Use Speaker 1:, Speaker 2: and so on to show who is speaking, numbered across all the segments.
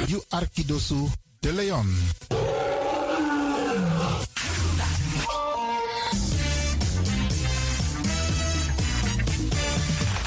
Speaker 1: Radio Arquidosu de Leon.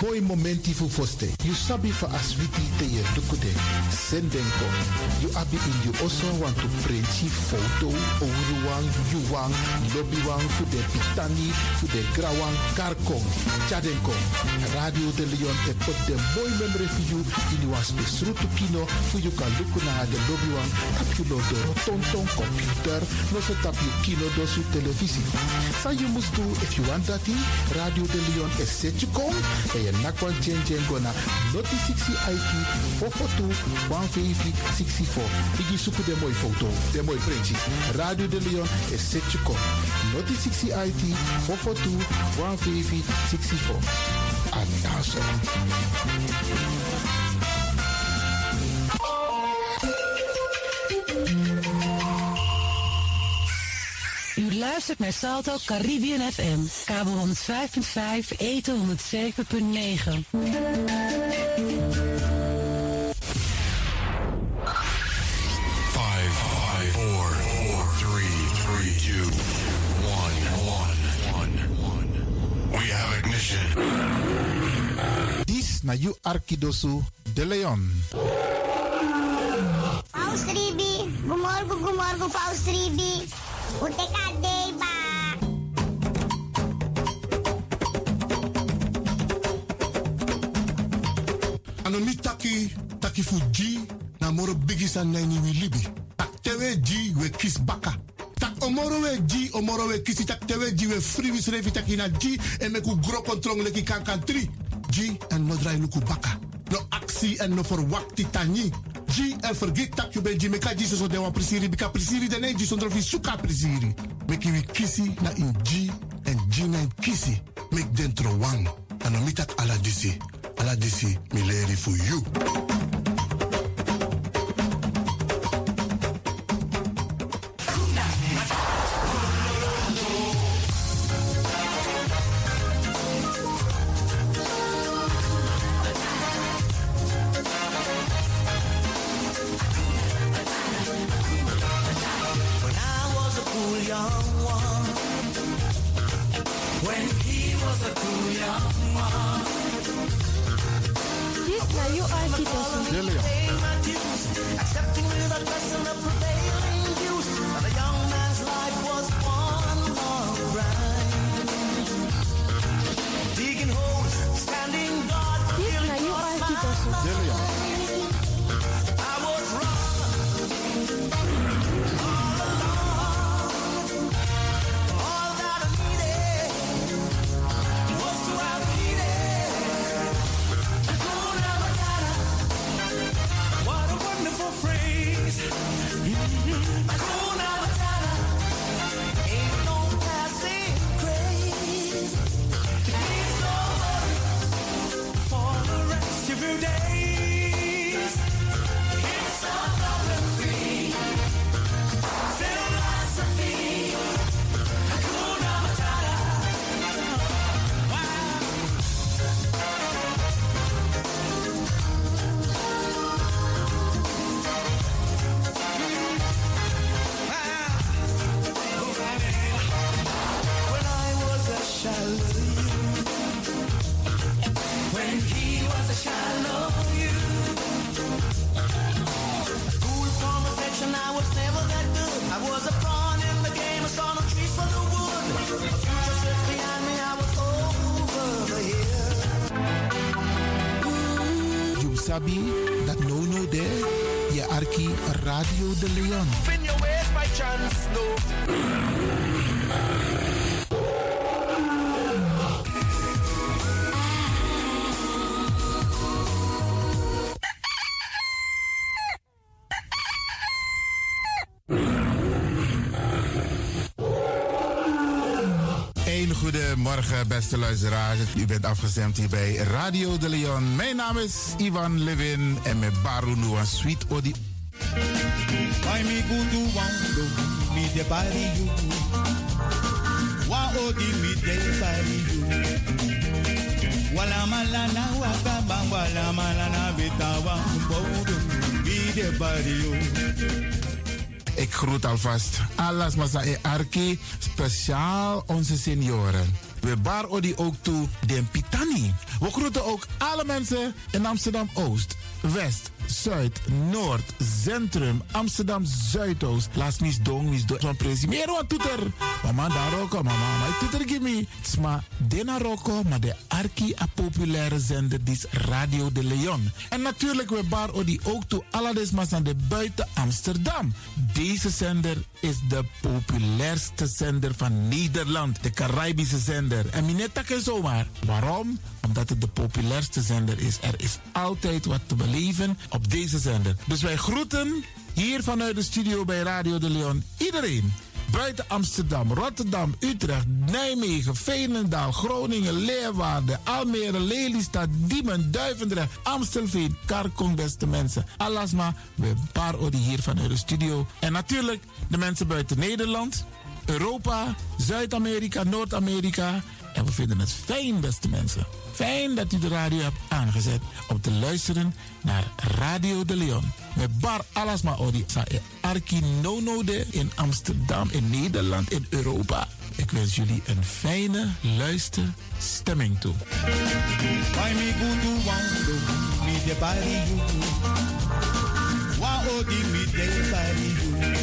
Speaker 1: Boy momenti fu foste. You sabi fa aswiti te ye dukude. Sendenko. You abi in you also want to prenti foto. Ouru wang, you wang, lobby wang, fu de pitani, fu de grawang, karkong, chadenko. Radio de Leon te pot de boy memory for you. In you was besrutu kino, fu you kan luku na de lobby wang. Tap you lo de rotonton computer. No se tap you kino dosu televisi. Sa you must do if you want that. Radio de Leon is set you come. En je nakwa jenjengo na noti 60 IQ 442 15564. Ik zoek de mooie foto, de mooie printjes. Radio de Leon is zet je kop. Noti 60 IT 442 15564. Andazo.
Speaker 2: U luistert naar Salto Caribbean FM. Kabel 105.5, eten 107.9.
Speaker 3: Five, five, four, four, three, three, two, one, one, one, one. We have ignition.
Speaker 1: Dis na you Arkidosu de Leon.
Speaker 4: Paus Ribi, gumorgo, gumorgo, Paus Ribi. O te ba?
Speaker 5: Ano mi taki, taki fu G, na moro bigis an naini wi libi. Tak tewe G, we kis baka. Tak omoro we G, omoro we kisi, tak tewe G, we free wis revi taki na G, en meku gro kontrong leki kankan tri. G, en no drai luku baka. No aksi en no forwakti tani. G, en vergit tak you ben G, meka G so dewa prisiri, bika prisiri dene G, sondro fi suka prisiri. Meki wi kisi na in G, en G na in kisi. Mek dentro wang. Ano mi tak ala disi. Ala disi, mi leri fu you.
Speaker 6: Dit naar jouw architecten.
Speaker 1: De Leon.
Speaker 6: Dit naar jouw architecten.
Speaker 1: De Leon.
Speaker 6: Mm-hmm.
Speaker 1: You sabi dat no no there. Je Arki Radio de Leon. hele goede morgen, beste luisteraars. U bent afgestemd hier bij Radio de Leon. Mijn naam is Ivan Levin en met Baru Noa Sweet Odi.
Speaker 7: Why me go to Wando, me the body you. Wa odi me the body you. Wala malana wa kaba wala malana bitawa mbodo me the body you.
Speaker 1: Ik groet alvast Alas Masa e Arki, speciaal onze senioren. We bar odi ook toe den Pitani. We groeten ook alle mensen in Amsterdam Oost, West, Zuid, Noord, Centrum, Amsterdam Zuidoost. Laat mis dong, mis dong, van presi. Meer wat toeter. Mama da roko, mama, maar toeter gimme. Sma, dena roko, maar de Arki a populaire zender dis Radio de Leon. En natuurlijk we bar odi ook toe Alades Masan de buiten Amsterdam. Deze zender is de populairste zender van Nederland, de Caribische zender. En minetak is zomaar. Waarom? Omdat het de populairste zender is. Er is altijd wat te beleven op deze zender. Dus wij groeten hier vanuit de studio bij Radio de Leon iedereen. Buiten Amsterdam, Rotterdam, Utrecht, Nijmegen, Veenendaal, Groningen, Leeuwarden, Almere, Lelystad, Diemen, Duivendrecht, Amstelveen, Karkong, beste mensen. Alasma, we paar odi hier vanuit de studio. En natuurlijk de mensen buiten Nederland, Europa, Zuid-Amerika, Noord-Amerika. En we vinden het fijn, beste mensen. Fijn dat u de radio hebt aangezet om te luisteren naar Radio de Leon. Met Bar Alasma Odi, Sa- e Arki Nonode in Amsterdam, in Nederland, in Europa. Ik wens jullie een fijne luisterstemming toe.
Speaker 7: Why me go to Wando, me the body you. Wa odi me the body you.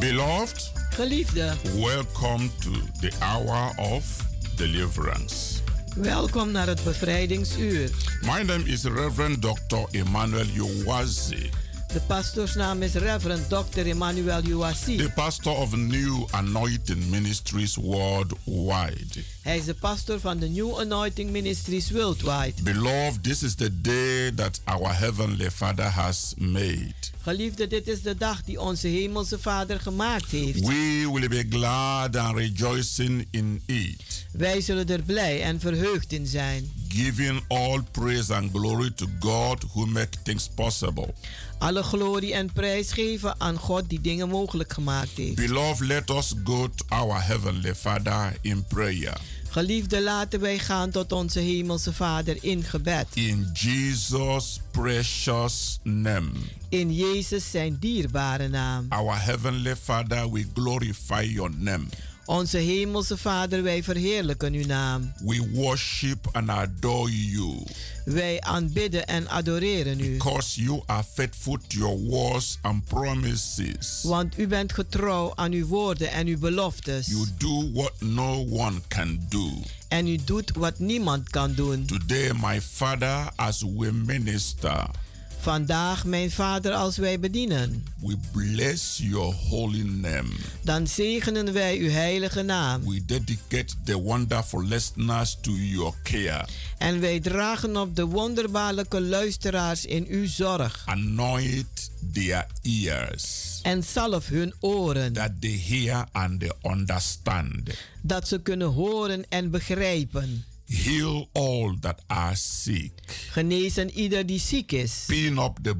Speaker 1: Beloved,
Speaker 8: Geliefde,
Speaker 1: welcome to the hour of deliverance.
Speaker 8: welkom naar het bevrijdingsuur.
Speaker 1: My name is Reverend Dr. Emmanuel Uwazi,
Speaker 8: De pastoorsnaam is Reverend Dr. Emmanuel
Speaker 1: the
Speaker 8: Uwasi.
Speaker 1: pastor of New Anointing Ministries worldwide.
Speaker 8: Hij is de pastor van de New Anointing Ministries Worldwide.
Speaker 1: Beloved, this is the day that our Heavenly Father has made.
Speaker 8: Geliefde, dit is de dag die onze hemelse Vader gemaakt heeft.
Speaker 1: We will be glad and rejoicing in it.
Speaker 8: Wij zullen er blij en verheugd in zijn.
Speaker 9: giving all praise and glory to God who makes things
Speaker 1: Oh.
Speaker 9: possible.
Speaker 8: Alle glorie en prijs geven aan God die dingen mogelijk gemaakt heeft.
Speaker 9: Beloved, let us go to our heavenly Father in prayer.
Speaker 8: Geliefde, laten wij gaan tot onze hemelse Vader in gebed.
Speaker 9: In Jesus' precious name,
Speaker 8: In Jezus zijn dierbare naam.
Speaker 9: our heavenly Father, we glorify your name.
Speaker 8: Onze hemelse Vader, wij verheerlijken uw naam.
Speaker 9: We worship and adore you
Speaker 8: Wij aanbidden en adoreren u.
Speaker 9: because you are faithful to your words and promises.
Speaker 8: Want u bent getrouw aan uw woorden en uw beloftes.
Speaker 9: You do what no one can do.
Speaker 8: En u doet wat niemand kan doen.
Speaker 9: Today, my Father, as we minister,
Speaker 8: Vandaag, mijn Vader, als wij bedienen,
Speaker 9: we bless your holy name.
Speaker 8: dan zegenen wij uw heilige naam.
Speaker 9: We dedicate the wonderful listeners to your care.
Speaker 8: En wij dragen op de wonderbaarlijke luisteraars in uw zorg.
Speaker 9: Anoint their ears
Speaker 8: En zalf hun oren,
Speaker 9: that they hear and they understand.
Speaker 8: dat ze kunnen horen en begrijpen.
Speaker 9: Heal all that are sick.
Speaker 8: Genezen ieder die ziek is.
Speaker 9: Pin up the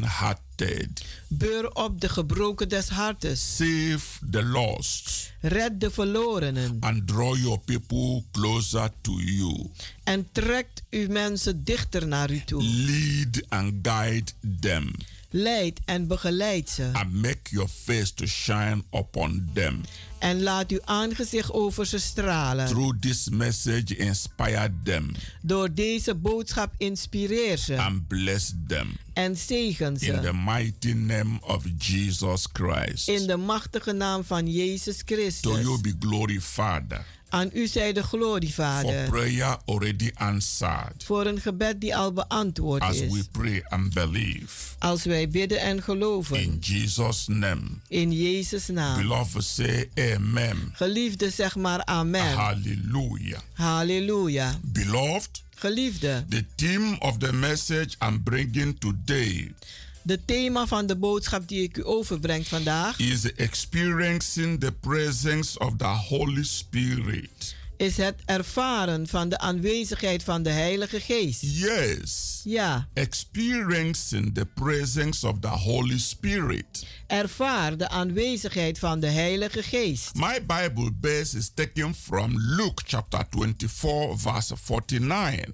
Speaker 9: broken-hearted.
Speaker 8: Beur op de gebroken des hartes.
Speaker 9: Save the lost
Speaker 8: Red de verlorenen.
Speaker 9: and draw your people closer to you.
Speaker 8: En trekt uw mensen dichter naar u toe.
Speaker 9: Lead and guide them
Speaker 8: Leid en begeleid ze.
Speaker 9: and make your face to shine upon them.
Speaker 8: En laat uw aangezicht over ze stralen.
Speaker 9: Through this message, inspire them
Speaker 8: Door deze boodschap inspireer ze.
Speaker 9: and bless them.
Speaker 8: En zegen
Speaker 9: In the
Speaker 8: ze.
Speaker 9: mighty name of Jesus Christ.
Speaker 8: In de machtige naam van Jezus
Speaker 9: To you
Speaker 8: Christus.
Speaker 9: be glory, Father,
Speaker 8: Aan u zij de glorie,
Speaker 9: for
Speaker 8: Vader.
Speaker 9: prayer already answered.
Speaker 8: Voor een gebed die al beantwoord
Speaker 9: As we
Speaker 8: is.
Speaker 9: pray and believe.
Speaker 8: Als wij bidden en
Speaker 9: In
Speaker 8: geloven.
Speaker 9: Jesus' name.
Speaker 8: In Jezus' naam.
Speaker 9: Beloved, say amen.
Speaker 8: Geliefde, zeg maar amen.
Speaker 9: Hallelujah.
Speaker 8: Halleluja.
Speaker 9: Beloved,
Speaker 8: Geliefde,
Speaker 9: the theme of the message I'm bringing today
Speaker 8: de thema van de boodschap die ik u overbreng vandaag
Speaker 9: is experiencing the presence of the Holy Spirit.
Speaker 8: is het ervaren van de aanwezigheid van de Heilige Geest.
Speaker 9: Yes.
Speaker 8: Ja,
Speaker 9: Experiencing the presence of the Holy Spirit.
Speaker 8: ervaar de aanwezigheid van de Heilige Geest.
Speaker 9: My Bible base is taken from Luke chapter 24, verse 49.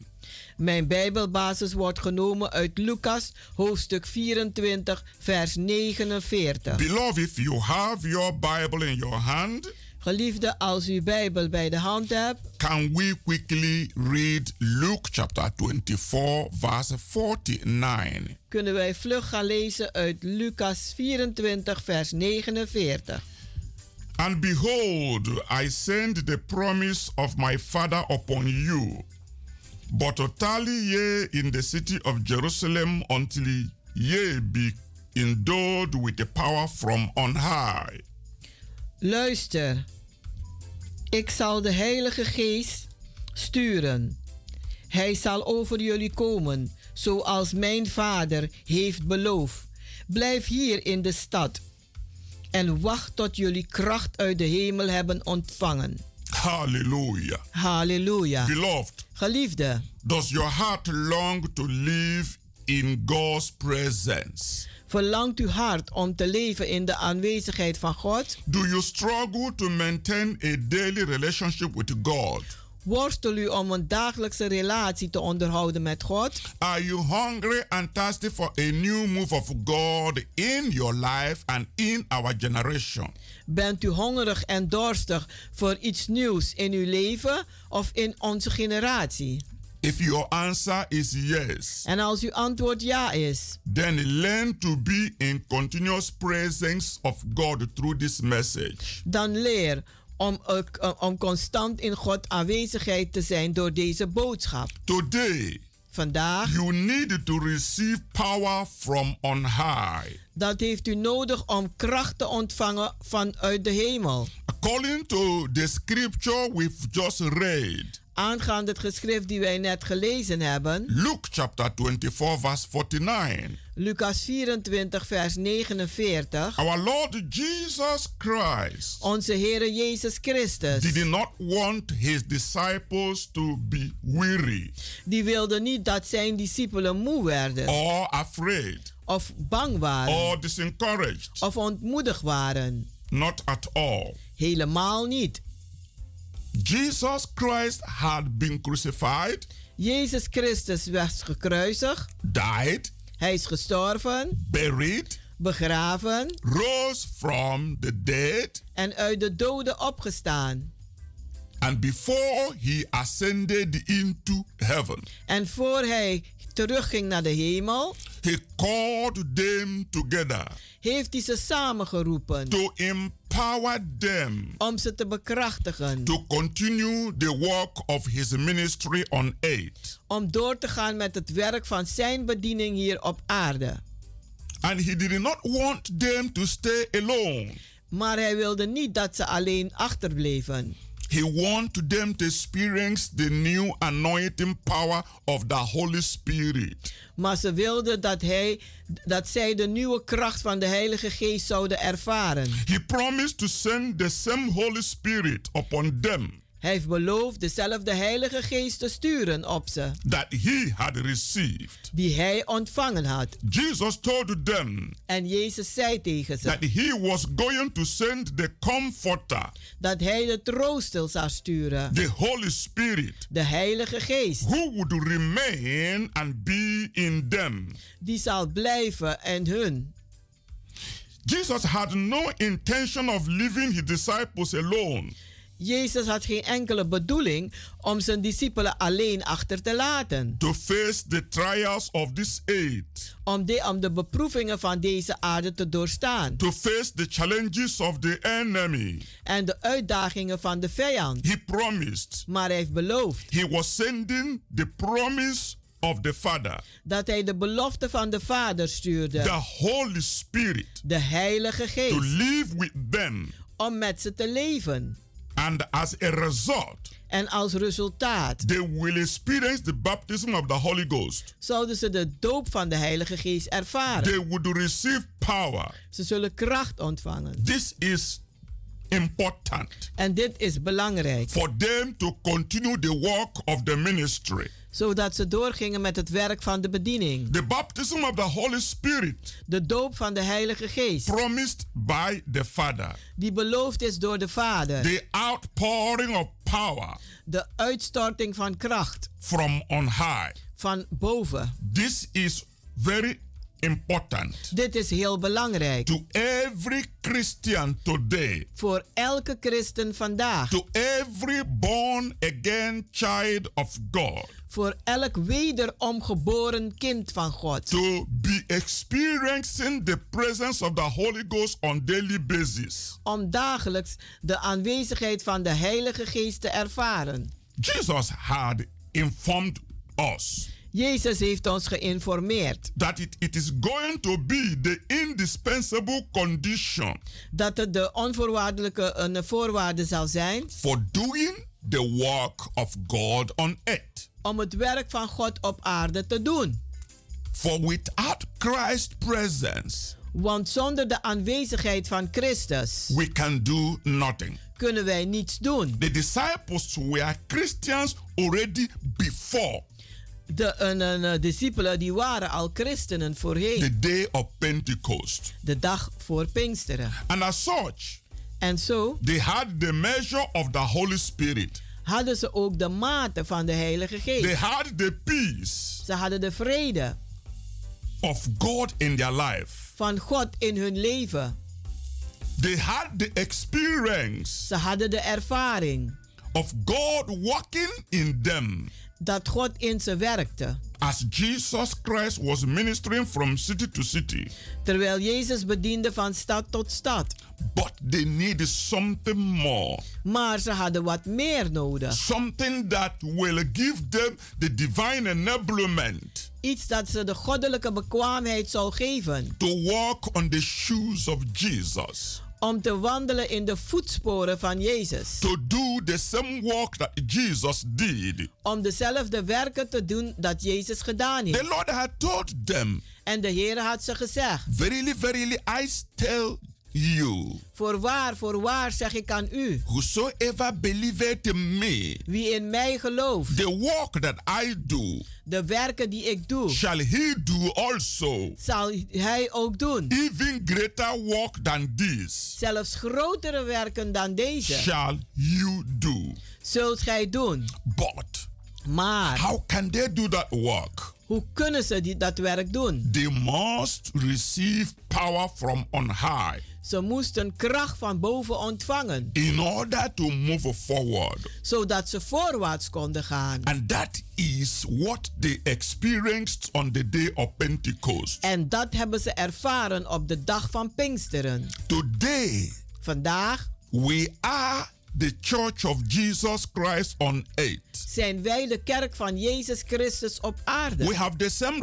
Speaker 8: Mijn Bijbelbasis wordt genomen uit Lucas hoofdstuk 24, vers 49.
Speaker 9: Beloved, if you have your Bible in your hand,
Speaker 8: Geliefde, als u Bijbel bij de hand hebt,
Speaker 9: can we quickly read Luke chapter 24, verse 49?
Speaker 8: kunnen wij vlug gaan lezen uit Lucas 24, vers 49.
Speaker 9: And behold, I send the promise of my Father upon you, but tarry ye in the city of Jerusalem until ye be endowed with the power from on high.
Speaker 8: Luister, ik zal de Heilige Geest sturen. Hij zal over jullie komen, zoals mijn Vader heeft beloofd. Blijf hier in de stad en wacht tot jullie kracht uit de hemel hebben ontvangen.
Speaker 9: Hallelujah.
Speaker 8: Halleluja.
Speaker 9: Beloved,
Speaker 8: Geliefde,
Speaker 9: does your heart long to live in God's presence?
Speaker 8: verlangt uw hart om te leven in de aanwezigheid van God?
Speaker 9: Do you struggle to maintain a daily relationship with God?
Speaker 8: Worstel u om een dagelijkse relatie te onderhouden met God?
Speaker 9: Are you hungry and thirsty for a new move of God in your life and in our generation?
Speaker 8: Bent u hongerig en dorstig voor iets nieuws in uw leven of in onze generatie?
Speaker 9: If your answer is yes,
Speaker 8: En als uw antwoord ja is,
Speaker 9: then learn to be in continuous presence of God through this message.
Speaker 8: dan leer om, ook, eh, om constant in God aanwezigheid te zijn door deze boodschap.
Speaker 9: Today,
Speaker 8: Vandaag,
Speaker 9: you need to receive power from on high.
Speaker 8: dat heeft u nodig om kracht te ontvangen vanuit de hemel.
Speaker 9: According to the scripture we've just read,
Speaker 8: Aangaande het geschrift die wij net gelezen hebben,
Speaker 9: Luke chapter 24, verse 49,
Speaker 8: Lucas 24, vers 49.
Speaker 9: Our Lord Jesus Christ
Speaker 8: Onze Heere Jezus Christus.
Speaker 9: did not want his disciples to be weary
Speaker 8: Die wilde niet dat zijn discipelen moe werden.
Speaker 9: or afraid
Speaker 8: Of bang waren.
Speaker 9: or disencouraged.
Speaker 8: Of ontmoedig waren.
Speaker 9: Not at all.
Speaker 8: Helemaal niet.
Speaker 9: Jesus Christ had been crucified,
Speaker 8: Jezus Christus werd gekruisigd.
Speaker 9: died,
Speaker 8: Hij is gestorven,
Speaker 9: buried,
Speaker 8: begraven
Speaker 9: rose from the dead,
Speaker 8: en uit de doden opgestaan.
Speaker 9: and before he ascended into heaven,
Speaker 8: En voor hij terugging naar de hemel,
Speaker 9: he called them together
Speaker 8: heeft hij ze samengeroepen
Speaker 9: to empower them
Speaker 8: om ze te bekrachtigen.
Speaker 9: to continue the work of his ministry on earth.
Speaker 8: Om door te gaan met het werk van zijn bediening hier op aarde.
Speaker 9: And he did not want them to stay alone.
Speaker 8: Maar hij wilde niet dat ze alleen achterbleven.
Speaker 9: He wanted them to experience the new anointing power of the Holy Spirit.
Speaker 8: Maar ze wilden dat, hij, dat zij de nieuwe kracht van de Heilige Geest zouden ervaren.
Speaker 9: He promised to send the same Holy Spirit upon them
Speaker 8: Hij heeft beloofd dezelfde Heilige Geest te sturen op ze,
Speaker 9: that he had received.
Speaker 8: die hij ontvangen had.
Speaker 9: Jesus told them
Speaker 8: En Jezus zei tegen ze
Speaker 9: that he was going to send the comforter,
Speaker 8: dat hij de trooster zou sturen,
Speaker 9: the Holy Spirit,
Speaker 8: de Heilige Geest,
Speaker 9: who would remain and be in them.
Speaker 8: die zal blijven en hun.
Speaker 9: Jesus had no intention of leaving his disciples alone.
Speaker 8: Jezus had geen enkele bedoeling om zijn discipelen alleen achter te laten,
Speaker 9: To face the trials of this age,
Speaker 8: om de, om de beproevingen van deze aarde te doorstaan
Speaker 9: to face the challenges of the enemy,
Speaker 8: en de uitdagingen van de vijand.
Speaker 9: he promised
Speaker 8: Maar hij heeft beloofd
Speaker 9: he was sending the promise of the Father,
Speaker 8: dat hij de belofte van de Vader
Speaker 9: the
Speaker 8: stuurde,
Speaker 9: Holy Spirit,
Speaker 8: de Heilige
Speaker 9: to
Speaker 8: Geest,
Speaker 9: live with them.
Speaker 8: om met ze te leven.
Speaker 9: And as a result,
Speaker 8: En als resultaat
Speaker 9: they will experience the baptism of the Holy Ghost.
Speaker 8: zouden ze de doop van de Heilige Geest ervaren.
Speaker 9: They would receive power.
Speaker 8: Ze zullen kracht ontvangen.
Speaker 9: This is important
Speaker 8: En dit is belangrijk,
Speaker 9: for them to continue the work of the ministry.
Speaker 8: zodat ze doorgingen met het werk van de bediening.
Speaker 9: The baptism of the Holy Spirit
Speaker 8: De doop van de Heilige Geest,
Speaker 9: promised by the Father,
Speaker 8: die beloofd is door de Vader.
Speaker 9: the outpouring of power
Speaker 8: De uitstorting van kracht
Speaker 9: from on high.
Speaker 8: van boven.
Speaker 9: This is very important
Speaker 8: Dit is heel belangrijk
Speaker 9: to every Christian today,
Speaker 8: voor elke christen vandaag.
Speaker 9: to every born again child of God,
Speaker 8: Voor elk wederom geboren kind van God.
Speaker 9: to be experiencing the presence of the Holy Ghost on daily basis.
Speaker 8: Om dagelijks de aanwezigheid van de Heilige Geest te ervaren.
Speaker 9: Jesus had informed us
Speaker 8: Jezus heeft ons geïnformeerd
Speaker 9: that it, it is going to be the indispensable condition
Speaker 8: dat het de onvoorwaardelijke eh, een voorwaarde zal zijn
Speaker 9: for doing the work of God on earth.
Speaker 8: om het werk van God op aarde te doen.
Speaker 9: For without Christ's presence,
Speaker 8: Want zonder de aanwezigheid van Christus
Speaker 9: we can do nothing.
Speaker 8: kunnen wij niets doen.
Speaker 9: The disciples were Christians already before
Speaker 8: De een, een, eh, discipelen die waren al christenen
Speaker 9: the
Speaker 8: voorheen,
Speaker 9: day of Pentecost.
Speaker 8: de dag voor Pinksteren.
Speaker 9: And as such,
Speaker 8: En zo
Speaker 9: they had the measure of the Holy Spirit.
Speaker 8: hadden ze ook de mate van de Heilige
Speaker 9: They
Speaker 8: Geest.
Speaker 9: had the peace
Speaker 8: Ze hadden de vrede
Speaker 9: of God in their life.
Speaker 8: van God in hun leven.
Speaker 9: They had the experience
Speaker 8: Ze hadden de ervaring
Speaker 9: of God working in them.
Speaker 8: dat God in ze werkte.
Speaker 9: As Jesus Christ was ministering from city to city,
Speaker 8: Terwijl Jezus bediende van stad tot stad.
Speaker 9: but they needed something more.
Speaker 8: Maar ze hadden wat meer nodig.
Speaker 9: something that will give them the divine enablement
Speaker 8: Iets dat ze de goddelijke bekwaamheid zou geven
Speaker 9: to walk on the shoes of Jesus,
Speaker 8: om te wandelen in de voetsporen van Jezus.
Speaker 9: to do the same work that Jesus did.
Speaker 8: Om dezelfde werken te doen dat Jezus gedaan heeft.
Speaker 9: The Lord had told them,
Speaker 8: En de Heer had ze gezegd:
Speaker 9: Verily, verily, I tell you,
Speaker 8: Voorwaar, voorwaar zeg ik aan u.
Speaker 9: whosoever believeth in me,
Speaker 8: Wie in mij gelooft,
Speaker 9: the work that I do
Speaker 8: de werken die ik doe,
Speaker 9: shall he do also,
Speaker 8: zal hij ook doen.
Speaker 9: even greater work than this.
Speaker 8: Zelfs grotere werken dan deze
Speaker 9: Shall you do?
Speaker 8: zult gij doen.
Speaker 9: But
Speaker 8: Maar
Speaker 9: how can they do that work?
Speaker 8: hoe kunnen ze die, dat werk doen?
Speaker 9: They must receive power from on high
Speaker 8: Ze moesten kracht van boven ontvangen,
Speaker 9: in order to move forward.
Speaker 8: zodat ze voorwaarts konden gaan.
Speaker 9: And that is what they experienced on the day of Pentecost.
Speaker 8: En dat hebben ze ervaren op de dag van Pinksteren.
Speaker 9: Today,
Speaker 8: Vandaag
Speaker 9: we are the church of Jesus Christ on earth.
Speaker 8: zijn wij de kerk van Jezus Christus op aarde.
Speaker 9: We have the same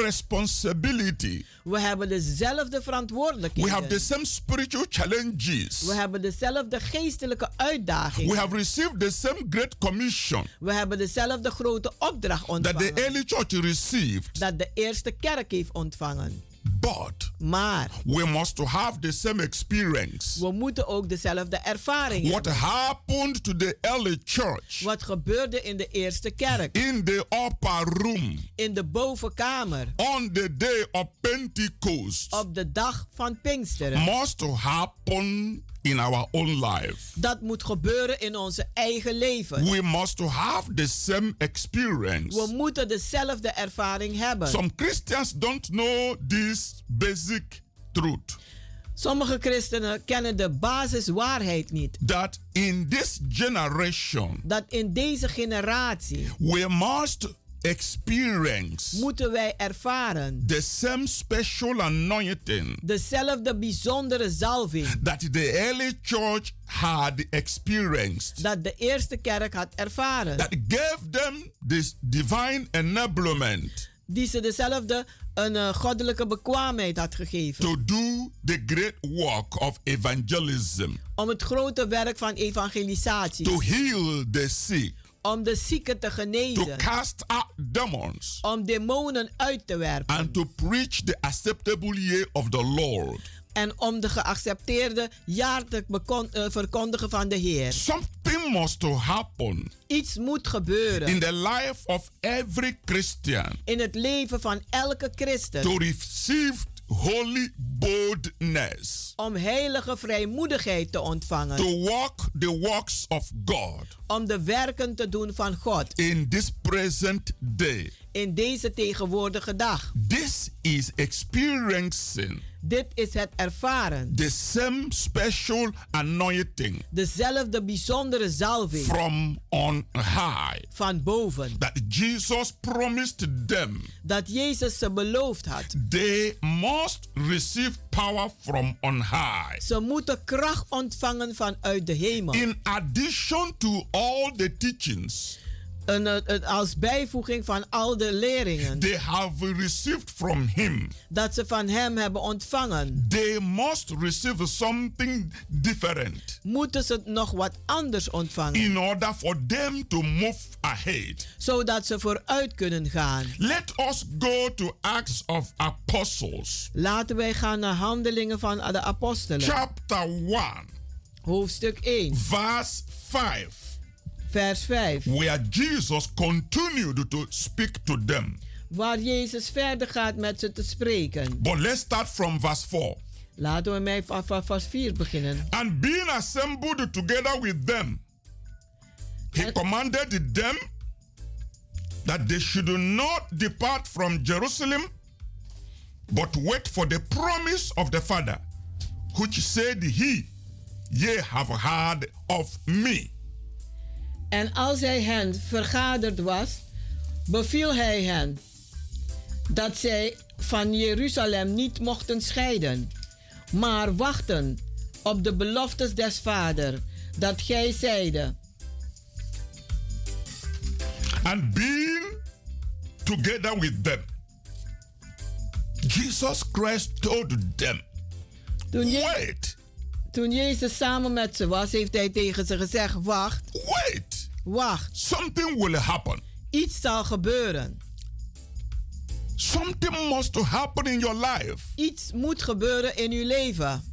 Speaker 9: responsibility.
Speaker 8: We hebben dezelfde
Speaker 9: We have the
Speaker 8: verantwoordelijkheden.
Speaker 9: same spiritual
Speaker 8: We
Speaker 9: challenges.
Speaker 8: hebben dezelfde geestelijke
Speaker 9: We
Speaker 8: uitdagingen.
Speaker 9: have received the same great commission
Speaker 8: We hebben dezelfde grote opdracht
Speaker 9: that the
Speaker 8: ontvangen.
Speaker 9: early church received.
Speaker 8: Dat de eerste kerk heeft ontvangen.
Speaker 9: But
Speaker 8: Maar
Speaker 9: we must have the same experience.
Speaker 8: we moeten ook dezelfde ervaring
Speaker 9: What
Speaker 8: hebben.
Speaker 9: happened to the early church
Speaker 8: Wat gebeurde in de eerste kerk?
Speaker 9: in the upper room
Speaker 8: In de bovenkamer.
Speaker 9: on the day of Pentecost
Speaker 8: Op de dag van Pinksteren.
Speaker 9: must happen in our own life.
Speaker 8: Dat moet gebeuren in onze eigen leven.
Speaker 9: We must have the same experience.
Speaker 8: We moeten dezelfde ervaring hebben.
Speaker 9: Some Christians don't know this basic truth
Speaker 8: Sommige christenen kennen de basiswaarheid niet.
Speaker 9: that in this generation
Speaker 8: Dat in deze generatie
Speaker 9: we must experience
Speaker 8: moeten wij ervaren
Speaker 9: the same special anointing
Speaker 8: dezelfde bijzondere zalving
Speaker 9: that the early church had experienced
Speaker 8: dat de eerste kerk had ervaren.
Speaker 9: that gave them this divine enablement
Speaker 8: Die ze dezelfde een eh, goddelijke bekwaamheid had gegeven
Speaker 9: to do the great work of evangelism,
Speaker 8: om het grote werk van evangelisatie,
Speaker 9: to heal the sick,
Speaker 8: om de zieken te
Speaker 9: to
Speaker 8: genezen,
Speaker 9: cast out demons,
Speaker 8: om demonen uit te werpen
Speaker 9: and to preach the acceptable year of the Lord.
Speaker 8: en om de geaccepteerde jaar te bekon- eh, verkondigen van de Heer.
Speaker 9: Something must to happen
Speaker 8: Iets moet gebeuren.
Speaker 9: in the life of every Christian
Speaker 8: in het leven van elke christen.
Speaker 9: to receive holy boldness,
Speaker 8: Om heilige vrijmoedigheid te ontvangen.
Speaker 9: to walk the works of God
Speaker 8: Om de werken te doen van God
Speaker 9: in this present day.
Speaker 8: in deze tegenwoordige dag.
Speaker 9: This is experiencing
Speaker 8: Dit is het ervaren.
Speaker 9: the same special anointing
Speaker 8: Dezelfde bijzondere zalving
Speaker 9: from on high
Speaker 8: van boven.
Speaker 9: that Jesus promised them
Speaker 8: Dat Jezus ze beloofd had.
Speaker 9: they must receive power from on high.
Speaker 8: Ze moeten kracht ontvangen vanuit de hemel.
Speaker 9: In addition to all the teachings
Speaker 8: Een, eh, een- als bijvoeging van al de leringen.
Speaker 9: they have received from Him,
Speaker 8: Dat ze van hem hebben ontvangen.
Speaker 9: they must receive something different
Speaker 8: Moeten ze nog wat anders ontvangen.
Speaker 9: in order for them to move ahead.
Speaker 8: Zodat ze vooruit kunnen gaan.
Speaker 9: Let us go to Acts of Apostles,
Speaker 8: Laten wij gaan naar Handelingen van de Apostelen.
Speaker 9: chapter 1,
Speaker 8: Hoofdstuk 1,
Speaker 9: verse 5.
Speaker 8: vers 5.
Speaker 9: where Jesus continued to speak to them.
Speaker 8: Waar Jezus verder gaat met ze te spreken.
Speaker 9: But let's start from verse 4.
Speaker 8: Laten we mij vanaf vers 4 beginnen.
Speaker 9: And being assembled together with them, he commanded them that they should not depart from Jerusalem, but wait for the promise of the Father, which said he, Ye have heard of me.
Speaker 8: En als hij hen vergaderd was, beviel hij hen dat zij van Jeruzalem niet mochten scheiden, maar wachten op de beloftes des Vader, dat gij zeide.
Speaker 9: and being together with them. Jesus Christ told them,
Speaker 8: Toen, Je-
Speaker 9: Wait
Speaker 8: Toen Jezus samen met ze was, heeft hij tegen ze gezegd: Wacht.
Speaker 9: Wait.
Speaker 8: Wacht.
Speaker 9: Something will happen.
Speaker 8: Iets zal gebeuren.
Speaker 9: Something must happen in your life.
Speaker 8: Iets moet gebeuren in uw leven.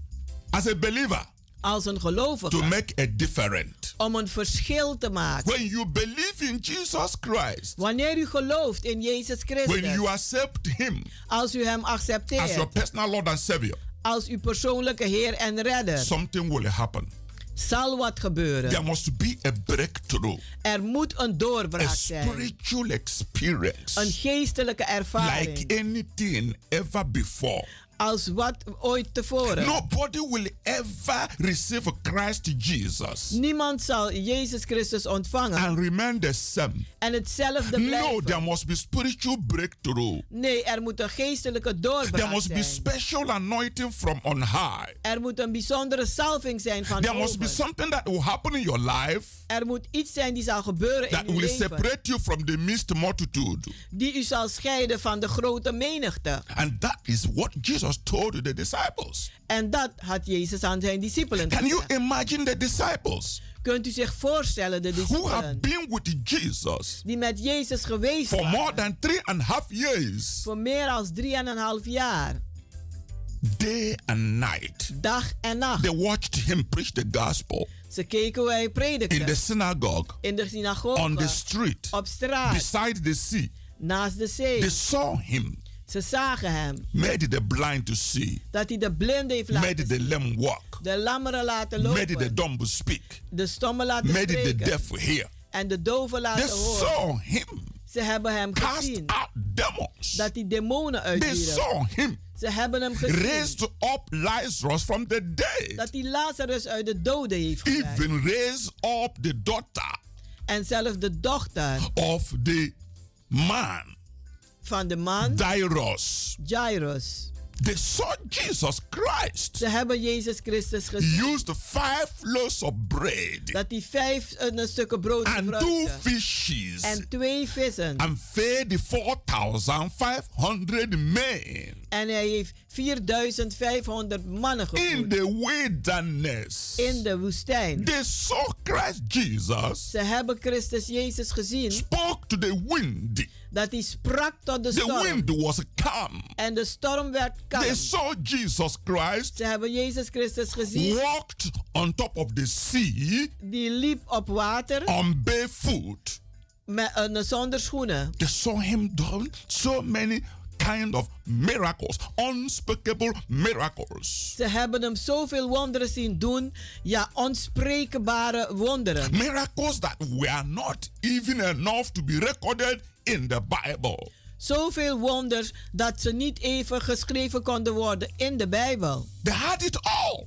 Speaker 9: As a believer.
Speaker 8: Als een gelovige.
Speaker 9: To make a difference.
Speaker 8: Om een verschil te maken.
Speaker 9: When you believe in Jesus Christ.
Speaker 8: Wanneer u gelooft in Jezus Christus.
Speaker 9: When you accept him.
Speaker 8: Als u hem accepteert.
Speaker 9: As your personal Lord and Savior.
Speaker 8: Als uw persoonlijke Heer en Redder.
Speaker 9: Something will happen.
Speaker 8: Zal wat gebeuren.
Speaker 9: There must be a breakthrough.
Speaker 8: Er moet een doorbraak
Speaker 9: a
Speaker 8: zijn.
Speaker 9: spiritual experience.
Speaker 8: Een geestelijke ervaring.
Speaker 9: Like anything ever before.
Speaker 8: Als wat ooit tevoren.
Speaker 9: Nobody will ever receive Christ Jesus.
Speaker 8: Niemand zal Jezus Christus ontvangen.
Speaker 9: And remain the same.
Speaker 8: En hetzelfde blijven.
Speaker 9: No, there must be spiritual breakthrough.
Speaker 8: Nee, er moet een geestelijke doorbraak
Speaker 9: There must
Speaker 8: zijn.
Speaker 9: be special anointing from on high.
Speaker 8: Er moet een bijzondere salving zijn van
Speaker 9: There must
Speaker 8: boven.
Speaker 9: be something that will happen in your life
Speaker 8: Er moet iets zijn die zal gebeuren
Speaker 9: that
Speaker 8: in uw
Speaker 9: will
Speaker 8: leven.
Speaker 9: separate you from the mixed multitude.
Speaker 8: Die u zal scheiden van de grote menigte.
Speaker 9: And that is what Jesus told the disciples.
Speaker 8: En dat had Jezus aan zijn discipelen
Speaker 9: Can you
Speaker 8: gezegd.
Speaker 9: imagine the disciples
Speaker 8: Kunt u zich voorstellen de
Speaker 9: who
Speaker 8: discipelen
Speaker 9: have been with Jesus
Speaker 8: die met Jezus geweest
Speaker 9: for
Speaker 8: waren
Speaker 9: more than three and a half years,
Speaker 8: voor meer dan drieënhalf jaar,
Speaker 9: day and night?
Speaker 8: dag en nacht?
Speaker 9: They watched him preach the gospel
Speaker 8: Ze keken hoe hij
Speaker 9: in the
Speaker 8: predikte
Speaker 9: synagogue,
Speaker 8: in de synagoge,
Speaker 9: on the street,
Speaker 8: op straat,
Speaker 9: beside the sea.
Speaker 8: naast de zee.
Speaker 9: They saw him,
Speaker 8: Ze zagen hem
Speaker 9: made the blind to see,
Speaker 8: dat hij de blinden heeft laten
Speaker 9: made the lame walk,
Speaker 8: de lammeren laten
Speaker 9: made the
Speaker 8: lopen,
Speaker 9: dumb speak,
Speaker 8: de stommen laten
Speaker 9: made the
Speaker 8: spreken
Speaker 9: deaf hear.
Speaker 8: en de doven
Speaker 9: They
Speaker 8: laten horen.
Speaker 9: saw him
Speaker 8: Ze hebben hem
Speaker 9: cast
Speaker 8: gezien
Speaker 9: out demons.
Speaker 8: dat hij demonen
Speaker 9: They
Speaker 8: uitwierp.
Speaker 9: saw him
Speaker 8: Ze hebben hem gezien
Speaker 9: raised up Lazarus from the dead,
Speaker 8: dat hij Lazarus uit de doden heeft gewekt.
Speaker 9: even raise up the daughter
Speaker 8: En zelfs de dochter
Speaker 9: of the man,
Speaker 8: van de man,
Speaker 9: Jairus.
Speaker 8: Jairus.
Speaker 9: They saw Jesus Christ
Speaker 8: Ze hebben Jezus Christus gezien
Speaker 9: used five loaves of bread
Speaker 8: dat hij vijf eh, een stukken brood
Speaker 9: and two
Speaker 8: gebruikte.
Speaker 9: fishes
Speaker 8: En twee vissen.
Speaker 9: and fed the 4,500 men
Speaker 8: En hij heeft 4500 mannen
Speaker 9: in
Speaker 8: gevoed
Speaker 9: the wilderness.
Speaker 8: in de woestijn.
Speaker 9: They saw Christ Jesus
Speaker 8: Ze hebben Christus Jezus gezien
Speaker 9: spoke to the wind.
Speaker 8: dat hij sprak tot de
Speaker 9: The
Speaker 8: storm.
Speaker 9: wind was calm.
Speaker 8: En de storm werd
Speaker 9: They
Speaker 8: kalm.
Speaker 9: saw Jesus Christ
Speaker 8: Ze hebben Jezus Christus gezien
Speaker 9: walked on top of the sea
Speaker 8: die liep op water
Speaker 9: on barefoot.
Speaker 8: met, een zonder schoenen.
Speaker 9: They saw him doing so many kind of miracles, unspeakable miracles.
Speaker 8: Ze hebben hem zoveel wonderen zien doen. Ja, onspreekbare wonderen.
Speaker 9: Miracles that were not even enough to be recorded in the Bible.
Speaker 8: Zoveel wonders dat ze niet even geschreven konden worden in de Bijbel.
Speaker 9: They had it all.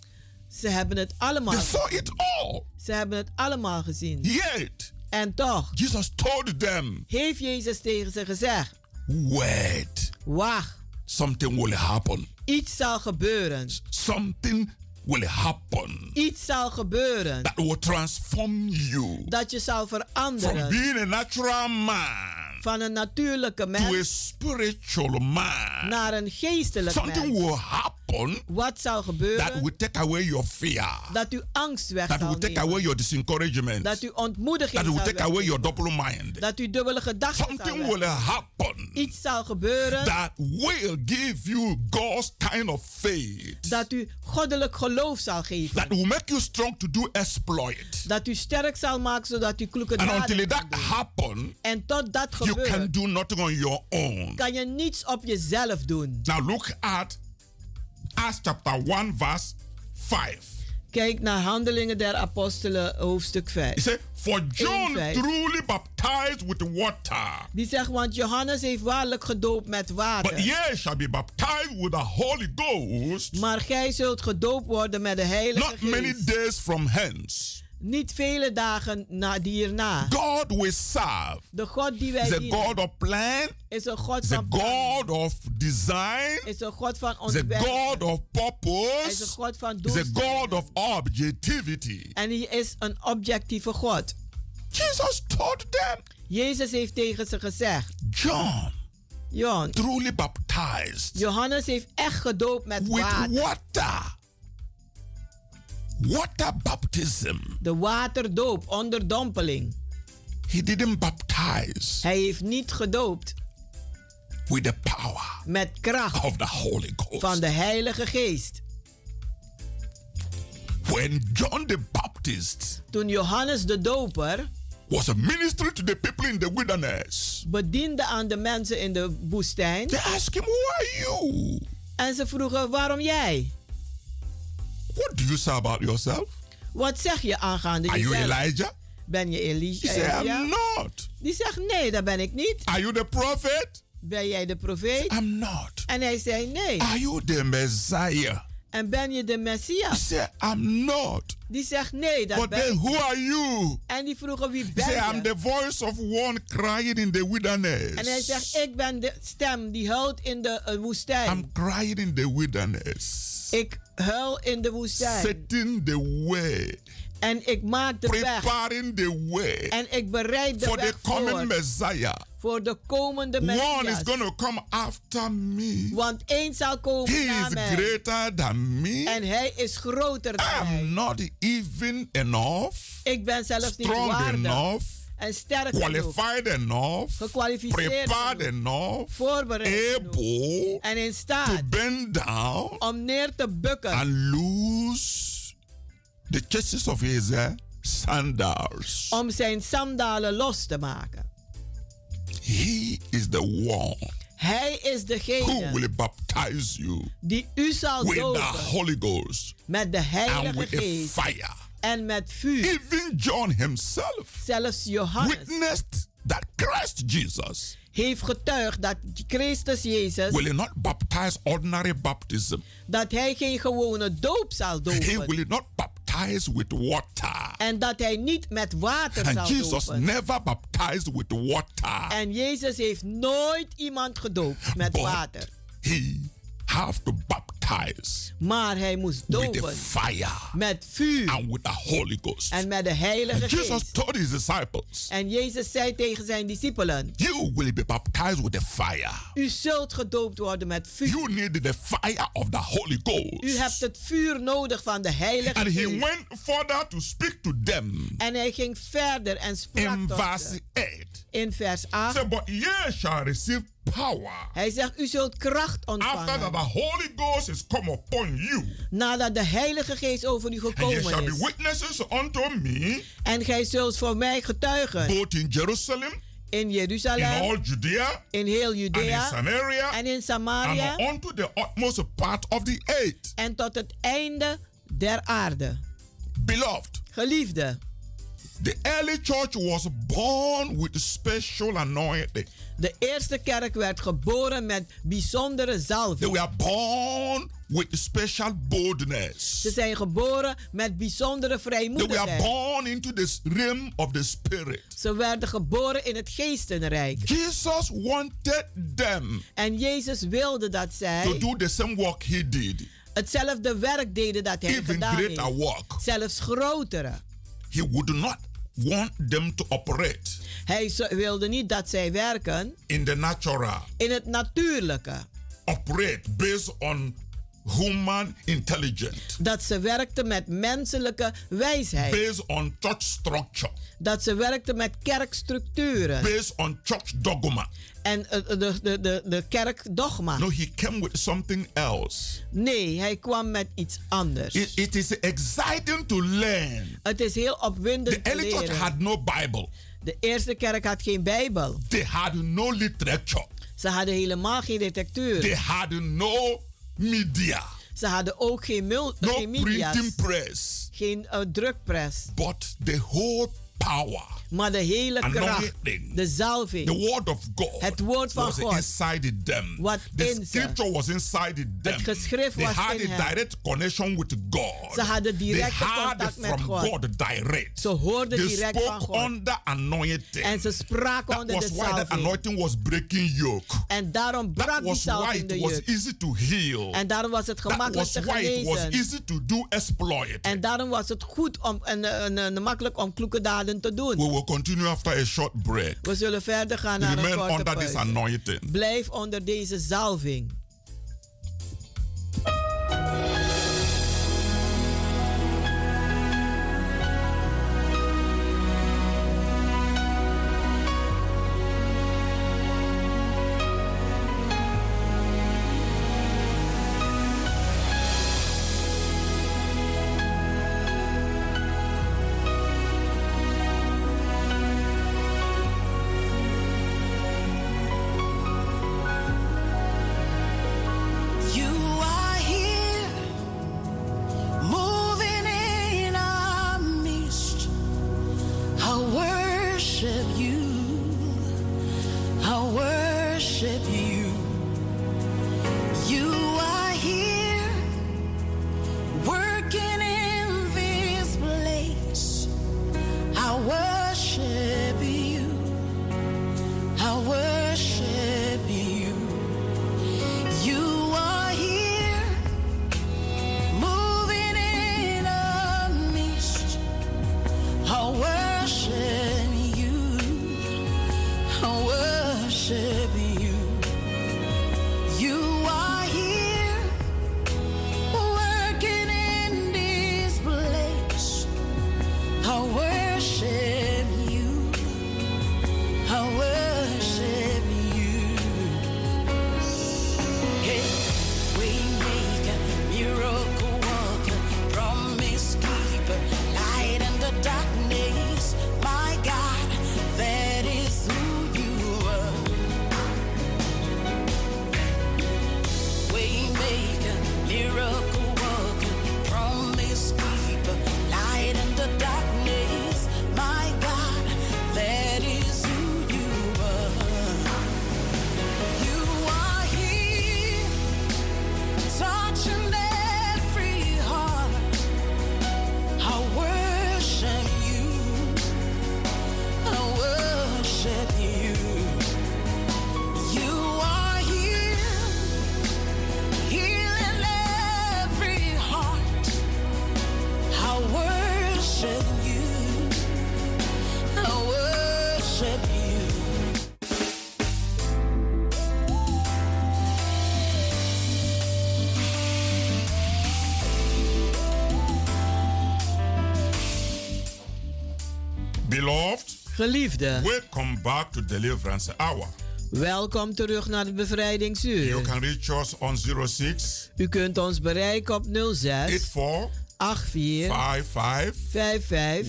Speaker 8: Ze hebben het
Speaker 9: They
Speaker 8: allemaal
Speaker 9: saw it all.
Speaker 8: Ze hebben het allemaal gezien.
Speaker 9: Yet
Speaker 8: En toch
Speaker 9: Jesus told them,
Speaker 8: heeft Jezus tegen ze gezegd:
Speaker 9: "Wait,
Speaker 8: Wacht,
Speaker 9: something will happen.
Speaker 8: iets zal gebeuren.
Speaker 9: Something will happen
Speaker 8: Iets zal gebeuren
Speaker 9: that will transform you
Speaker 8: dat je zal
Speaker 9: from
Speaker 8: veranderen
Speaker 9: being a natural man
Speaker 8: van een natuurlijke
Speaker 9: to a
Speaker 8: mens
Speaker 9: spiritual man."
Speaker 8: naar een geestelijk
Speaker 9: Something
Speaker 8: mens.
Speaker 9: will happen
Speaker 8: Wat zal
Speaker 9: that will
Speaker 8: gebeuren
Speaker 9: take away your fear,
Speaker 8: dat uw angst weg
Speaker 9: that
Speaker 8: zal
Speaker 9: will take away
Speaker 8: nemen,
Speaker 9: your disencouragement,
Speaker 8: dat
Speaker 9: that
Speaker 8: uw ontmoediging
Speaker 9: will
Speaker 8: zal
Speaker 9: take away your
Speaker 8: wegnemen,
Speaker 9: double mind.
Speaker 8: dat uw dubbele gedachten zal
Speaker 9: Something will
Speaker 8: wegnemen.
Speaker 9: happen
Speaker 8: Iets zal gebeuren
Speaker 9: that will give you God's kind of faith,
Speaker 8: dat u goddelijk geloof zal geven.
Speaker 9: that will make you strong to do exploit.
Speaker 8: Dat u sterk zal maken zodat u kloeke
Speaker 9: And
Speaker 8: daden kan
Speaker 9: until that
Speaker 8: doen.
Speaker 9: happen,
Speaker 8: En tot dat
Speaker 9: you can
Speaker 8: gebeurt,
Speaker 9: do nothing on your own.
Speaker 8: kan je niets op jezelf doen.
Speaker 9: Now look at Acts chapter 1 verse 5.
Speaker 8: Kijk naar Handelingen der Apostelen, hoofdstuk
Speaker 9: He
Speaker 8: 5.
Speaker 9: said, For John
Speaker 8: vijf.
Speaker 9: truly baptized with water.
Speaker 8: Die zegt, want Johannes heeft waarlijk gedoopt met
Speaker 9: But
Speaker 8: water.
Speaker 9: ye shall be baptized with the Holy Ghost
Speaker 8: Maar gij zult gedoopt worden met de Heilige
Speaker 9: not many
Speaker 8: Geest.
Speaker 9: days from hence.
Speaker 8: Niet vele dagen na, hierna.
Speaker 9: God we serve
Speaker 8: De God die wij
Speaker 9: is a
Speaker 8: dienen
Speaker 9: God of plan,
Speaker 8: is een God
Speaker 9: is a
Speaker 8: van plan,
Speaker 9: God of design,
Speaker 8: is een God van
Speaker 9: is a God
Speaker 8: ontwerp,
Speaker 9: of
Speaker 8: Hij is een
Speaker 9: purpose,
Speaker 8: God van
Speaker 9: is a God
Speaker 8: doelstellingen.
Speaker 9: of objectivity.
Speaker 8: En hij is een objectieve God.
Speaker 9: Jesus taught them
Speaker 8: Jezus heeft tegen ze gezegd,
Speaker 9: John
Speaker 8: John,
Speaker 9: truly baptized
Speaker 8: Johannes heeft echt gedoopt met
Speaker 9: with
Speaker 8: water.
Speaker 9: water. water baptism.
Speaker 8: De waterdoop, onderdompeling.
Speaker 9: He didn't baptize
Speaker 8: Hij heeft niet gedoopt
Speaker 9: with the power
Speaker 8: met kracht
Speaker 9: of the Holy Ghost.
Speaker 8: van de Heilige Geest.
Speaker 9: When John the Baptist
Speaker 8: Toen Johannes de Doper
Speaker 9: was a ministry to the people in the wilderness,
Speaker 8: bediende aan de mensen in de woestijn.
Speaker 9: they asked him, Who are you?
Speaker 8: En ze vroegen, waarom jij?
Speaker 9: What do you say about yourself?
Speaker 8: Wat zeg je aangaande
Speaker 9: Are you
Speaker 8: jezelf?
Speaker 9: Elijah?
Speaker 8: Ben je Eli-
Speaker 9: He said,
Speaker 8: Elia?
Speaker 9: I'm not.
Speaker 8: Die zegt, nee, dat ben ik niet.
Speaker 9: Are you the prophet?
Speaker 8: Ben jij de profeet?
Speaker 9: I'm not.
Speaker 8: En hij zei, nee.
Speaker 9: Are you the Messiah?
Speaker 8: En ben je de
Speaker 9: He
Speaker 8: Messias?
Speaker 9: said, I'm not.
Speaker 8: Die zegt, nee, dat
Speaker 9: But
Speaker 8: ben
Speaker 9: then
Speaker 8: ik.
Speaker 9: who are you?
Speaker 8: En die vroegen, wie
Speaker 9: He
Speaker 8: ben
Speaker 9: said, I'm
Speaker 8: je?
Speaker 9: the voice of one crying in the
Speaker 8: En hij
Speaker 9: wilderness.
Speaker 8: zegt, ik ben de stem die huilt in de eh, woestijn.
Speaker 9: I'm crying in the wilderness.
Speaker 8: Ik huil in de woestijn.
Speaker 9: Setting the way.
Speaker 8: En ik maak de weg.
Speaker 9: Preparing the way
Speaker 8: En ik bereid de
Speaker 9: for the
Speaker 8: weg
Speaker 9: coming
Speaker 8: voor.
Speaker 9: Messiah.
Speaker 8: Voor de komende
Speaker 9: One is
Speaker 8: Messias.
Speaker 9: going to come after me.
Speaker 8: Want één zal komen
Speaker 9: He
Speaker 8: na
Speaker 9: is
Speaker 8: mij.
Speaker 9: greater than me.
Speaker 8: En hij is groter dan mij.
Speaker 9: I'm not even enough,
Speaker 8: Ik ben zelfs niet
Speaker 9: strong
Speaker 8: waardig.
Speaker 9: enough,
Speaker 8: En sterk genoeg.
Speaker 9: qualified enough,
Speaker 8: Gekwalificeerd
Speaker 9: prepared
Speaker 8: genoeg.
Speaker 9: enough,
Speaker 8: Voorbereid genoeg.
Speaker 9: able
Speaker 8: En in
Speaker 9: to
Speaker 8: staat
Speaker 9: bend down
Speaker 8: om neer te bukken.
Speaker 9: and lose the churches of Israel sandals.
Speaker 8: Om zijn sandalen los te maken.
Speaker 9: He is the one
Speaker 8: Hij is
Speaker 9: who
Speaker 8: degene
Speaker 9: will baptize you
Speaker 8: die u zal
Speaker 9: with the
Speaker 8: dopen.
Speaker 9: Holy Ghost
Speaker 8: Met de
Speaker 9: and
Speaker 8: heilige
Speaker 9: with the
Speaker 8: geest.
Speaker 9: fire.
Speaker 8: En met vuur.
Speaker 9: Even John himself
Speaker 8: Zelfs Johannes
Speaker 9: witnessed that Christ Jesus
Speaker 8: heeft getuigd dat Christus Jezus.
Speaker 9: will not baptize ordinary baptism.
Speaker 8: Dat hij geen gewone doop zal
Speaker 9: He
Speaker 8: dopen.
Speaker 9: will not baptize with water.
Speaker 8: En dat hij niet met water
Speaker 9: And
Speaker 8: zal
Speaker 9: Jesus
Speaker 8: dopen.
Speaker 9: never baptized with water.
Speaker 8: En Jezus heeft nooit iemand gedoopt met
Speaker 9: Ah. But
Speaker 8: water.
Speaker 9: he have to baptize
Speaker 8: Maar hij moest
Speaker 9: with the
Speaker 8: dopen
Speaker 9: fire
Speaker 8: met vuur
Speaker 9: and with the Holy Ghost.
Speaker 8: en met de Heilige
Speaker 9: And Jesus
Speaker 8: Geest.
Speaker 9: told his disciples,
Speaker 8: En Jezus zei tegen zijn discipelen:
Speaker 9: You will be baptized with the fire.
Speaker 8: U zult gedoopt worden met vuur.
Speaker 9: You need the fire of the Holy
Speaker 8: U hebt
Speaker 9: Ghost.
Speaker 8: het vuur nodig van de
Speaker 9: And
Speaker 8: Heilige
Speaker 9: he
Speaker 8: Geest.
Speaker 9: went further to speak to them
Speaker 8: En hij ging verder en sprak
Speaker 9: in
Speaker 8: tot
Speaker 9: verse
Speaker 8: ze.
Speaker 9: 8.
Speaker 8: in vers 8.
Speaker 9: Say, but ye shall receive power
Speaker 8: Hij zegt: U zult kracht
Speaker 9: after that the
Speaker 8: ontvangen
Speaker 9: Holy Ghost is come upon you,
Speaker 8: nadat de Heilige Geest over u
Speaker 9: and ye shall
Speaker 8: gekomen
Speaker 9: be
Speaker 8: is.
Speaker 9: witnesses unto me,
Speaker 8: En gij zult voor mij getuigen
Speaker 9: both in Jerusalem,
Speaker 8: in
Speaker 9: in
Speaker 8: Jeruzalem,
Speaker 9: all Judea,
Speaker 8: in heel
Speaker 9: and in
Speaker 8: Judea
Speaker 9: Samaria,
Speaker 8: en in Samaria.
Speaker 9: and unto the utmost part of the earth.
Speaker 8: en tot het einde der aarde.
Speaker 9: Beloved,
Speaker 8: Geliefde,
Speaker 9: the early church was born with special anointing.
Speaker 8: de eerste kerk werd geboren met bijzondere
Speaker 9: They
Speaker 8: zalving.
Speaker 9: were born with special boldness.
Speaker 8: Ze zijn geboren met bijzondere
Speaker 9: They were
Speaker 8: vrijmoedigheid.
Speaker 9: born into this realm of the spirit.
Speaker 8: Ze werden geboren in het geestenrijk.
Speaker 9: Jesus wanted them
Speaker 8: En Jezus wilde dat
Speaker 9: to
Speaker 8: zij
Speaker 9: do the same work he did,
Speaker 8: hetzelfde werk deden dat hij
Speaker 9: even
Speaker 8: gedaan
Speaker 9: greater
Speaker 8: heeft.
Speaker 9: work.
Speaker 8: Zelfs grotere.
Speaker 9: He would not want them to operate
Speaker 8: Hij zo- wilde niet dat zij werken
Speaker 9: in the natural,
Speaker 8: in het natuurlijke.
Speaker 9: operate based on human intelligence,
Speaker 8: Dat ze werkten met menselijke wijsheid.
Speaker 9: based on church structure,
Speaker 8: Dat ze werkten met kerkstructuren.
Speaker 9: based on church dogma.
Speaker 8: en eh, de, de, de, de kerkdogma.
Speaker 9: No, he came with something else.
Speaker 8: Nee, hij kwam met iets anders.
Speaker 9: It- it is exciting to learn.
Speaker 8: Het is heel
Speaker 9: The
Speaker 8: opwindend te
Speaker 9: early church
Speaker 8: leren.
Speaker 9: had no Bible.
Speaker 8: De eerste kerk had geen Bijbel.
Speaker 9: They had no literature.
Speaker 8: Ze hadden helemaal geen
Speaker 9: They
Speaker 8: detecteur.
Speaker 9: had no media.
Speaker 8: Ze hadden ook geen, mul-
Speaker 9: No
Speaker 8: geen media's,
Speaker 9: printing press.
Speaker 8: geen eh, drukpres.
Speaker 9: But the whole power,
Speaker 8: Maar de hele kracht,
Speaker 9: anointing,
Speaker 8: de
Speaker 9: the
Speaker 8: zalving,
Speaker 9: word of God
Speaker 8: Het woord van
Speaker 9: was
Speaker 8: God.
Speaker 9: inside them.
Speaker 8: Wat
Speaker 9: the
Speaker 8: in ze.
Speaker 9: scripture was inside them.
Speaker 8: Het geschrift
Speaker 9: they
Speaker 8: was
Speaker 9: had
Speaker 8: in
Speaker 9: a
Speaker 8: hen.
Speaker 9: direct connection with God.
Speaker 8: Ze hadden
Speaker 9: they
Speaker 8: directe
Speaker 9: had
Speaker 8: contact met
Speaker 9: from
Speaker 8: God.
Speaker 9: direct.
Speaker 8: Ze hoorden
Speaker 9: they
Speaker 8: direct
Speaker 9: spoke
Speaker 8: van God.
Speaker 9: under anointing.
Speaker 8: en ze spraken
Speaker 9: that
Speaker 8: onder de
Speaker 9: was why the
Speaker 8: zalving.
Speaker 9: anointing was breaking yoke.
Speaker 8: En daarom brak
Speaker 9: That
Speaker 8: die
Speaker 9: was why
Speaker 8: zalving de
Speaker 9: it was
Speaker 8: juk.
Speaker 9: easy to heal.
Speaker 8: En daarom was het
Speaker 9: That
Speaker 8: gemakkelijk
Speaker 9: was
Speaker 8: te
Speaker 9: why it was
Speaker 8: genezen.
Speaker 9: easy to do exploit.
Speaker 8: En daarom was het goed om, en, en, en eh, makkelijk om kloeke daden te doen.
Speaker 9: We will continue after a short break.
Speaker 8: We zullen verder gaan naar een
Speaker 9: Remain
Speaker 8: korte
Speaker 9: under this
Speaker 8: pauze.
Speaker 9: anointing.
Speaker 8: Blijf onder deze zalving.
Speaker 10: worship you. You are here, working in this place. I worship you. I worship you. You are here, moving in our midst. I worship you. I worship you. You are here, working in this place. I worship you. I worship you. Hey, we make a miracle worker, promise keeper, light in the darkness. My God, that is who you are. Waymaker, miracle worker, promise keeper, light in the darkness. My God, that is who you are. You are here, touching every heart. I worship you. I worship you. You are here. Healing every heart. I worship you. I worship you.
Speaker 9: Beloved,
Speaker 8: Geliefde,
Speaker 9: welcome back to Deliverance Hour.
Speaker 8: welkom terug naar het bevrijdingsuur.
Speaker 9: You can reach us on 06
Speaker 8: U kunt ons bereiken op 06
Speaker 9: 84
Speaker 8: 84
Speaker 9: 55
Speaker 8: 55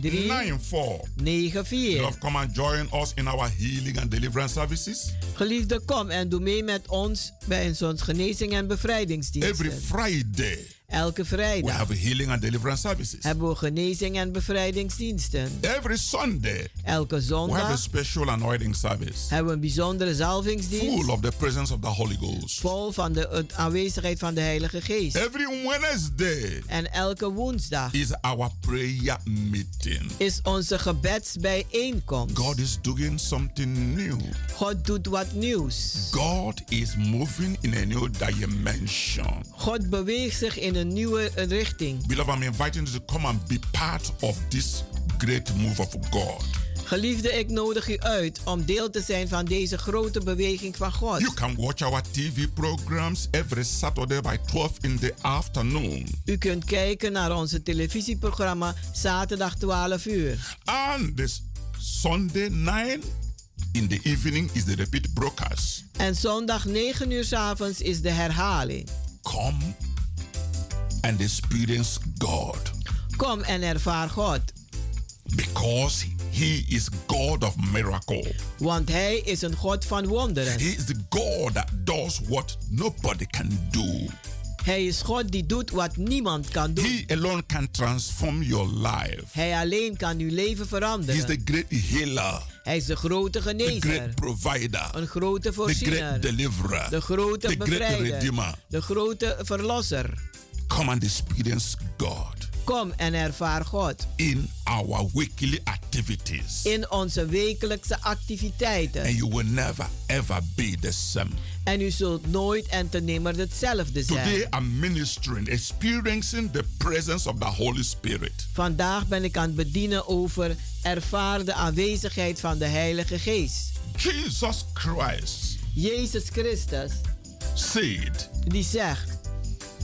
Speaker 8: 13
Speaker 9: 94.
Speaker 8: 94.
Speaker 9: Love, come and join us in our healing and deliverance services
Speaker 8: Geliefde, kom en doe mee met ons bij ons genezing en
Speaker 9: every
Speaker 8: bevrijdingsdiensten.
Speaker 9: Friday.
Speaker 8: Elke
Speaker 9: We
Speaker 8: vrijdag
Speaker 9: have healing and deliverance services.
Speaker 8: hebben we genezing en bevrijdingsdiensten.
Speaker 9: Every Sunday,
Speaker 8: Elke
Speaker 9: we have a
Speaker 8: zondag
Speaker 9: special anointing service
Speaker 8: hebben we een bijzondere zalvingsdienst.
Speaker 9: full of the presence of the Holy Ghost.
Speaker 8: Vol van de het aanwezigheid van de Heilige Geest.
Speaker 9: Every Wednesday
Speaker 8: En elke woensdag
Speaker 9: is our prayer meeting.
Speaker 8: is onze gebedsbijeenkomst.
Speaker 9: God is doing something new.
Speaker 8: God doet wat nieuws.
Speaker 9: God is moving in a new dimension.
Speaker 8: God beweegt zich in een nieuwe richting.
Speaker 9: Beloved, I'm inviting you to come and be part of this great move of God.
Speaker 8: Geliefde, ik nodig u uit om deel te zijn van deze grote beweging van God.
Speaker 9: You can watch our TV programs every Saturday by 12 in the afternoon.
Speaker 8: U kunt kijken naar onze televisieprogramma zaterdag 12 uur.
Speaker 9: And this dus Sunday 9 in the evening is the repeat broadcast.
Speaker 8: En zondag 9 uur 's avonds is de herhaling.
Speaker 9: Come and experience God
Speaker 8: Kom en ervaar God,
Speaker 9: because He is God of miracle.
Speaker 8: want Hij is een God van wonderen.
Speaker 9: He is the God that does what nobody can do.
Speaker 8: Hij is God die doet wat niemand kan doen.
Speaker 9: He alone can transform your life.
Speaker 8: Hij alleen kan uw leven
Speaker 9: He is the
Speaker 8: veranderen.
Speaker 9: great healer,
Speaker 8: Hij is de grote
Speaker 9: the
Speaker 8: genezer,
Speaker 9: great provider,
Speaker 8: een grote
Speaker 9: the great
Speaker 8: voorziener,
Speaker 9: deliverer,
Speaker 8: de grote
Speaker 9: the great redeemer.
Speaker 8: bevrijder, de grote verlosser.
Speaker 9: Come and experience God
Speaker 8: Kom en ervaar God
Speaker 9: in our weekly activities.
Speaker 8: in onze wekelijkse
Speaker 9: and
Speaker 8: activiteiten.
Speaker 9: you will never ever be the same.
Speaker 8: En u zult nooit en te nimmer hetzelfde
Speaker 9: Today
Speaker 8: zijn.
Speaker 9: I'm ministering, experiencing the presence of the Holy Spirit.
Speaker 8: Vandaag ben ik aan het bedienen over ervaar de aanwezigheid van de Heilige Geest.
Speaker 9: Jesus Christ
Speaker 8: Jezus Christus,
Speaker 9: said,
Speaker 8: die zegt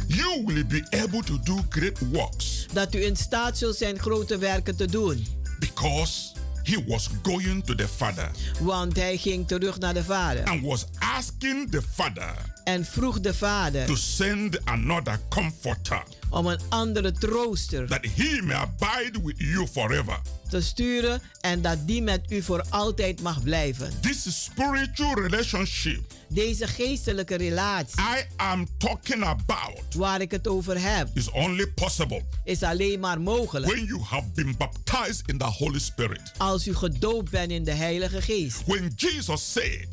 Speaker 9: You will be able to do great works
Speaker 8: dat u in staat zult zijn grote werken te doen.
Speaker 9: because he was going to the Father
Speaker 8: Want hij ging terug naar de Vader
Speaker 9: and was asking the Father
Speaker 8: en vroeg de Vader
Speaker 9: to send another comforter
Speaker 8: om een andere trooster
Speaker 9: that he may abide with you forever.
Speaker 8: te sturen en dat die met u voor altijd mag blijven.
Speaker 9: This spiritual relationship
Speaker 8: Deze geestelijke relatie
Speaker 9: I am talking about
Speaker 8: waar ik het over heb,
Speaker 9: is only possible
Speaker 8: is alleen maar mogelijk
Speaker 9: when you have been baptized in the Holy Spirit.
Speaker 8: als u gedoopt bent in de Heilige Geest.
Speaker 9: When Jesus said,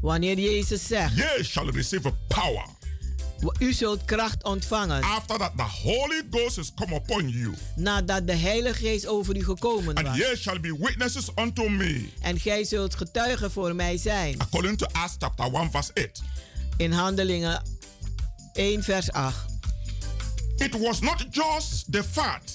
Speaker 8: Wanneer Jezus zegt,
Speaker 9: Ye shall receive power
Speaker 8: u zult kracht ontvangen
Speaker 9: after that the Holy Ghost is come upon you,
Speaker 8: nadat de Heilige Geest over u gekomen
Speaker 9: and
Speaker 8: was.
Speaker 9: ye shall be witnesses unto me.
Speaker 8: En gij zult getuigen voor mij zijn.
Speaker 9: According to Acts chapter 1, verse 8.
Speaker 8: In Handelingen 1, vers 8.
Speaker 9: It was not just the fact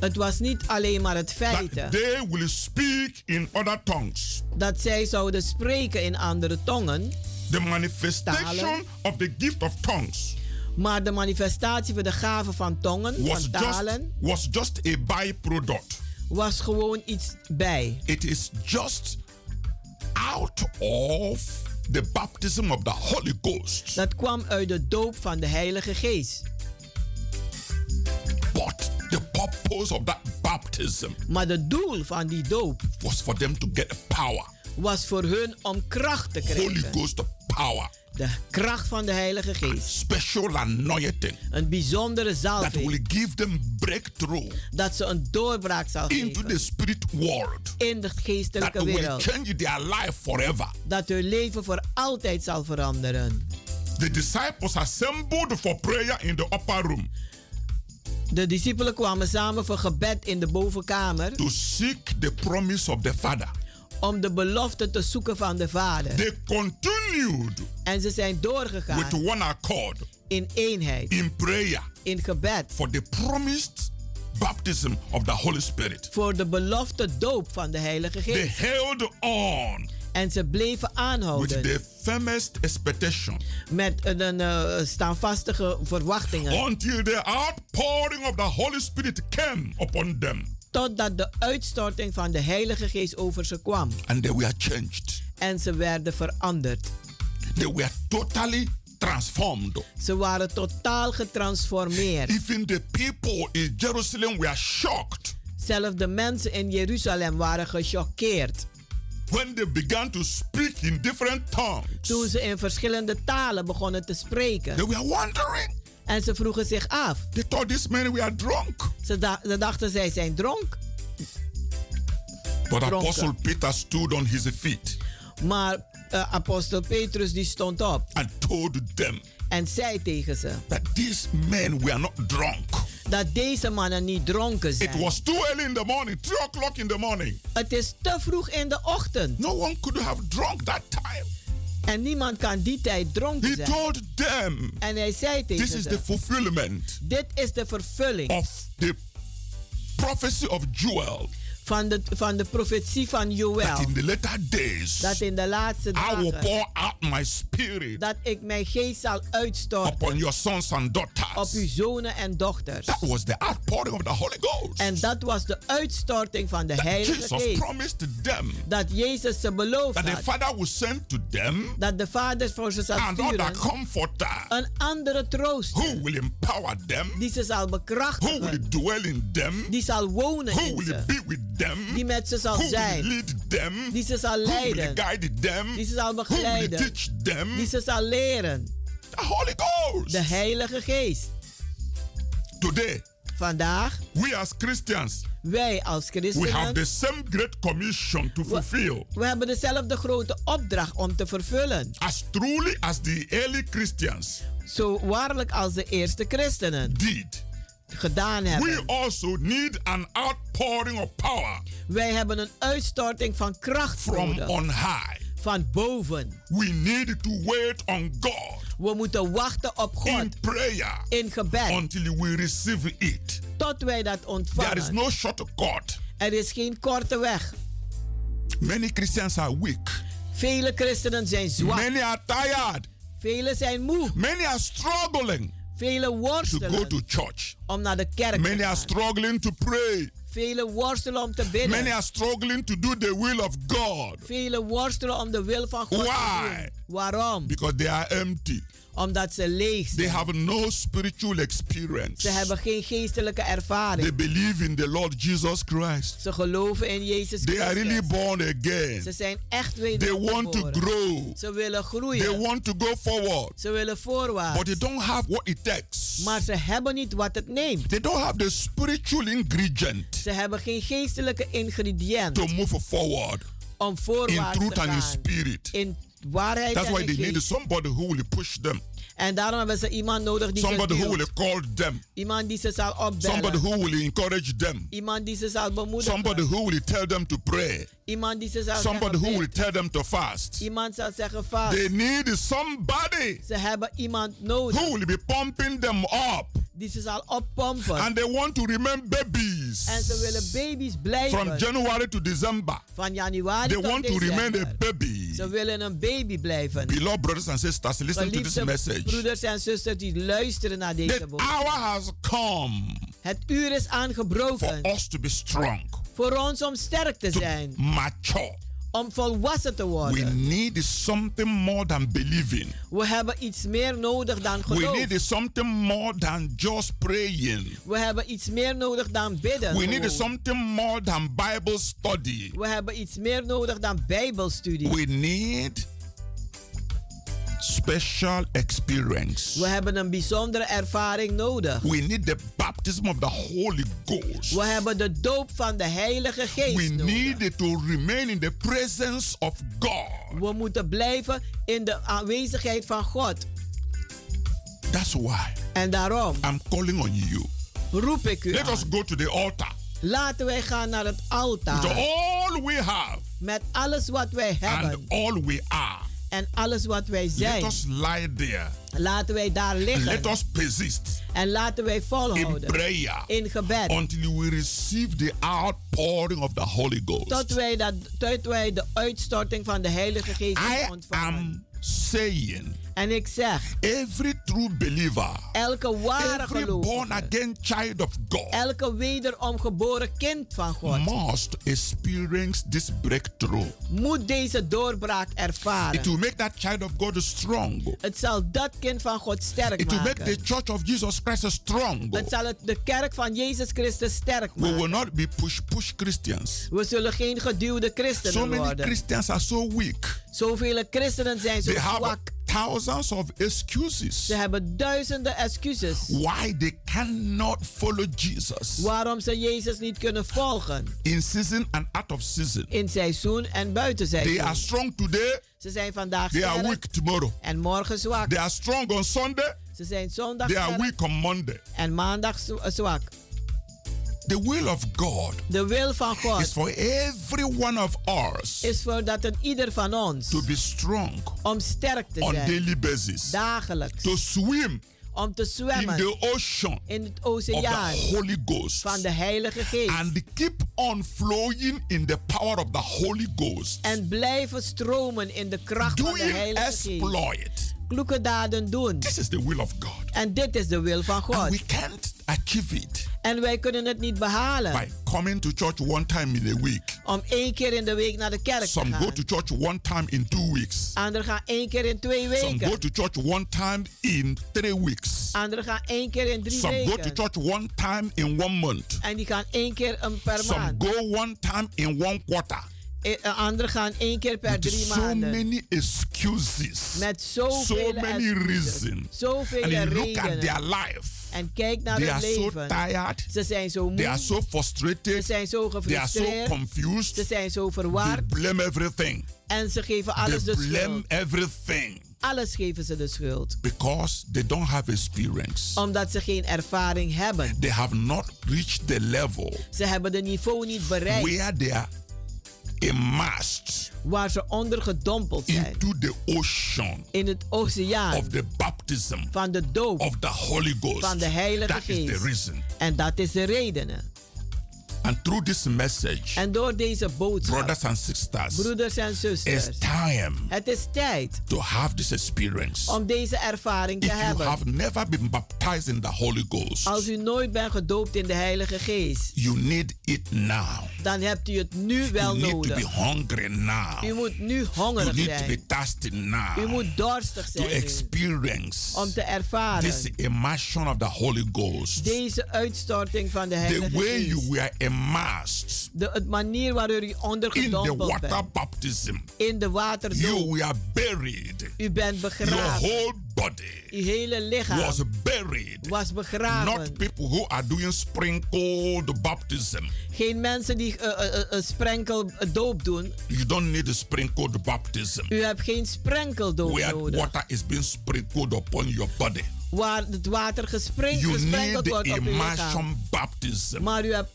Speaker 8: Het was niet alleen maar het feit
Speaker 9: they will speak in other tongues.
Speaker 8: dat zij zouden spreken in andere tongen,
Speaker 9: The manifestation of the gift of tongues
Speaker 8: maar de manifestatie van de gave van tongen,
Speaker 9: was
Speaker 8: van
Speaker 9: just,
Speaker 8: talen,
Speaker 9: was just a byproduct.
Speaker 8: was gewoon iets bij.
Speaker 9: It is just out of the baptism of the Holy Ghost.
Speaker 8: Dat kwam uit de doop van de Heilige Geest.
Speaker 9: But the purpose of that baptism
Speaker 8: Maar het doel van die doop
Speaker 9: was for them to get power,
Speaker 8: was voor hun om kracht te
Speaker 9: Holy
Speaker 8: krijgen.
Speaker 9: Ghost power,
Speaker 8: De kracht van de Heilige Geest.
Speaker 9: special anointing
Speaker 8: Een bijzondere
Speaker 9: that will
Speaker 8: zalving.
Speaker 9: give them breakthrough
Speaker 8: Dat ze een doorbraak zal
Speaker 9: into the
Speaker 8: geven.
Speaker 9: spirit world
Speaker 8: In de
Speaker 9: that
Speaker 8: geestelijke
Speaker 9: will
Speaker 8: wereld.
Speaker 9: change their life forever.
Speaker 8: Dat hun leven voor altijd zal veranderen.
Speaker 9: The disciples assembled for prayer in the upper room
Speaker 8: De discipelen kwamen samen voor gebed in de bovenkamer.
Speaker 9: to seek the promise of the Father.
Speaker 8: Om de belofte te zoeken van de Vader.
Speaker 9: They continued
Speaker 8: En ze zijn
Speaker 9: with
Speaker 8: doorgegaan
Speaker 9: one accord
Speaker 8: in eenheid.
Speaker 9: in prayer
Speaker 8: In gebed.
Speaker 9: for the promised baptism of the Holy Spirit.
Speaker 8: Voor de belofte doop van de Heilige
Speaker 9: They
Speaker 8: Geest.
Speaker 9: held on
Speaker 8: En ze bleven
Speaker 9: with
Speaker 8: aanhouden.
Speaker 9: the firmest expectation
Speaker 8: Met een, een eh, staanvastige verwachtingen.
Speaker 9: until the outpouring of the Holy Spirit came upon them
Speaker 8: Totdat de uitstorting van de Heilige Geest over ze kwam.
Speaker 9: and they were changed.
Speaker 8: En ze werden veranderd.
Speaker 9: They were totally transformed.
Speaker 8: Ze waren totaal getransformeerd.
Speaker 9: Even the people in Jerusalem were shocked
Speaker 8: Zelfs de mensen in Jeruzalem waren gechoqueerd
Speaker 9: when they began to speak in different tongues.
Speaker 8: toen ze in verschillende talen begonnen te
Speaker 9: They
Speaker 8: spreken.
Speaker 9: were wondering.
Speaker 8: En ze vroegen zich af.
Speaker 9: They thought these men were drunk.
Speaker 8: Ze, da- ze dachten zij zijn dronk.
Speaker 9: But
Speaker 8: Dronken.
Speaker 9: Apostle Peter stood on his feet
Speaker 8: Maar eh, apostel Petrus die stond op
Speaker 9: and told them
Speaker 8: en zei tegen ze
Speaker 9: that these men were not drunk.
Speaker 8: dat deze mannen niet dronken
Speaker 9: It
Speaker 8: zijn.
Speaker 9: was too early in the morning, three o'clock in the morning.
Speaker 8: Het is te vroeg in de ochtend
Speaker 9: No one could have drunk that time.
Speaker 8: en niemand kan die tijd dronken
Speaker 9: He
Speaker 8: zijn.
Speaker 9: told them,
Speaker 8: En hij zei tegen
Speaker 9: This
Speaker 8: ze,
Speaker 9: is the fulfillment
Speaker 8: dit is de vervulling
Speaker 9: of the prophecy of Joel
Speaker 8: van de, van de profetie van
Speaker 9: that
Speaker 8: Joël.
Speaker 9: in the latter days
Speaker 8: Dat in de laatste
Speaker 9: I will
Speaker 8: dagen
Speaker 9: pour out my spirit
Speaker 8: dat ik mijn geest zal uitstorten
Speaker 9: upon your sons and
Speaker 8: op uw
Speaker 9: daughters.
Speaker 8: zonen en dochters.
Speaker 9: That was the outpouring of the Holy Ghost.
Speaker 8: En dat was de uitstorting van de
Speaker 9: That
Speaker 8: Heilige
Speaker 9: Jesus
Speaker 8: Geest.
Speaker 9: promised them
Speaker 8: Dat Jezus ze beloofd
Speaker 9: that the
Speaker 8: had.
Speaker 9: Father will send to them
Speaker 8: Dat de Vader voor ze zal
Speaker 9: another
Speaker 8: sturen.
Speaker 9: comforter
Speaker 8: Een andere troost
Speaker 9: who will empower them,
Speaker 8: die ze zal
Speaker 9: who will
Speaker 8: bekrachtigen.
Speaker 9: dwell in them,
Speaker 8: Die zal wonen
Speaker 9: who
Speaker 8: in
Speaker 9: will
Speaker 8: ze.
Speaker 9: be with them,
Speaker 8: Die met ze zal
Speaker 9: who will
Speaker 8: zijn.
Speaker 9: lead them,
Speaker 8: Die ze zal
Speaker 9: who will
Speaker 8: leiden.
Speaker 9: guide them,
Speaker 8: Die ze zal
Speaker 9: who will
Speaker 8: begeleiden.
Speaker 9: teach them
Speaker 8: Die ze zal leren.
Speaker 9: the Holy Ghost.
Speaker 8: De Heilige Geest.
Speaker 9: Today,
Speaker 8: Vandaag,
Speaker 9: we as Christians,
Speaker 8: wij als
Speaker 9: we have
Speaker 8: christenen,
Speaker 9: the same great commission to fulfill.
Speaker 8: we hebben dezelfde grote opdracht om te vervullen.
Speaker 9: As truly as the early Christians
Speaker 8: Zo waarlijk als de eerste christenen
Speaker 9: did,
Speaker 8: gedaan
Speaker 9: we
Speaker 8: hebben.
Speaker 9: also need an outpouring of power
Speaker 8: Wij hebben een uitstorting van kracht
Speaker 9: from
Speaker 8: nodig.
Speaker 9: on high.
Speaker 8: Van boven.
Speaker 9: We need to wait on God
Speaker 8: We moeten wachten op God
Speaker 9: in prayer
Speaker 8: in gebed
Speaker 9: until we receive it.
Speaker 8: tot wij dat
Speaker 9: There is
Speaker 8: ontvangen.
Speaker 9: no shortcut.
Speaker 8: Er is geen korte weg.
Speaker 9: Many Christians are weak.
Speaker 8: Vele christenen zijn zwak.
Speaker 9: Many are tired.
Speaker 8: Velen zijn moe.
Speaker 9: Many are struggling
Speaker 8: Velen
Speaker 9: to go to
Speaker 8: worstelen
Speaker 9: church.
Speaker 8: om naar de kerk te
Speaker 9: Many are
Speaker 8: gaan.
Speaker 9: struggling to pray.
Speaker 8: Velen worstelen om te
Speaker 9: Many
Speaker 8: bidden.
Speaker 9: are struggling to do the will of God.
Speaker 8: Velen worstelen om de wil van God te
Speaker 9: Why?
Speaker 8: doen. Waarom?
Speaker 9: Because they are empty.
Speaker 8: Omdat ze leeg
Speaker 9: They
Speaker 8: zijn.
Speaker 9: have no spiritual experience.
Speaker 8: Ze hebben geen geestelijke ervaring.
Speaker 9: They believe in the Lord Jesus Christ.
Speaker 8: Ze geloven in Jezus
Speaker 9: They are really
Speaker 8: Christus.
Speaker 9: born again.
Speaker 8: Ze zijn echt
Speaker 9: They want to
Speaker 8: wedergeboren.
Speaker 9: grow.
Speaker 8: Ze willen groeien.
Speaker 9: They want to go forward.
Speaker 8: Ze willen voorwaarts.
Speaker 9: But they don't have what it takes.
Speaker 8: Maar ze hebben niet wat het neemt.
Speaker 9: They don't have the spiritual ingredient
Speaker 8: Ze hebben geen geestelijke ingrediënt
Speaker 9: to move forward
Speaker 8: om
Speaker 9: in
Speaker 8: voorwaarts
Speaker 9: truth
Speaker 8: te
Speaker 9: and in
Speaker 8: gaan.
Speaker 9: spirit.
Speaker 8: In waarheid
Speaker 9: That's
Speaker 8: en
Speaker 9: why
Speaker 8: in
Speaker 9: they
Speaker 8: geest.
Speaker 9: need somebody who will push them,
Speaker 8: En daarom hebben ze iemand nodig die
Speaker 9: somebody
Speaker 8: ze
Speaker 9: who will
Speaker 8: duwt.
Speaker 9: call them,
Speaker 8: Iemand die ze zal opbellen.
Speaker 9: somebody who will encourage them,
Speaker 8: Iemand die ze zal bemoedigen.
Speaker 9: somebody who will tell them to pray,
Speaker 8: Iemand die ze zal
Speaker 9: somebody
Speaker 8: zeggen
Speaker 9: who will
Speaker 8: bid.
Speaker 9: tell them to fast.
Speaker 8: Iemand zal zeggen vaak.
Speaker 9: They need somebody
Speaker 8: Ze hebben iemand nodig.
Speaker 9: who will be pumping them up.
Speaker 8: Die ze zal oppompen.
Speaker 9: And they want to remain babies
Speaker 8: en ze willen baby's blijven.
Speaker 9: from January to December.
Speaker 8: van januari
Speaker 9: They
Speaker 8: tot
Speaker 9: want to remain a
Speaker 8: december.
Speaker 9: baby.
Speaker 8: Ze willen een baby blijven.
Speaker 9: Beloved brothers and sisters, listen to this
Speaker 8: Geliefde
Speaker 9: message.
Speaker 8: broeders en zusters die luisteren naar
Speaker 9: The
Speaker 8: deze boodschap.
Speaker 9: hour has come
Speaker 8: Het uur is
Speaker 9: for
Speaker 8: aangebroken
Speaker 9: us to be strong,
Speaker 8: voor ons om sterk te zijn,
Speaker 9: mature.
Speaker 8: om volwassen te
Speaker 9: We
Speaker 8: worden.
Speaker 9: need something more than believing.
Speaker 8: We hebben iets meer nodig dan
Speaker 9: We
Speaker 8: geloof.
Speaker 9: need something more than just praying.
Speaker 8: We hebben iets meer nodig dan bidden.
Speaker 9: We need
Speaker 8: gewoon.
Speaker 9: something more than Bible study.
Speaker 8: We hebben iets meer nodig dan bijbelstudie.
Speaker 9: We need special experience.
Speaker 8: We hebben een bijzondere ervaring nodig.
Speaker 9: We need the baptism of the Holy Ghost.
Speaker 8: We hebben de doop van de Heilige
Speaker 9: We
Speaker 8: Geest nodig.
Speaker 9: need to remain in the presence of God.
Speaker 8: We moeten blijven in de aanwezigheid van God.
Speaker 9: That's why
Speaker 8: En daarom
Speaker 9: I'm calling on you.
Speaker 8: roep ik u
Speaker 9: Let
Speaker 8: aan.
Speaker 9: us go to the altar.
Speaker 8: Laten wij gaan naar het
Speaker 9: With
Speaker 8: altaar.
Speaker 9: all we have
Speaker 8: Met alles wat wij hebben
Speaker 9: and all we are.
Speaker 8: en alles wat wij
Speaker 9: Ah, Let
Speaker 8: zijn.
Speaker 9: us lie there.
Speaker 8: Laten wij daar
Speaker 9: Let
Speaker 8: liggen.
Speaker 9: us persist
Speaker 8: En laten wij
Speaker 9: in
Speaker 8: volhouden.
Speaker 9: prayer
Speaker 8: In gebed.
Speaker 9: until we receive the outpouring of the Holy Ghost.
Speaker 8: Tot wij, dat, tot wij de uitstorting van de Heilige Geest
Speaker 9: I
Speaker 8: ontvangen.
Speaker 9: am saying
Speaker 8: En ik zeg,
Speaker 9: every true believer,
Speaker 8: elke ware
Speaker 9: every born
Speaker 8: gelovige,
Speaker 9: again child of God
Speaker 8: elke wederom geboren kind van God,
Speaker 9: must experience this breakthrough.
Speaker 8: moet deze doorbraak
Speaker 9: It
Speaker 8: ervaren.
Speaker 9: will make that child of God strong.
Speaker 8: Het zal dat kind van God sterk
Speaker 9: It will make the
Speaker 8: maken.
Speaker 9: church of Jesus Christ strong.
Speaker 8: Het zal het, de kerk van Jezus Christus sterk
Speaker 9: We will
Speaker 8: maken.
Speaker 9: not be push push Christians.
Speaker 8: We zullen geen geduwde
Speaker 9: So
Speaker 8: christenen
Speaker 9: many
Speaker 8: worden.
Speaker 9: Christians are so weak.
Speaker 8: Zoveel christenen zijn zo
Speaker 9: They have
Speaker 8: zwak.
Speaker 9: thousands of
Speaker 8: Ze
Speaker 9: excuses
Speaker 8: hebben duizenden excuses
Speaker 9: why they cannot follow Jesus
Speaker 8: waarom ze Jezus niet kunnen volgen.
Speaker 9: in season and out of season.
Speaker 8: In seizoen en buiten
Speaker 9: They are
Speaker 8: seizoen.
Speaker 9: strong today,
Speaker 8: Ze zijn vandaag
Speaker 9: they are
Speaker 8: sterk
Speaker 9: weak tomorrow.
Speaker 8: en morgen zwak.
Speaker 9: They are strong on Sunday,
Speaker 8: Ze zijn zondag
Speaker 9: they are
Speaker 8: sterk
Speaker 9: weak on Monday.
Speaker 8: en maandag zo- eh, zwak.
Speaker 9: The will of God
Speaker 8: De wil van
Speaker 9: is
Speaker 8: God
Speaker 9: for every one of us
Speaker 8: is voor dat een ieder van ons
Speaker 9: to be strong
Speaker 8: om sterk te
Speaker 9: on
Speaker 8: zijn.
Speaker 9: daily basis,
Speaker 8: Dagelijks.
Speaker 9: to swim
Speaker 8: Om te
Speaker 9: in the
Speaker 8: zwemmen
Speaker 9: ocean
Speaker 8: in het
Speaker 9: of the
Speaker 8: oceaan
Speaker 9: Holy Ghost.
Speaker 8: van de Heilige Geest.
Speaker 9: and keep on flowing in the power of the Holy Ghost,
Speaker 8: En blijven stromen in de kracht van de
Speaker 9: doing
Speaker 8: Heilige Geest.
Speaker 9: exploit.
Speaker 8: Kloeke daden doen.
Speaker 9: This is the will of God.
Speaker 8: En dit is de wil van
Speaker 9: And we
Speaker 8: God.
Speaker 9: can't achieve it
Speaker 8: En wij kunnen het niet behalen
Speaker 9: by coming to church one time in a week.
Speaker 8: om één keer in de week naar de kerk te
Speaker 9: Some go
Speaker 8: gaan.
Speaker 9: to church one time in two weeks.
Speaker 8: Anderen gaan één keer in twee
Speaker 9: Some go
Speaker 8: weken.
Speaker 9: to church one time in three weeks.
Speaker 8: Anderen gaan één keer in drie
Speaker 9: Some go to
Speaker 8: weken.
Speaker 9: church one time in one month.
Speaker 8: En die gaan één keer een per
Speaker 9: Some
Speaker 8: maand.
Speaker 9: go one time in one quarter.
Speaker 8: E- eh, Anderen gaan één keer per
Speaker 9: With
Speaker 8: drie
Speaker 9: so
Speaker 8: maanden.
Speaker 9: many excuses.
Speaker 8: Met
Speaker 9: so
Speaker 8: zoveel
Speaker 9: many reasons.
Speaker 8: Zoveel
Speaker 9: And you look at their
Speaker 8: redenen.
Speaker 9: life.
Speaker 8: En kijk naar
Speaker 9: They
Speaker 8: hun
Speaker 9: are so
Speaker 8: leven.
Speaker 9: tired.
Speaker 8: Ze zijn zo
Speaker 9: They are
Speaker 8: moe.
Speaker 9: so
Speaker 8: Ze
Speaker 9: frustrated.
Speaker 8: zijn zo
Speaker 9: They are so
Speaker 8: gefrustreerd. Ze
Speaker 9: confused.
Speaker 8: zijn zo
Speaker 9: They
Speaker 8: verwaard.
Speaker 9: blame everything.
Speaker 8: En ze geven
Speaker 9: They
Speaker 8: alles de
Speaker 9: blame
Speaker 8: schuld.
Speaker 9: everything
Speaker 8: Alles geven ze de schuld.
Speaker 9: because they don't have experience.
Speaker 8: Omdat ze geen ervaring hebben.
Speaker 9: They have not reached the level
Speaker 8: Ze hebben de niveau niet bereikt
Speaker 9: where they are immersed
Speaker 8: waar ze onder gedompeld zijn.
Speaker 9: into the ocean
Speaker 8: In het oceaan
Speaker 9: of the baptism
Speaker 8: van de doop.
Speaker 9: of the Holy Ghost.
Speaker 8: Van de Heilige
Speaker 9: That is the
Speaker 8: Geest.
Speaker 9: reason.
Speaker 8: En dat is de reden.
Speaker 9: And through this message,
Speaker 8: En door deze boodschap,
Speaker 9: brothers and sisters,
Speaker 8: broeders en zusters,
Speaker 9: it's time
Speaker 8: het is tijd
Speaker 9: to have this experience.
Speaker 8: om deze ervaring te
Speaker 9: If you
Speaker 8: hebben.
Speaker 9: have never been baptized in the Holy Ghost,
Speaker 8: Als u nooit bent gedoopt in de Heilige Geest,
Speaker 9: you need it now.
Speaker 8: dan hebt u het nu wel
Speaker 9: You need to be
Speaker 8: nodig.
Speaker 9: hungry now.
Speaker 8: U moet nu
Speaker 9: You
Speaker 8: hongerig
Speaker 9: need to be
Speaker 8: zijn.
Speaker 9: thirsty now.
Speaker 8: U moet dorstig
Speaker 9: to
Speaker 8: zijn nu,
Speaker 9: experience
Speaker 8: om te
Speaker 9: this
Speaker 8: ervaren
Speaker 9: immersion of the Holy Ghost.
Speaker 8: deze uitstorting van de
Speaker 9: The
Speaker 8: Heilige
Speaker 9: way you
Speaker 8: Geest.
Speaker 9: were immersed
Speaker 8: De het manier waarop u
Speaker 9: the
Speaker 8: ondergedompeld
Speaker 9: water
Speaker 8: bent
Speaker 9: baptism,
Speaker 8: in de
Speaker 9: you
Speaker 8: waterdoop.
Speaker 9: were buried.
Speaker 8: U bent
Speaker 9: Your
Speaker 8: begraven.
Speaker 9: whole body
Speaker 8: Uw hele lichaam
Speaker 9: was buried.
Speaker 8: was
Speaker 9: Not
Speaker 8: begraven.
Speaker 9: people who are doing sprinkled baptism.
Speaker 8: Geen mensen die eh, eh, eh, eh, sprenkeldoop doen.
Speaker 9: You don't need a sprinkled baptism.
Speaker 8: U hebt geen sprenkeldoop
Speaker 9: Where
Speaker 8: nodig.
Speaker 9: water is being sprinkled upon your body.
Speaker 8: Waar het water gesprenk-
Speaker 9: You
Speaker 8: gesprenkeld
Speaker 9: need
Speaker 8: wordt op uw
Speaker 9: immersion
Speaker 8: lichaam.
Speaker 9: baptism.
Speaker 8: Maar u hebt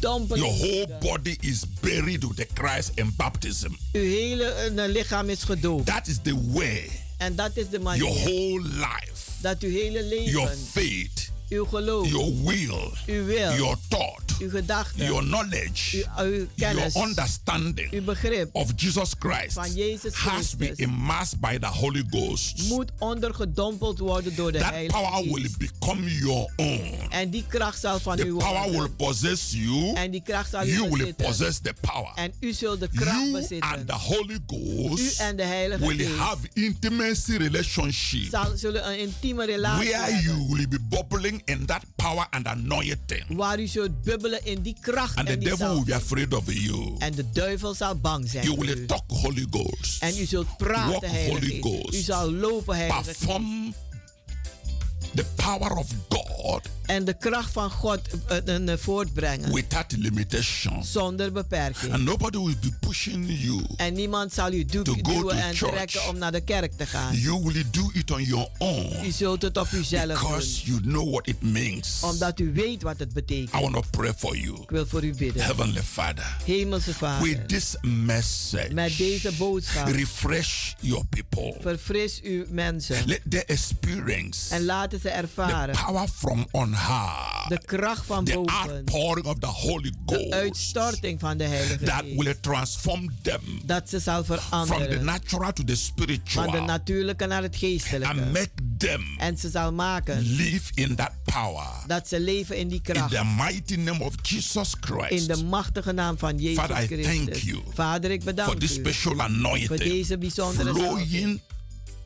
Speaker 8: onderdompeling
Speaker 9: Your whole
Speaker 8: nodig.
Speaker 9: body is buried with the Christ in baptism.
Speaker 8: Uw hele eh, lichaam is gedoopt.
Speaker 9: That is the way.
Speaker 8: En dat is de
Speaker 9: Your
Speaker 8: manier
Speaker 9: whole life,
Speaker 8: dat uw hele
Speaker 9: your
Speaker 8: leven,
Speaker 9: faith,
Speaker 8: uw geloof,
Speaker 9: your will,
Speaker 8: uw wil,
Speaker 9: your thought,
Speaker 8: uw gedachten,
Speaker 9: your knowledge,
Speaker 8: uw, uw
Speaker 9: your
Speaker 8: kennis,
Speaker 9: understanding
Speaker 8: uw begrip
Speaker 9: of Jesus Christ
Speaker 8: van Jezus
Speaker 9: has been
Speaker 8: Christus
Speaker 9: immersed by the Holy Ghost.
Speaker 8: moet ondergedompeld worden door de
Speaker 9: That
Speaker 8: Heilige
Speaker 9: power will
Speaker 8: Geest.
Speaker 9: become your own.
Speaker 8: En die kracht zal van u
Speaker 9: The power will
Speaker 8: worden.
Speaker 9: possess you.
Speaker 8: En die kracht zal
Speaker 9: You
Speaker 8: u
Speaker 9: will
Speaker 8: bezitten.
Speaker 9: possess the power.
Speaker 8: En u zult de kracht
Speaker 9: You and
Speaker 8: bezitten.
Speaker 9: the Holy
Speaker 8: U
Speaker 9: Ghost
Speaker 8: en de Heilige
Speaker 9: will
Speaker 8: Geest
Speaker 9: have intimacy relationship
Speaker 8: zal, zullen een intieme relatie
Speaker 9: where
Speaker 8: hebben.
Speaker 9: you will be bubbling in that power and anointing.
Speaker 8: Waar u zult bubbelen in die kracht
Speaker 9: And the
Speaker 8: en die
Speaker 9: devil will
Speaker 8: zal.
Speaker 9: be afraid of you.
Speaker 8: En de duivel zal bang zijn
Speaker 9: You
Speaker 8: voor
Speaker 9: will
Speaker 8: u.
Speaker 9: talk Holy Ghost.
Speaker 8: En u zult
Speaker 9: Walk
Speaker 8: praten, Heilige
Speaker 9: Holy
Speaker 8: Geest. U
Speaker 9: Ghost.
Speaker 8: zal lopen, Heilige Geest.
Speaker 9: Perform the power of God
Speaker 8: En de kracht van God eh, eh, voortbrengen.
Speaker 9: without limitation.
Speaker 8: Zonder beperking.
Speaker 9: And nobody will be pushing you.
Speaker 8: En niemand zal u du-
Speaker 9: To go
Speaker 8: duwen
Speaker 9: to
Speaker 8: en
Speaker 9: church.
Speaker 8: trekken om naar de kerk te gaan.
Speaker 9: You will do it on your
Speaker 8: U
Speaker 9: own
Speaker 8: zult het op uzelf doen.
Speaker 9: because you know what it means.
Speaker 8: Omdat u weet wat het betekent.
Speaker 9: I want to pray for you.
Speaker 8: Ik wil voor u bidden.
Speaker 9: Heavenly Father,
Speaker 8: Hemelse
Speaker 9: with
Speaker 8: Vader.
Speaker 9: this message,
Speaker 8: Met deze boodschap.
Speaker 9: refresh your people.
Speaker 8: Verfris uw mensen.
Speaker 9: Let their experience
Speaker 8: En laten ze
Speaker 9: the
Speaker 8: ervaren.
Speaker 9: power from on high,
Speaker 8: De kracht van
Speaker 9: the
Speaker 8: boven.
Speaker 9: outpouring of the Holy
Speaker 8: De
Speaker 9: Ghost
Speaker 8: uitstorting van de Heilige
Speaker 9: that
Speaker 8: Geest.
Speaker 9: will transform them
Speaker 8: Dat ze zal
Speaker 9: from the
Speaker 8: veranderen.
Speaker 9: natural to the
Speaker 8: Van de
Speaker 9: spiritual
Speaker 8: natuurlijke naar het
Speaker 9: and
Speaker 8: geestelijke.
Speaker 9: make them
Speaker 8: En ze zal maken
Speaker 9: live in that power.
Speaker 8: dat ze leven in die
Speaker 9: In
Speaker 8: kracht.
Speaker 9: the mighty name of Jesus
Speaker 8: In
Speaker 9: Christ,
Speaker 8: de machtige naam van Jezus
Speaker 9: Father, I thank
Speaker 8: Christus.
Speaker 9: you
Speaker 8: Vader, ik
Speaker 9: for
Speaker 8: bedank
Speaker 9: this
Speaker 8: u
Speaker 9: special
Speaker 8: voor
Speaker 9: anointing
Speaker 8: deze bijzondere zalving
Speaker 9: flowing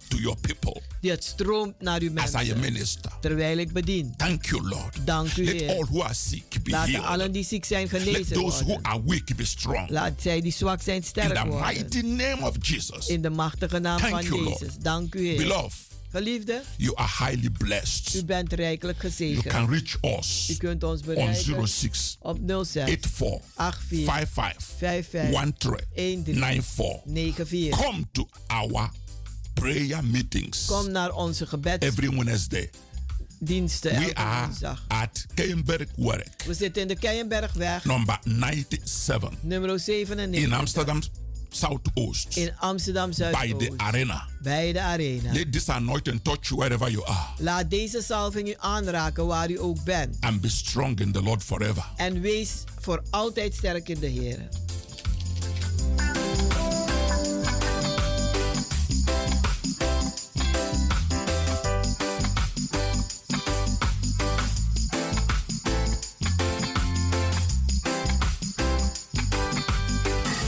Speaker 9: to your people
Speaker 8: die het stroomt naar uw
Speaker 9: as I
Speaker 8: mensen
Speaker 9: minister.
Speaker 8: terwijl ik bedien.
Speaker 9: Thank you, Lord.
Speaker 8: Dank u,
Speaker 9: Let all
Speaker 8: Heer.
Speaker 9: who are sick be
Speaker 8: Laat allen
Speaker 9: healed.
Speaker 8: die ziek zijn
Speaker 9: Let
Speaker 8: genezen
Speaker 9: those who
Speaker 8: worden.
Speaker 9: are weak be strong.
Speaker 8: Laat zij die zwak zijn
Speaker 9: In
Speaker 8: sterk
Speaker 9: the
Speaker 8: worden.
Speaker 9: mighty name of Jesus.
Speaker 8: In de machtige naam
Speaker 9: Thank
Speaker 8: van
Speaker 9: you, Lord.
Speaker 8: Jezus. Dank u, Heer.
Speaker 9: Beloved,
Speaker 8: Geliefde,
Speaker 9: you are highly
Speaker 8: u
Speaker 9: blessed.
Speaker 8: bent rijkelijk
Speaker 9: You
Speaker 8: gezegend.
Speaker 9: can reach
Speaker 8: U
Speaker 9: us
Speaker 8: kunt ons
Speaker 9: on
Speaker 8: bereiken
Speaker 9: 06
Speaker 8: op 06
Speaker 9: 84
Speaker 8: 84
Speaker 9: 55
Speaker 8: 55 13
Speaker 9: 94.
Speaker 8: 94.
Speaker 9: Come to our prayer meetings
Speaker 8: Kom naar onze
Speaker 9: every Wednesday.
Speaker 8: gebedsdiensten
Speaker 9: We
Speaker 8: elke
Speaker 9: are
Speaker 8: woensdag.
Speaker 9: at Keienberg Werk,
Speaker 8: We zitten in de Keienbergweg,
Speaker 9: number 97
Speaker 8: nummer 97.
Speaker 9: in Amsterdam Southoost
Speaker 8: in Amsterdam
Speaker 9: by the
Speaker 8: Zuidoost.
Speaker 9: arena.
Speaker 8: Bij de arena.
Speaker 9: Let this anointing touch you wherever you are
Speaker 8: Laat deze salving u aanraken waar u ook bent.
Speaker 9: and be strong in the Lord forever.
Speaker 8: En wees voor altijd sterk in de Heer.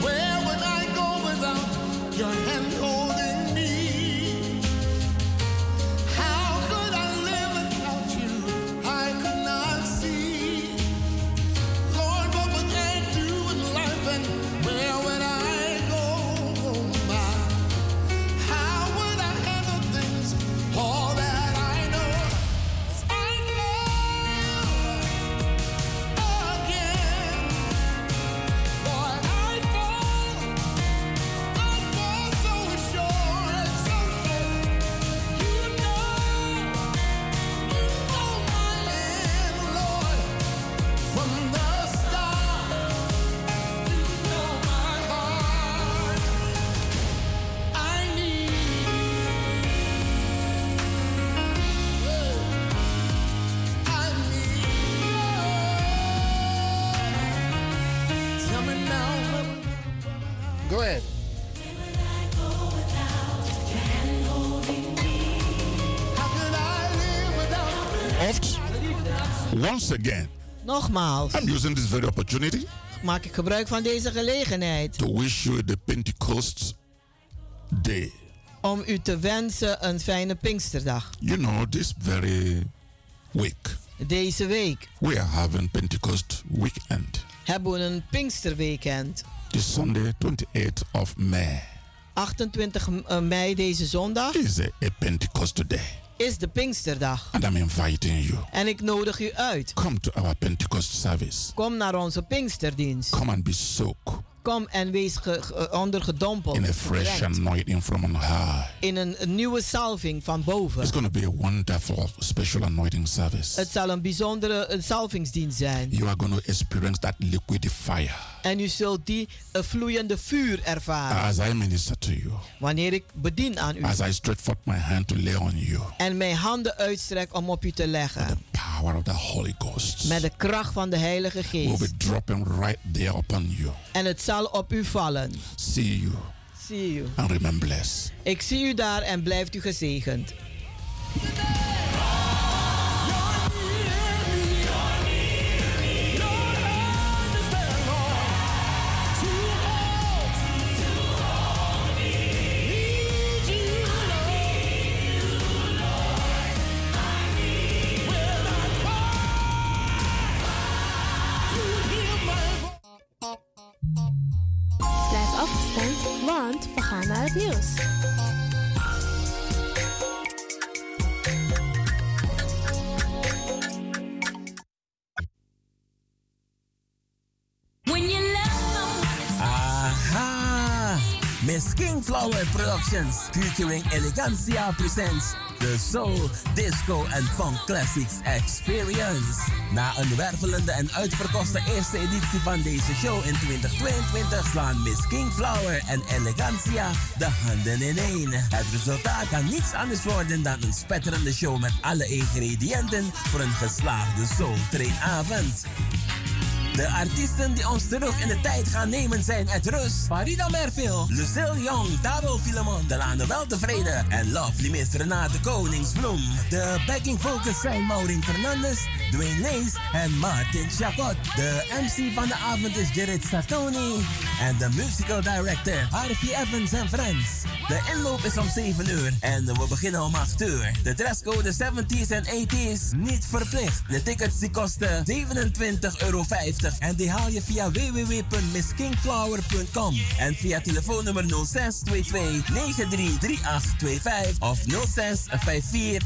Speaker 10: Where would I go without your hand holding me?
Speaker 6: Oh,
Speaker 9: oft, once again,
Speaker 8: Nogmaals
Speaker 9: I'm using this very opportunity
Speaker 8: maak ik gebruik van deze gelegenheid
Speaker 9: to wish you the Pentecost day.
Speaker 8: om u te wensen een fijne Pinksterdag.
Speaker 9: You know, this very week,
Speaker 8: Deze week
Speaker 9: we are having Pentecost weekend.
Speaker 8: hebben we een Pinksterweekend.
Speaker 9: This Sunday, 28th of May,
Speaker 8: 28 mei deze zondag
Speaker 9: is a, a Pentecost day.
Speaker 8: is de Pinksterdag.
Speaker 9: And I'm inviting you.
Speaker 8: En ik nodig u uit.
Speaker 9: Come to our Pentecost service.
Speaker 8: Kom naar onze Pinksterdienst.
Speaker 9: Come and be soaked
Speaker 8: Kom en wees ge- ge- ondergedompeld.
Speaker 9: in a fresh
Speaker 8: gedrenkt
Speaker 9: anointing from on high.
Speaker 8: In een een nieuwe salving van boven.
Speaker 9: It's going to be a wonderful special anointing service.
Speaker 8: Het zal een bijzondere eh, salvingsdienst zijn.
Speaker 9: You are going to experience that liquid fire
Speaker 8: En u zult die eh, vloeiende vuur ervaren.
Speaker 9: as I minister to you,
Speaker 8: Wanneer ik bedien aan u.
Speaker 9: as I stretch forth my hand to lay on you.
Speaker 8: En mijn handen uitstrek om op u te leggen.
Speaker 9: Power of the Holy Ghost
Speaker 8: Met de kracht van de Heilige
Speaker 9: will be
Speaker 8: Geest.
Speaker 9: dropping right there upon you.
Speaker 8: En het zal op u vallen.
Speaker 9: See you
Speaker 8: Zie u.
Speaker 9: and remain blessed.
Speaker 8: Ik zie u daar en blijft u gezegend.
Speaker 11: Blijf afgestemd, want we gaan naar het nieuws.
Speaker 12: Aha! Miss King Flower Productions featuring Elegancia presents the Soul, Disco en Funk Classics Experience. Na een wervelende en uitverkochte eerste editie van deze show in 2022 slaan Miss King Flower en Elegancia de handen ineen. Het resultaat kan niets anders worden dan een spetterende show met alle ingrediënten voor een geslaagde Soul Train avond. De artiesten die ons terug in de tijd gaan nemen zijn Ed Rus, Farida Merville, Lucille Young, Dabo Filemon, Delano Weltevreden en Lovely Miss Renate Koningsbloem. De backing vocals zijn Maureen Fernandes, Dwayne Lees en Martin Chacot. De MC van de avond is Gerrit Sartoni en de musical director Harvey Evans en Friends. De inloop is om 7 uur en we beginnen om 8 uur. De dresscode 70s en 80s niet verplicht. De tickets die kosten 27,50 euro en die haal je via www.misskingflower.com en via telefoonnummer 0622 933825 of 0654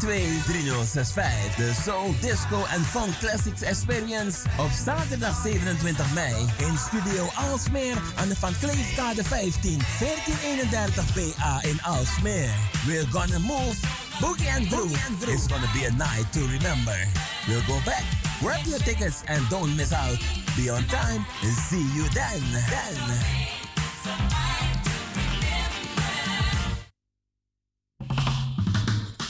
Speaker 12: 723065. De Soul Disco and Funk Classics Experience op zaterdag 27 mei in Studio Alsmeer aan de Van Kleefkade 15 1431 BA in Alsmeer. We're gonna move Boogie and Groove is gonna be a night to remember. We'll go back, grab your tickets, and don't miss out. Be on time and see you then. Then.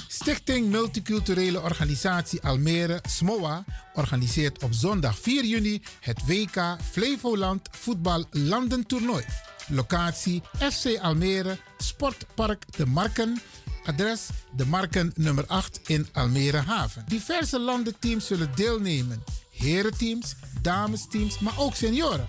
Speaker 1: Stichting Multiculturele Organisatie Almere, SMOA, organiseert op zondag 4 juni het WK Flevoland Voetbal Landentoernooi. Locatie FC Almere, Sportpark De Marken. Adres De Marken nummer 8 in Almere Haven. Diverse landenteams zullen deelnemen. Herenteams, damesteams, maar ook senioren.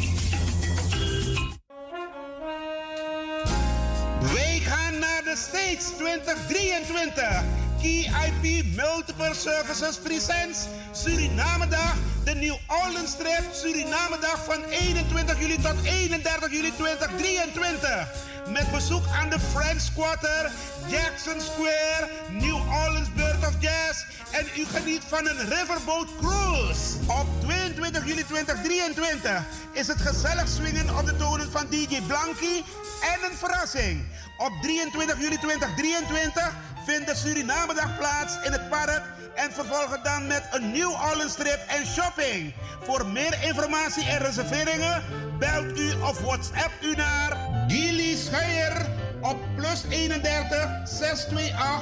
Speaker 13: Wij gaan naar de States 2023. KIP Multiple Services Presents Surinamedag. De New Orleans Trip Surinamedag van 21 juli tot 31 juli 2023. Met bezoek aan de French Quarter, Jackson Square, New Orleans Bird of Jazz. En u geniet van een Riverboat Cruise. Op 22 juli 2023 is het gezellig swingen op de tonen van DJ Blankie. En een verrassing. Op 23 juli 2023 vindt de Surinamedag plaats in het park. En vervolgen dan met een New Orleans trip en shopping. Voor meer informatie en reserveringen belt u of WhatsApp u naar Gilly Scheier op plus 31 628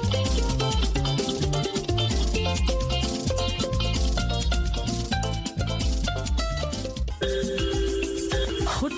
Speaker 2: Goed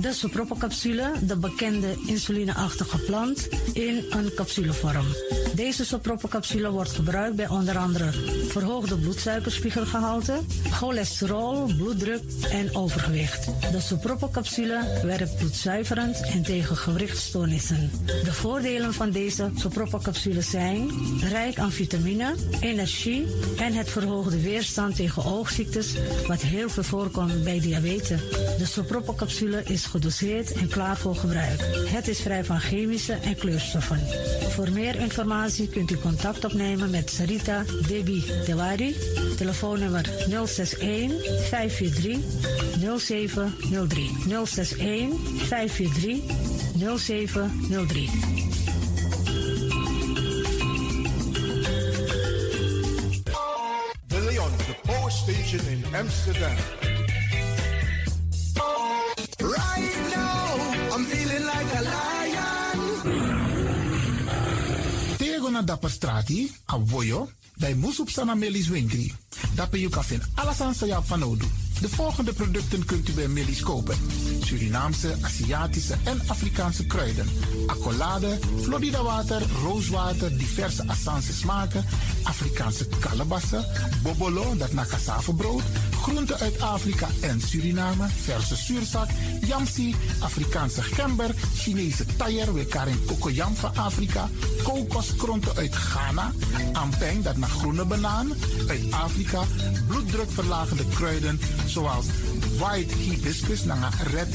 Speaker 2: Dus de soproppencapsule, de bekende insulineachtige plant, in een capsulevorm. Deze soproppencapsule wordt gebruikt bij onder andere verhoogde bloedsuikerspiegelgehalte, cholesterol, bloeddruk en overgewicht. De soproppencapsule werkt bloedzuiverend en tegen gewrichtstoornissen. De voordelen van deze soproppencapsules zijn rijk aan vitamine, energie en het verhoogde weerstand tegen oogziektes, wat heel veel voorkomt bij diabetes. De soproppencapsule is gedoseerd en klaar voor gebruik. Het is vrij van chemische en kleurstoffen. Voor meer informatie kunt u contact opnemen met Sarita Debi Dewari. Telefoonnummer 061 543 0703. 061 543 0703.
Speaker 14: De Leon, the power station in Amsterdam.
Speaker 15: Right now, I'm feeling like a lion.
Speaker 1: Tego na dapper strati, a voyo, dai moesop sana melis winkri. Dapper you kafin alles aan sa van odu. De volgende producten kunt u bij Melis kopen. Surinaamse, Aziatische en Afrikaanse kruiden. Accolade, Florida water, rooswater, diverse Assange smaken. Afrikaanse kalebassen, bobolo, dat na cassavebrood. Groenten uit Afrika en Suriname, verse zuurzak. Yamsi, Afrikaanse gember, Chinese taier, we karen kokoyam van Afrika. Kokoskronten uit Ghana. Ampeng, dat na groene banaan uit Afrika. Bloeddrukverlagende kruiden zoals white hibiscus naar red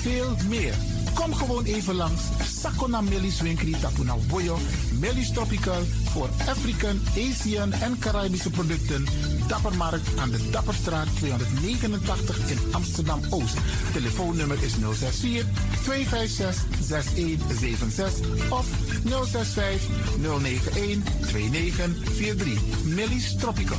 Speaker 1: veel meer. Kom gewoon even langs. Sakona Melis Winkri Tapuna Boyo. Melis Tropical voor African, Asian en Caribische producten. Dappermarkt aan de Dapperstraat 289 in Amsterdam-Oost. Telefoonnummer is 064 256 6176 of 065 091 2943. Melis Tropical.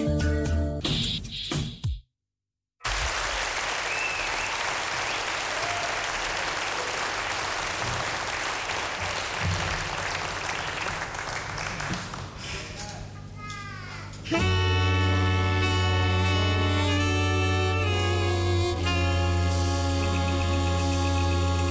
Speaker 14: Thank you.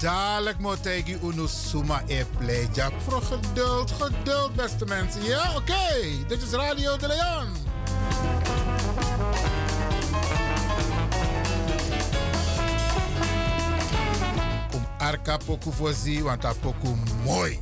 Speaker 1: dadelijk moet ik u suma e pleja. Voor geduld, geduld, beste mensen. Ja, oké. Dit is Radio de Leon. Kom arka poku fozi, want a poku mooi.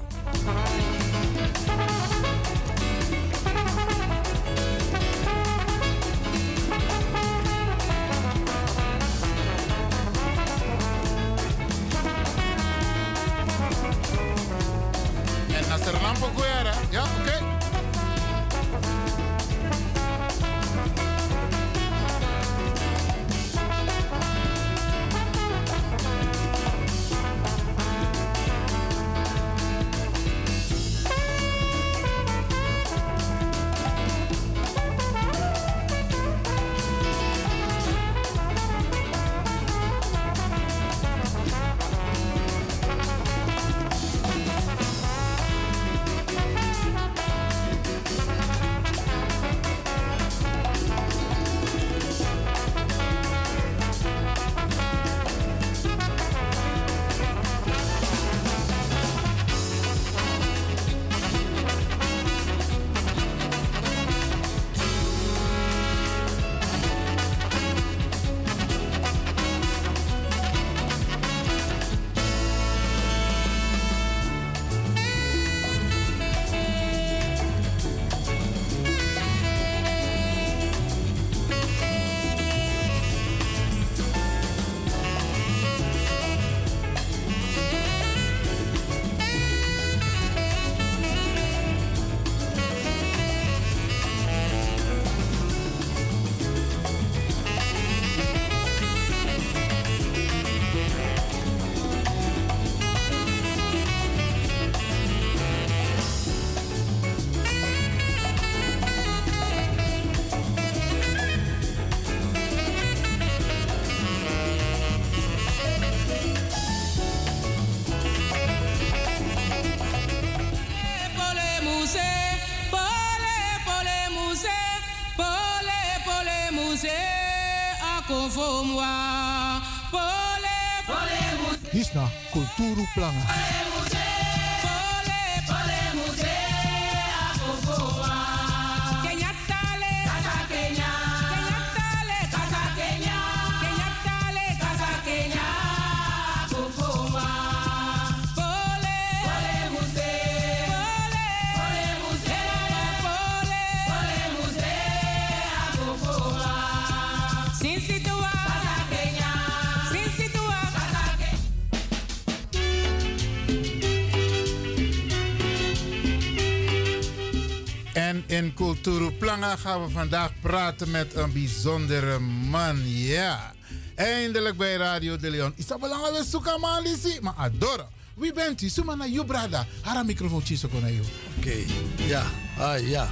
Speaker 1: En als er lampen kuera, ja, oké.
Speaker 16: Dis na kulturu planga.
Speaker 1: En in Culturu Planga gaan we vandaag praten met een bijzondere man. Ja, eindelijk bij Radio de Leon. Is dat belangrijk? We zoeken man, Lizzie. Maar adoro. Wie bent u? Zoek maar naar jou, brada. Haar microfoon chiso kon jou.
Speaker 17: Oké, ja, ah, ja.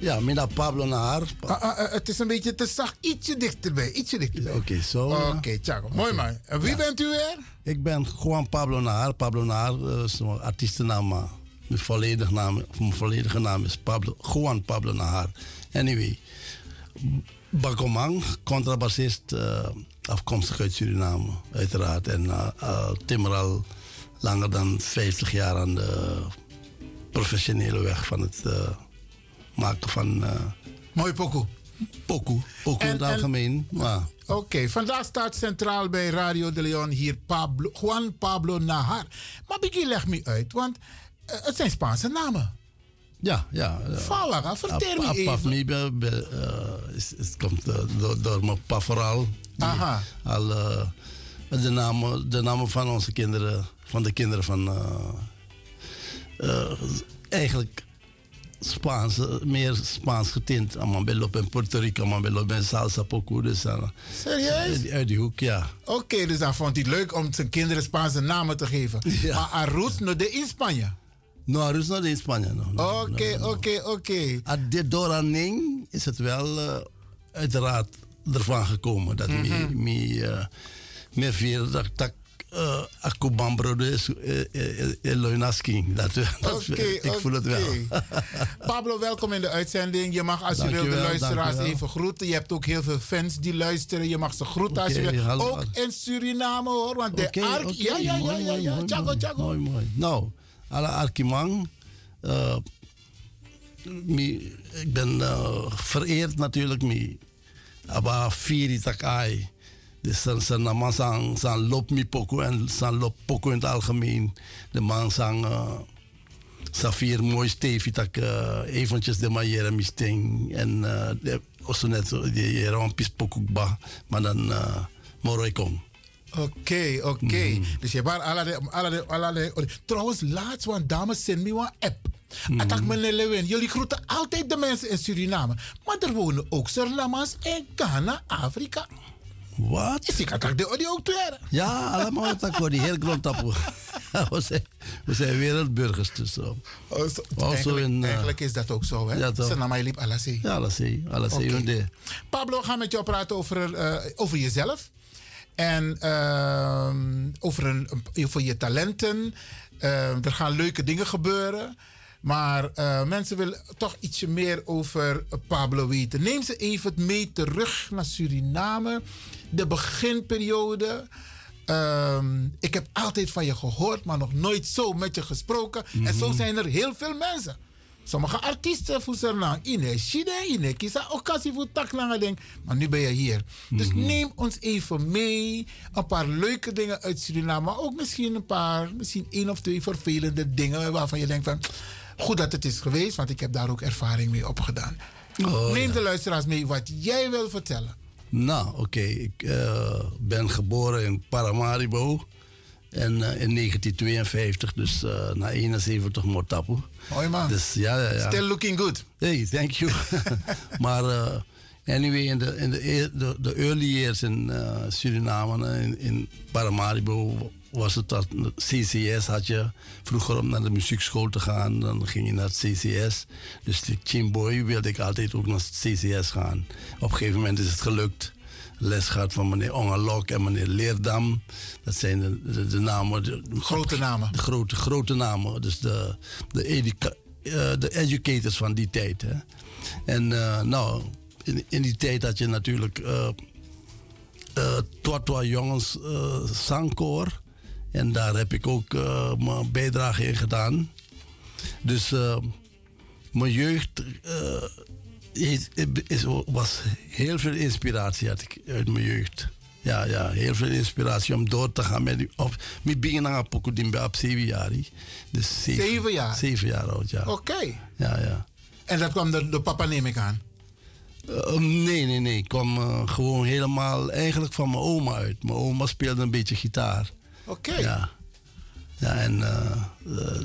Speaker 17: Ja, mina Pablo naar haar.
Speaker 1: Ah, ah, eh, het is een beetje te zacht. Ietsje dichterbij, ietsje dichterbij.
Speaker 17: Oké, zo.
Speaker 1: Oké, Thiago. Mooi man. En wie bent u weer?
Speaker 17: Ik ben Juan Pablo Naar. Pablo Naar eh, is mijn artiestennaam, maar mijn volledige naam, of mijn volledige naam is Pablo, Juan Pablo Naar. Anyway, Bakomang, contrabassist, eh, afkomstig uit Suriname, uiteraard. En eh, al timmer al langer dan 50 jaar aan de professionele weg van het eh, maken van...
Speaker 1: Mooi pokoe.
Speaker 17: Pokoe, pokoe in
Speaker 1: En-
Speaker 17: het
Speaker 1: en-
Speaker 17: algemeen, maar...
Speaker 1: Oké, vandaag staat centraal bij Radio de Leon hier Pablo, Juan Pablo Nahar. Maar Biggie, leg me uit, want eh, het zijn Spaanse namen.
Speaker 17: Ja, ja. ja.
Speaker 1: Valaga, vertel me even.
Speaker 17: Pafmibe is, is, komt eh, door, door mijn pa vooral. Die
Speaker 1: Aha.
Speaker 17: Al, eh, de, namen, de namen van onze kinderen, van de kinderen van... eh, eh, eigenlijk Spaans, eh, meer Spaans getint. Amambelop en Puerto Rico, Amambelop en Salsa Poco. Dus, eh,
Speaker 1: Serieus?
Speaker 17: uit- Uit die hoek, ja.
Speaker 1: Oké, dus dan vond hij het leuk om zijn kinderen Spaanse namen te geven. Maar Arroz no de in Spanje.
Speaker 17: No, er is nog in Spanje nog. nog, nog,
Speaker 1: Oké,
Speaker 17: nog.
Speaker 1: oké, oké.
Speaker 17: Aan dit dooraning is het wel eh,
Speaker 1: Mhm.
Speaker 17: uiteraard ervan gekomen dat me, me, eh, me veel dat, dat uh, Akubambro dus, eh, is Loinaski. Dat, dat, ik voel het wel.
Speaker 1: Pablo, welkom in de uitzending. Je mag als je wil de
Speaker 17: Dankjewel,
Speaker 1: luisteraars
Speaker 17: dankjewel.
Speaker 1: even groeten. Je hebt ook heel veel fans die luisteren. Je mag ze groeten als je
Speaker 17: Oké,
Speaker 1: wil.
Speaker 17: hallo.
Speaker 1: Ook in Suriname hoor, want de
Speaker 17: Oké,
Speaker 1: ark...
Speaker 17: oké,
Speaker 1: ja, ja, ja,
Speaker 17: mooi,
Speaker 1: ja,
Speaker 17: mooi,
Speaker 1: ja.
Speaker 17: mooi,
Speaker 1: Tjago,
Speaker 17: mooi,
Speaker 1: tjago.
Speaker 17: Mooi, mooi. Nou, alle Arkimang. eh, mi- ik ben eh, vereerd natuurlijk. Mi, aba Firi Takai. Dus zijn, zijn naam zijn, zijn loop mi poko en zijn loop poko in het algemeen. De man zijn, eh, Safir mooi stevig tak eh, eventjes de manier en misting en eh de also net zo die rampjes pokukba maar dan eh moroi kom.
Speaker 1: Oké, oké.
Speaker 17: Mhm.
Speaker 1: Dus je hebt allerlei, allerlei, allerlei. oh, Trouwens, laatst, want dames, zend me een app.
Speaker 17: Mhm.
Speaker 1: Attack meneer Lewin, jullie groeten altijd de mensen in Suriname. Maar er wonen ook Surinamas in Ghana, Afrika.
Speaker 17: Wat?
Speaker 1: Is ik attack de audio ook weer?
Speaker 17: Ja, allemaal tak voor die heel grondtapu. we, zijn, we zijn wereldburgers dus. Oh,
Speaker 1: zo, eigenlijk- eigenlijk is dat ook zo, hè?
Speaker 17: eh, Ja, toch?
Speaker 1: Ze namen liep Alassé.
Speaker 17: Ja, Alassé. Alassé.
Speaker 1: Oké.
Speaker 17: Okay.
Speaker 1: Pablo, we gaan met jou praten over, eh, over jezelf. En ehm, over, een, over je talenten. Ehm, er gaan leuke dingen gebeuren. Maar eh, mensen willen toch ietsje meer over Pablo weten. Neem ze even mee terug naar Suriname. De beginperiode. Ehm, ik heb altijd van je gehoord, maar nog nooit zo met je gesproken. En zo
Speaker 17: Mhm.
Speaker 1: zijn er heel veel mensen. Sommige artiesten voelen na ine shide ine kisa occasie voor tak langer denk. Maar nu ben je hier. Dus
Speaker 17: Mhm.
Speaker 1: neem ons even mee. Een paar leuke dingen uit Suriname. Maar ook misschien een paar, misschien één of twee vervelende dingen waarvan je denkt van goed dat het is geweest, want ik heb daar ook ervaring mee opgedaan.
Speaker 17: Oh,
Speaker 1: neem
Speaker 17: ja.
Speaker 1: de luisteraars mee wat jij wil vertellen.
Speaker 17: Nou, oké. Ik eh, ben geboren in Paramaribo. En eh, in 1952, dus eh, na 71 Mortapu.
Speaker 1: Hoi man.
Speaker 17: Dus ja, ja, ja.
Speaker 1: Still looking good.
Speaker 17: Hey, thank you. maar eh, anyway, in de, in de, eer- de, de early years in eh, Suriname, eh, in, in Paramaribo, was het dat CCS had je. Vroeger om naar de muziekschool te gaan, dan ging je naar het CCS. Dus de Chimboy wilde ik altijd ook naar het CCS gaan. Op een gegeven moment is het gelukt. Les gehad van meneer Ongalok en meneer Leerdam. Dat zijn de, de, de namen. De,
Speaker 1: grote namen.
Speaker 17: De grote, grote namen. Dus de, de, educa- eh, de educators van die tijd. Hè. En eh, nou, in, in die tijd had je natuurlijk eh eh Twatwa Jongens eh zangkoor. En daar heb ik ook eh, mijn bijdrage in gedaan. Dus eh, mijn jeugd eh, is, is- was heel veel inspiratie had ik uit mijn jeugd. Ja, ja, heel veel inspiratie om door te gaan met die... Op, met beginnen aan Pokudimba op zeven jaar. hè. Dus zeven,
Speaker 1: Zeven jaar?
Speaker 17: Zeven jaar oud, ja.
Speaker 1: Oké.
Speaker 17: Ja, ja.
Speaker 1: En dat kwam door, door papa neem ik aan.
Speaker 17: Eh, nee, nee, nee. Ik kwam eh, gewoon helemaal eigenlijk van mijn oma uit. Mijn oma speelde een beetje gitaar.
Speaker 1: Oké.
Speaker 17: Ja. Ja, en eh, eh,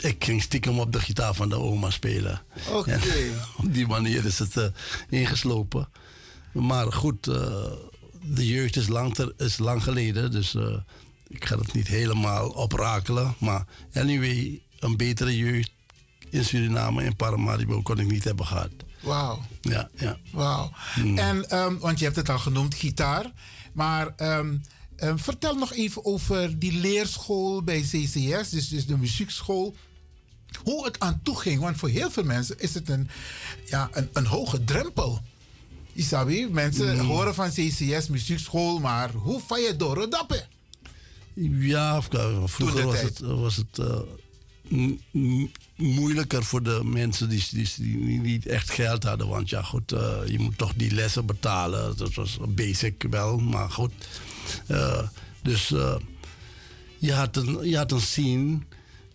Speaker 17: ik ging stiekem op de gitaar van de oma spelen.
Speaker 1: Oké.
Speaker 17: En op die manier is het eh, ingeslopen. Maar goed, eh, de jeugd is lang, ter- is lang geleden, dus eh, ik ga het niet helemaal oprakelen. Maar anyway, een betere jeugd in Suriname, in Paramaribo, kon ik niet hebben gehad.
Speaker 1: Wauw.
Speaker 17: Ja, ja. Hmm.
Speaker 1: Wauw. En, ehm, want je hebt het al genoemd, gitaar. Maar ehm, ehm, vertel nog even over die leerschool bij CCS, dus, dus de muziekschool. Hoe het aan toe ging, want voor heel veel mensen is het een, ja, een, een hoge drempel. Isabi, mensen
Speaker 17: Mm.
Speaker 1: horen van CCS, muziekschool, maar hoe van je door het dappen?
Speaker 17: Ja, of- vroeger was
Speaker 1: tijd.
Speaker 17: het, was het eh, m- m- moeilijker voor de mensen die, die, die niet echt geld hadden. Want ja, goed, eh, je moet toch die lessen betalen. Dat was basic wel, maar goed. Eh, dus eh, je, had een, je had een scene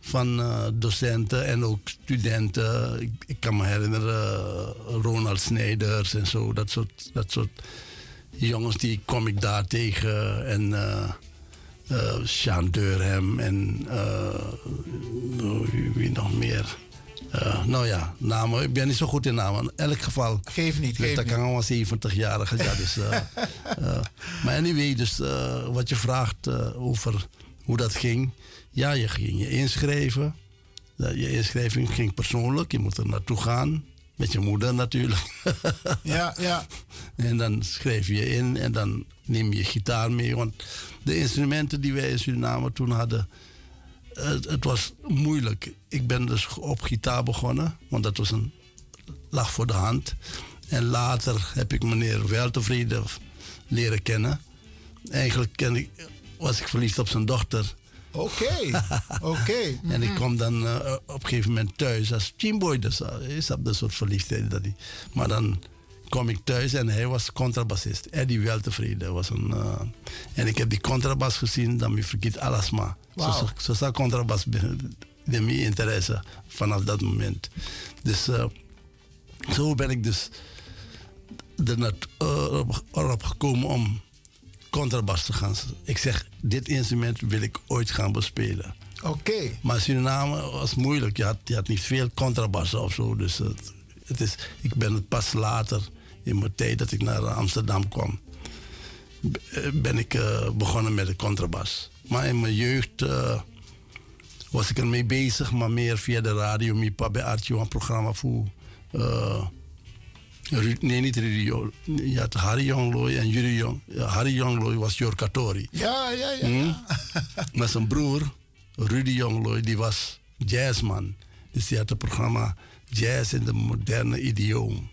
Speaker 17: van eh, docenten en ook studenten. Ik, ik kan me herinneren, eh, Ronald Snijders en zo, dat soort, dat soort jongens die kwam ik daar tegen. En eh, eh, Sjaan Deurhem en eh, wie- wie nog meer. Eh, nou ja, namen. Ik ben niet zo goed in namen. In elk geval.
Speaker 1: Geef niet, geef
Speaker 17: Dat
Speaker 1: niet.
Speaker 17: kan al 70-jarige. Ja, dus, eh, eh, maar anyway, dus eh, wat je vraagt eh, over hoe dat ging. Ja, je ging je inschrijven. Eh, Je inschrijving ging persoonlijk. Je moet er naartoe gaan. Met je moeder natuurlijk. ja, ja. En dan schrijf je in en dan neem je gitaar mee. Want de instrumenten die wij in Suriname toen hadden, het, het was moeilijk. Ik ben dus op gitaar begonnen, want dat was een lag voor de hand. En later heb ik meneer Weltevreden leren kennen. Eigenlijk ken ik, was ik verliefd op zijn dochter.
Speaker 1: Oké, oké.
Speaker 17: En
Speaker 1: Mhm.
Speaker 17: ik kwam dan eh, op een gegeven moment thuis als teamboy. Dus eh, is dat een soort verliefdheid. Dat die, maar dan kwam ik thuis en hij was contrabassist. Eddie Weltevreden was een... eh, en ik heb die contrabas gezien, dan me vergeet alles maar. Zo-
Speaker 1: Wauw.
Speaker 17: Zo staat contrabas bij- bij mijn interesse vanaf dat moment. Dus eh, zo ben ik dus er nat- erop- erop gekomen om contrabas te gaan. Ik zeg, dit instrument wil ik ooit gaan bespelen.
Speaker 1: Oké.
Speaker 17: Maar Suriname was moeilijk. Je had, je had niet veel contrabassen of zo. Dus het, het is, ik ben het pas later, in mijn tijd dat ik naar Amsterdam kwam, b- eh, ben ik eh, begonnen met de contrabas. Maar in mijn jeugd eh, was ik ermee bezig, maar meer via de radio. Mijn pa bij Artje een programma voor. eh, Ru- nee, niet Rudy Jong. Je had Harry Jonglooy en Jury Jong. ja, Harry Jonglooy was Jorkatori.
Speaker 1: Ja, ja, ja.
Speaker 17: Hmm? Maar zijn broer, Rudy Jonglooy, die was jazzman. Dus die had het programma Jazz in de moderne idioom.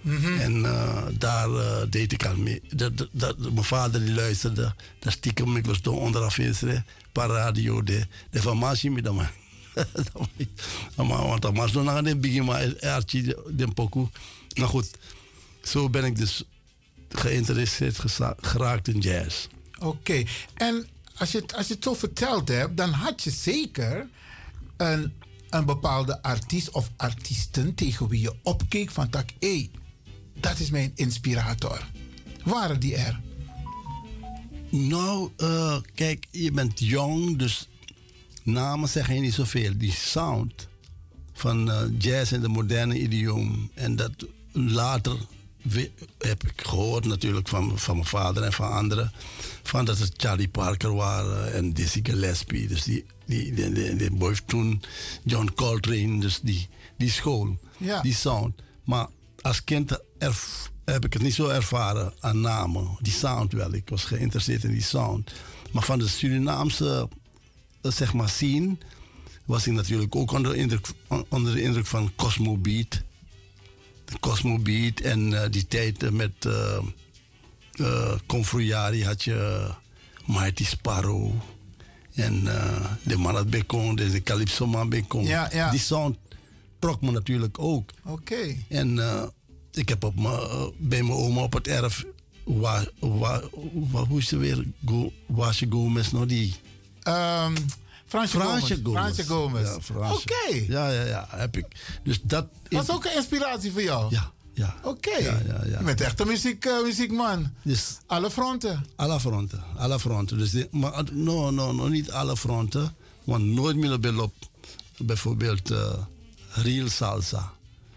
Speaker 1: Hm.
Speaker 17: En eh, daar eh, deed ik aan mee. Dat, dat, dat- mijn vader die luisterde, dat stiekem, ik was toen onderaf eens, hè, per radio, de, de formatie met hem. Maar want dan was nog aan het begin, maar Archie, den pokoe. Nou goed, zo ben ik dus geïnteresseerd gesa- geraakt in jazz.
Speaker 1: Oké, en als je, het- als je het zo verteld hebt, dan had je zeker een, een bepaalde artiest of artiesten tegen wie je opkeek van tak, hé, dat is mijn inspirator. Waren die er?
Speaker 17: Nou, eh, kijk, je bent jong, dus namen zeggen je niet zoveel. Die sound van eh, jazz en de moderne idioom. En dat later we- heb ik gehoord natuurlijk van, van mijn vader en van anderen. Van dat het Charlie Parker waren en Dizzy Gillespie. Dus die, die, die, die, die boys toen John Coltrane, dus die, die school,
Speaker 1: Ja.
Speaker 17: die sound. Maar als kind erf- heb ik het niet zo ervaren aan namen. Die sound wel. Ik was geïnteresseerd in die sound. Maar van de Surinaamse eh, zeg maar scene was ik natuurlijk ook onder de indruk, on- onder de indruk van Cosmo Beat. De Cosmo Beat en eh, die tijd eh, met eh eh, Confroyari had je Mighty Sparrow. En eh, de Marat Bekon, de Calypso Man Bekon.
Speaker 1: Ja, ja.
Speaker 17: Die sound trok me natuurlijk ook.
Speaker 1: Oké.
Speaker 17: En eh, ik heb op mijn- eh, bij mijn oma op het erf. Waar, waar, waar, hoe is ze weer? Go, Waasje Gomez, nou die.
Speaker 1: Ehm Fransje Gomez. Fransje Gomez.
Speaker 17: Ja, Fransje.
Speaker 1: Oké.
Speaker 17: Ja, ja, ja, heb ik. Dus dat
Speaker 1: Was ook een inspiratie voor jou?
Speaker 17: Ja. ja.
Speaker 1: Oké.
Speaker 17: Ja, ja, ja.
Speaker 1: Je bent echt een muziek, eh, muziekman.
Speaker 17: Dus
Speaker 1: alle fronten?
Speaker 17: Alle fronten, alle fronten. Dus de- maar het- no, no, no, niet alle fronten. Want nooit meer op- op bijvoorbeeld eh, real salsa. Dat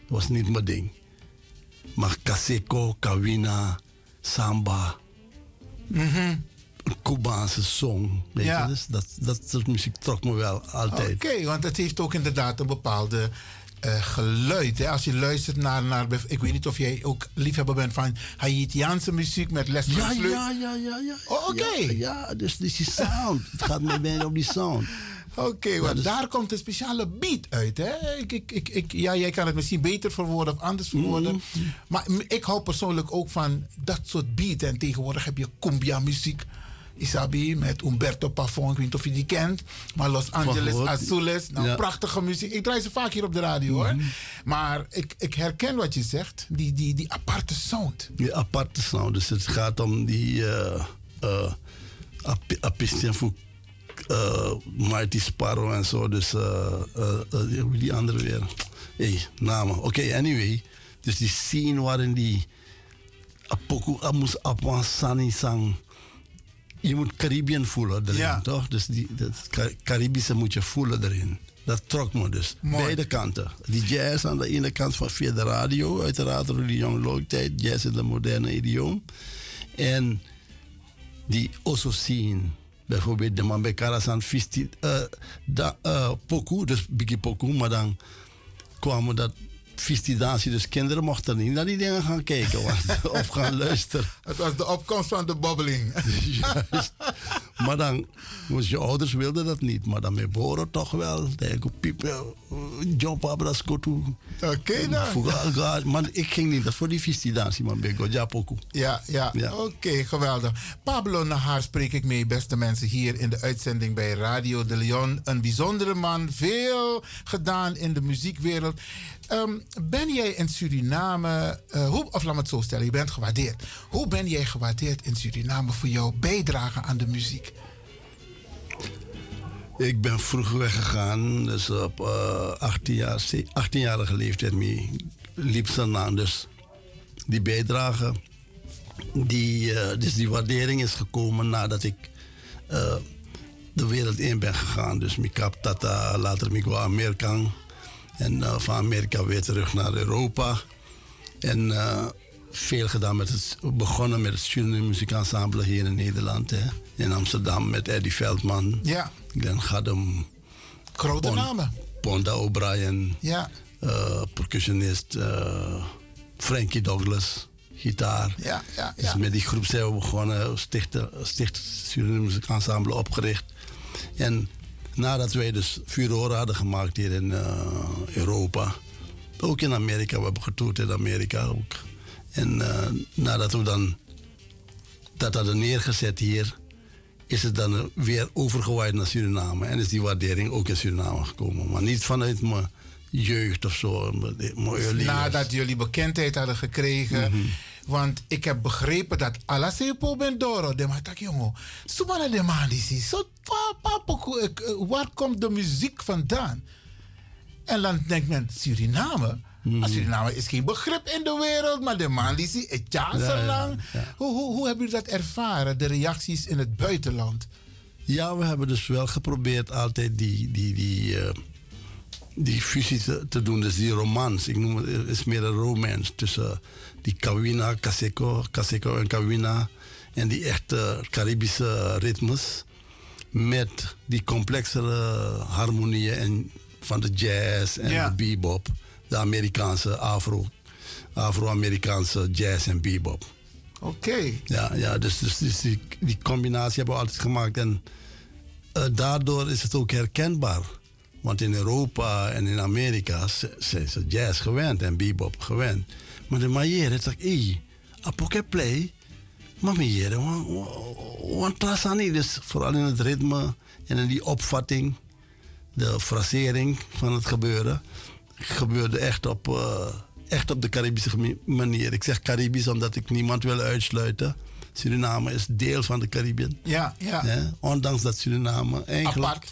Speaker 17: was niet mijn ding. Maar caseco, kawina, samba, Mhm. Cubaanse song. Weet
Speaker 1: Ja.
Speaker 17: je? Dus dat, dat soort muziek trok me wel altijd.
Speaker 1: Oké, want het heeft ook inderdaad een bepaalde eh, geluid. Hè? Als je luistert naar, naar, bev- ik weet niet of jij ook liefhebber bent van Haitiaanse muziek met Les
Speaker 17: Ja,
Speaker 1: Sleur.
Speaker 17: ja,
Speaker 6: Mm-hmm.
Speaker 17: ja, ja, ja.
Speaker 1: Oh, oké.
Speaker 17: Ja, ja, dus, dus die sound. het gaat me bijna op die sound. dus-
Speaker 1: Oké, want daar komt een speciale beat uit. Hè? Ik, ik, ik, ik- ja, jij kan het misschien beter verwoorden of anders verwoorden.
Speaker 17: Mhm.
Speaker 1: Maar m- ik hou persoonlijk ook van dat soort beat. En tegenwoordig heb je cumbia muziek. Isabi met Umberto Pavon, ik weet niet of je die kent. Maar Los Angeles
Speaker 17: gehoord.
Speaker 1: Azules. Nou,
Speaker 17: Ja. Mhm.
Speaker 1: prachtige muziek. Ik draai ze vaak hier op de radio hoor. Maar ik, ik herken wat je zegt. Die, die, die aparte sound.
Speaker 17: Die aparte sound. Dus het gaat om die eh eh, ap- apisten voor eh, Mighty Sparrow en zo. Dus eh, eh, eh, hoe die andere weer. hey, namen. Oké, anyway. Dus die scene waarin die Apoku Amus Apan Sani sang. Je moet Caribbean voelen erin, toch? Dus die, dat Ca- Caribische moet je voelen erin. Dat trok me dus. Beide kanten. Die jazz aan de ene kant van via de radio, uiteraard door die Young Lloyd tijd, jazz in de moderne idioom. En die also scene. Bijvoorbeeld de man bij Karasan Fisti, eh, da, eh, Poku, dus Biggie Poku, maar dan kwamen dat visitatie, dus kinderen mochten niet naar die dingen gaan kijken want- of gaan luisteren.
Speaker 1: Het was de opkomst van de bobbeling.
Speaker 17: Juist. Maar dan, want je ouders wilden dat niet, maar dan met boren toch wel. Denk ik, piepen, job abras kotu.
Speaker 1: Oké dan.
Speaker 17: Maar ik ging niet, dat is voor die visitatie, maar ben ik wel japoku.
Speaker 1: Ja, ja.
Speaker 17: Ja.
Speaker 1: Oké, geweldig. Pablo Nahar spreek ik mee, beste mensen, hier in de uitzending bij Radio de Leon. Een bijzondere man, veel gedaan in de muziekwereld. Ehm, ben jij in Suriname, eh, hoe, of laat me het zo stellen, je bent gewaardeerd. Hoe ben jij gewaardeerd in Suriname voor jouw bijdrage aan de muziek?
Speaker 17: Ik ben vroeg weggegaan, dus op eh, 18 jaar, 18-jarige leeftijd mee, liep ze aan. Dus die bijdrage, die, eh, dus die waardering is gekomen nadat ik eh, de wereld in ben gegaan. Dus ik heb Tata, later ik wou Amerika. En eh, van Amerika weer terug naar Europa. En eh, veel gedaan met het, begonnen met het Suriname Muziekensemble hier in Nederland. Hè. In Amsterdam met Eddie Veldman.
Speaker 1: Ja.
Speaker 17: Glenn Gadem.
Speaker 1: Grote namen.
Speaker 17: Ponda O'Brien.
Speaker 1: Ja.
Speaker 17: eh, percussionist eh, Frankie Douglas. Gitaar.
Speaker 1: Ja, ja,
Speaker 17: Dus met die groep zijn we begonnen. Stichter, sticht Suriname Muziekensemble opgericht. En nadat wij dus furoren hadden gemaakt hier in eh, Europa. Ook in Amerika. We hebben getoerd in Amerika ook. En eh, nadat we dan dat hadden neergezet hier, is het dan weer overgewaaid naar Suriname. En is die waardering ook in Suriname gekomen. Maar niet vanuit mijn jeugd of zo. Mijn mijn early years.
Speaker 1: Nadat jullie bekendheid hadden gekregen.
Speaker 17: Mhm.
Speaker 1: Want ik heb begrepen dat Alasepo Bendoro, de matak jongen, Soumana de man die ziet, zo pa- pa- pokoe, ik, eh, waar komt de muziek vandaan? En dan denkt men, Suriname?
Speaker 17: Hmm.
Speaker 1: Maar Suriname is geen begrip in de wereld, maar de man die ziet, het jaar
Speaker 17: Ja, ja,
Speaker 1: lang. Hoe, hoe, hoe hebben jullie dat ervaren, de reacties in het buitenland?
Speaker 17: Ja, we hebben dus wel geprobeerd altijd die, die, die, eh, die fusie te, te doen. Dus die romans. Ik noem het, het is meer een romance tussen die Kawina, Kaseko, Kaseko en Kawina. En die echte Caribische ritmes. Met die complexere harmonieën en van de jazz en
Speaker 1: Ja.
Speaker 17: de bebop. De Amerikaanse, Afro, Afro-Amerikaanse jazz en bebop.
Speaker 1: Oké.
Speaker 17: Ja, ja dus, dus, dus die, die combinatie hebben we altijd gemaakt. En eh, daardoor is het ook herkenbaar. Want in Europa en in Amerika z- zijn ze jazz gewend en bebop gewend. Maar de manier is dat ik, apoke play, maar meer, wa- wa- want Trasani, dus vooral in het ritme en in die opvatting, de frasering van het gebeuren, gebeurde echt op, eh, echt op de Caribische gemi- manier. Ik zeg Caribisch omdat ik niemand wil uitsluiten. Suriname is deel van de Caribbean.
Speaker 1: Ja, ja.
Speaker 17: Hè? Ondanks dat Suriname eigenlijk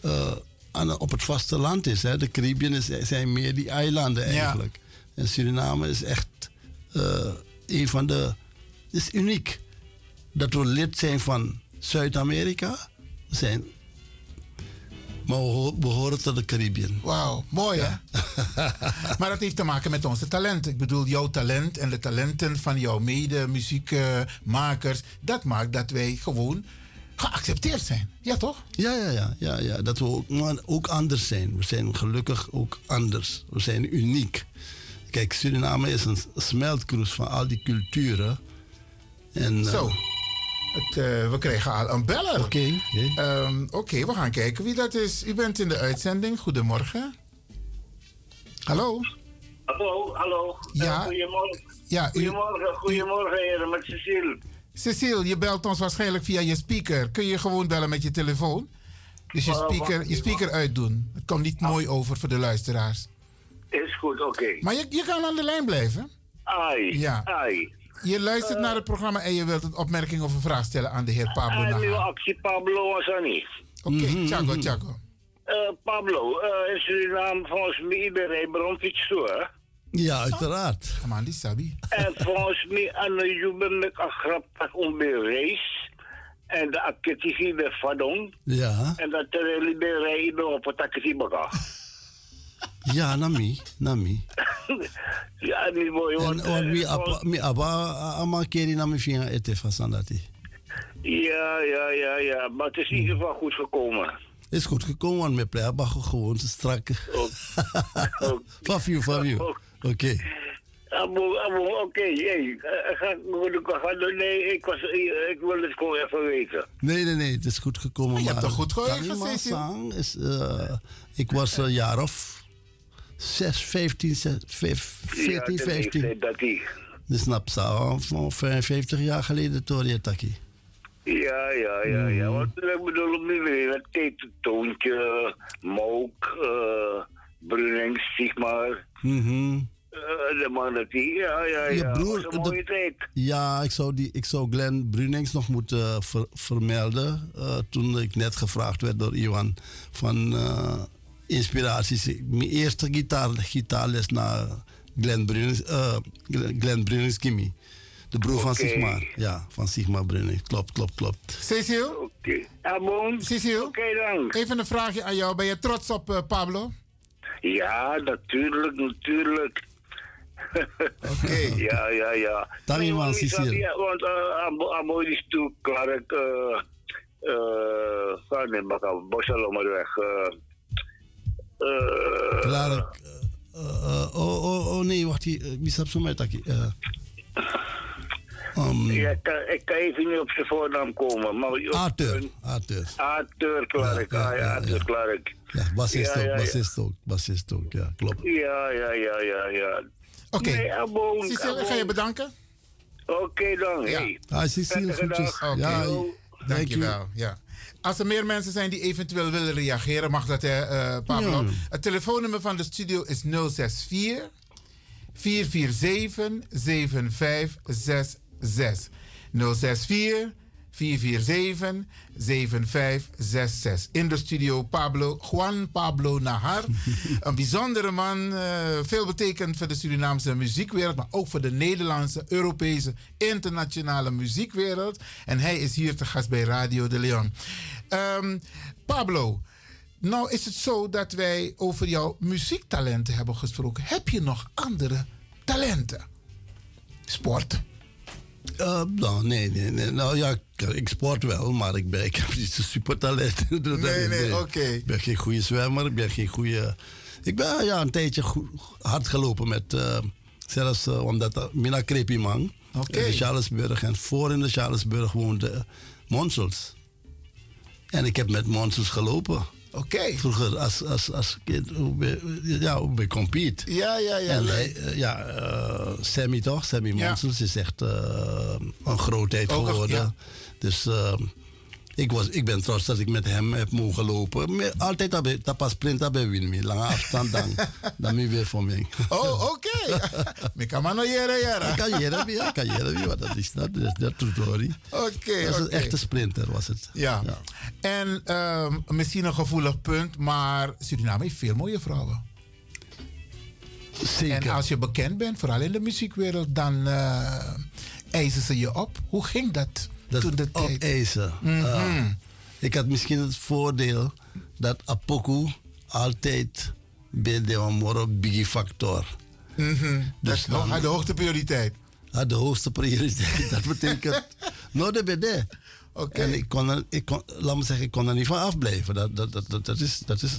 Speaker 17: eh, aan, de- op het vasteland is. Hè? De Caribbean is, zijn meer die eilanden
Speaker 1: Ja.
Speaker 17: eigenlijk. En Suriname is echt eh, een van de. Het is uniek dat we lid zijn van Zuid-Amerika. We zijn. Maar we ho- behoren tot de Caribbean.
Speaker 1: Wauw, mooi hè? maar dat heeft te maken met onze talent. Ik bedoel, jouw talent en de talenten van jouw mede-muziekmakers. Dat maakt dat wij gewoon geaccepteerd zijn. Ja, toch?
Speaker 17: Ja, ja, ja, ja, ja. Dat we ook, maar ook anders zijn. We zijn gelukkig ook anders. We zijn uniek. Kijk, Suriname is een smeltkroes van al die culturen. En, eh,
Speaker 1: Zo. Het, eh, we kregen al een beller. Oké. Oké, we gaan kijken wie dat is. U bent in de uitzending. Goedemorgen. Hallo?
Speaker 18: Hallo, hallo.
Speaker 1: Ja.
Speaker 18: Eh, goedemorgen.
Speaker 1: Ja, u-
Speaker 18: goedemorgen, goedemorgen heren, met Cecile.
Speaker 1: Cecile, je belt ons waarschijnlijk via je speaker. Kun je gewoon bellen met je telefoon? Dus je
Speaker 18: Eh,
Speaker 1: speaker,
Speaker 18: wacht,
Speaker 1: je speaker uitdoen. Het komt niet mooi over voor de luisteraars.
Speaker 18: Is goed, oké.
Speaker 1: Maar je, je kan aan de lijn blijven.
Speaker 18: Ai,
Speaker 1: Ja.
Speaker 18: ai.
Speaker 1: Je
Speaker 18: Eh.
Speaker 1: luistert naar het programma en je wilt een opmerking of een vraag stellen aan de heer Pablo
Speaker 18: En nu
Speaker 1: Nahar.
Speaker 18: actie Pablo was er niet.
Speaker 1: Oké,
Speaker 18: Mhm,
Speaker 1: Thiago, Thiago.
Speaker 18: Eh, Pablo, eh, in Suriname volgens mij iedereen brandt iets toe, hè?
Speaker 17: Ja, uiteraard.
Speaker 1: Man, die sabi.
Speaker 18: En volgens mij aan de jubel met een grap dat om de race. En de actie de vadon.
Speaker 17: Ja,
Speaker 18: En dat er een liberatie op het actie baka.
Speaker 17: ja, Nami. Nami.
Speaker 18: Ja, niet mooi, want...
Speaker 17: En want
Speaker 18: eh,
Speaker 17: mi
Speaker 18: volgens-
Speaker 17: apa mi aba ama keri na mi finga ete fasandati.
Speaker 18: Ja, ja, ja, ja. Maar het is in ieder geval goed gekomen.
Speaker 17: Is goed gekomen, want mijn plek gewoon te strakken. Fafio, Fafio. Oké.
Speaker 18: Ah, Oké, hey, eh, ga- moet ik wel gaan doen? nee, ik, was, eh, ik wil het gewoon even weten.
Speaker 17: Nee, nee, nee, het is goed gekomen.
Speaker 18: je hebt
Speaker 17: maar
Speaker 18: toch goed gehoord,
Speaker 17: Karima
Speaker 18: Cecil?
Speaker 17: Sang is, eh, Ik was een jaar of 6, 15, 14,
Speaker 18: Ja, de
Speaker 17: 15.
Speaker 18: leeftijd dat die.
Speaker 17: Dus snap ze, van 55 jaar geleden, Tori Taki.
Speaker 18: Ja, ja, ja, ja. Want
Speaker 17: Hmm.
Speaker 18: eh, ik bedoel op die manier, dat Tete Toontje, Mook, eh Brunings, zeg maar.
Speaker 17: Mhm.
Speaker 18: Eh, de man dat die, ja, ja, ja.
Speaker 17: Je broer,
Speaker 18: was een mooie tijd.
Speaker 17: Ja, ik zou, die, ik zou Glenn Brunings nog moeten eh, ver- vermelden. eh, toen ik net gevraagd werd door Iwan van eh, inspiraties. Ik- Mijn eerste gitaar, gitaarles na Glenn Brunings, eh, Glenn- Glenn Brunings Kimmy. De broer van
Speaker 1: Oké.
Speaker 17: Sigma. Ja, van Sigma Brunings. Klopt, klopt, klopt.
Speaker 1: Cecil?
Speaker 18: Oké. Cecil? Oké dan.
Speaker 1: Even een vraagje aan jou. Ben je trots op eh, Pablo?
Speaker 18: Ja, natuurlijk, natuurlijk. Oké. ja, ja, ja.
Speaker 17: Dank je wel,
Speaker 18: want ik
Speaker 17: Cecile.
Speaker 18: zat hier, Want uh, aan mooi is toe klaar ik. eh, eh, Ga nee, maar ga Bossel maar weg. eh, eh,
Speaker 17: Clark. eh, eh, oh, oh, oh, nee, wacht. hier, eh, Wie staat zo met Taki? Eh, um,
Speaker 18: ja, ik kan- ik kan even niet op zijn voornaam komen. Maar op-
Speaker 17: Arthur. Arthur.
Speaker 18: Arthur Clark.
Speaker 17: Ja, ja,
Speaker 18: ah, ja,
Speaker 17: ja,
Speaker 18: Arthur Clark.
Speaker 17: Ja, bassist
Speaker 18: Ja, ja,
Speaker 17: ook,
Speaker 18: ja.
Speaker 17: bassist ook, bassist ook, ja, klopt.
Speaker 18: Ja, ja, ja, ja, ja.
Speaker 1: Oké.
Speaker 18: Nee, Abon,
Speaker 1: Cecil, ik ga je
Speaker 18: Abon.
Speaker 1: bedanken.
Speaker 18: Oké dan.
Speaker 1: Ja.
Speaker 18: Hey.
Speaker 17: Ah, Cecile,
Speaker 18: Prettige
Speaker 17: groetjes.
Speaker 18: dag.
Speaker 17: Ja,
Speaker 18: Yo.
Speaker 1: Dankjewel. Ja. Als er meer mensen zijn die eventueel willen reageren, mag dat, hè, eh, Pablo.
Speaker 17: Ja.
Speaker 1: Het telefoonnummer van de studio is 064 447 7566. 064 447 7566. In de studio Pablo, Juan Pablo Nahar. een bijzondere man, eh, veel betekent voor de Surinaamse muziekwereld, maar ook voor de Nederlandse, Europese, internationale muziekwereld. En hij is hier te gast bij Radio de Leon. Ehm, Pablo, nou is het zo dat wij over jouw muziektalenten hebben gesproken. Heb je nog andere talenten? Sport?
Speaker 17: Eh, nou, nee, nee, nee. Nou ja, ik, ik sport wel, maar ik, ben, ik heb niet zo'n supertalent. Dat heb
Speaker 1: Nee,
Speaker 17: ik
Speaker 1: nee,
Speaker 17: niet.
Speaker 1: oké.
Speaker 17: Ik ben geen goede zwemmer, ik ben geen goede... Ik ben ja, een tijdje goed, hard gelopen met... eh, zelfs eh, omdat... Uh, Mina Krepiman.
Speaker 1: Oké.
Speaker 17: In de Charlesburg. En voor in de Charlesburg woonde eh, Monsels. En ik heb met Monsels gelopen. Oké. Vroeger als, als, als kind. hoe ben- Ja, hoe ben compete.
Speaker 1: Ja, ja, ja,
Speaker 17: En
Speaker 1: leuk.
Speaker 17: hij, eh, ja, eh, Sammy toch? Sammy Monsels is echt eh, een grootheid
Speaker 1: Ook een-
Speaker 17: geworden.
Speaker 1: ja.
Speaker 17: Dus eh, ik, was, ik ben trots dat ik met hem heb mogen lopen. Maar Altijd dat bij- dat pas sprinten bij Winmi. Lange afstand dan. dan ben je weer voor mij.
Speaker 1: Oh, oké. Ik kan maar nog jaren, jaren.
Speaker 17: Ik kan jaren, ja. Ik kan jaren, ja. Dat is dat. Dat is dat, Totori.
Speaker 1: Oké,
Speaker 17: Dat is een
Speaker 1: oké.
Speaker 17: echte sprinter, was het.
Speaker 1: Ja. En ehm, misschien een gevoelig punt, maar Suriname heeft veel mooie vrouwen.
Speaker 17: Zeker.
Speaker 1: En als je bekend bent, vooral in de muziekwereld, dan eh, eisen ze je op. Hoe ging dat, toen de tijd?
Speaker 17: Opeisen.
Speaker 1: Mhm.
Speaker 17: Ah. ik had misschien het voordeel dat Apoku altijd bij de Amoro Biggie Factor.
Speaker 1: Mhm.
Speaker 17: Dus
Speaker 1: Dat had de hoogste prioriteit.
Speaker 17: Had de hoogste prioriteit. Dat betekent no de BD. En ik kon, er- ik kon, laat me zeggen, ik kon er niet van afblijven. Dat, dat, dat, dat, dat is, dat, is,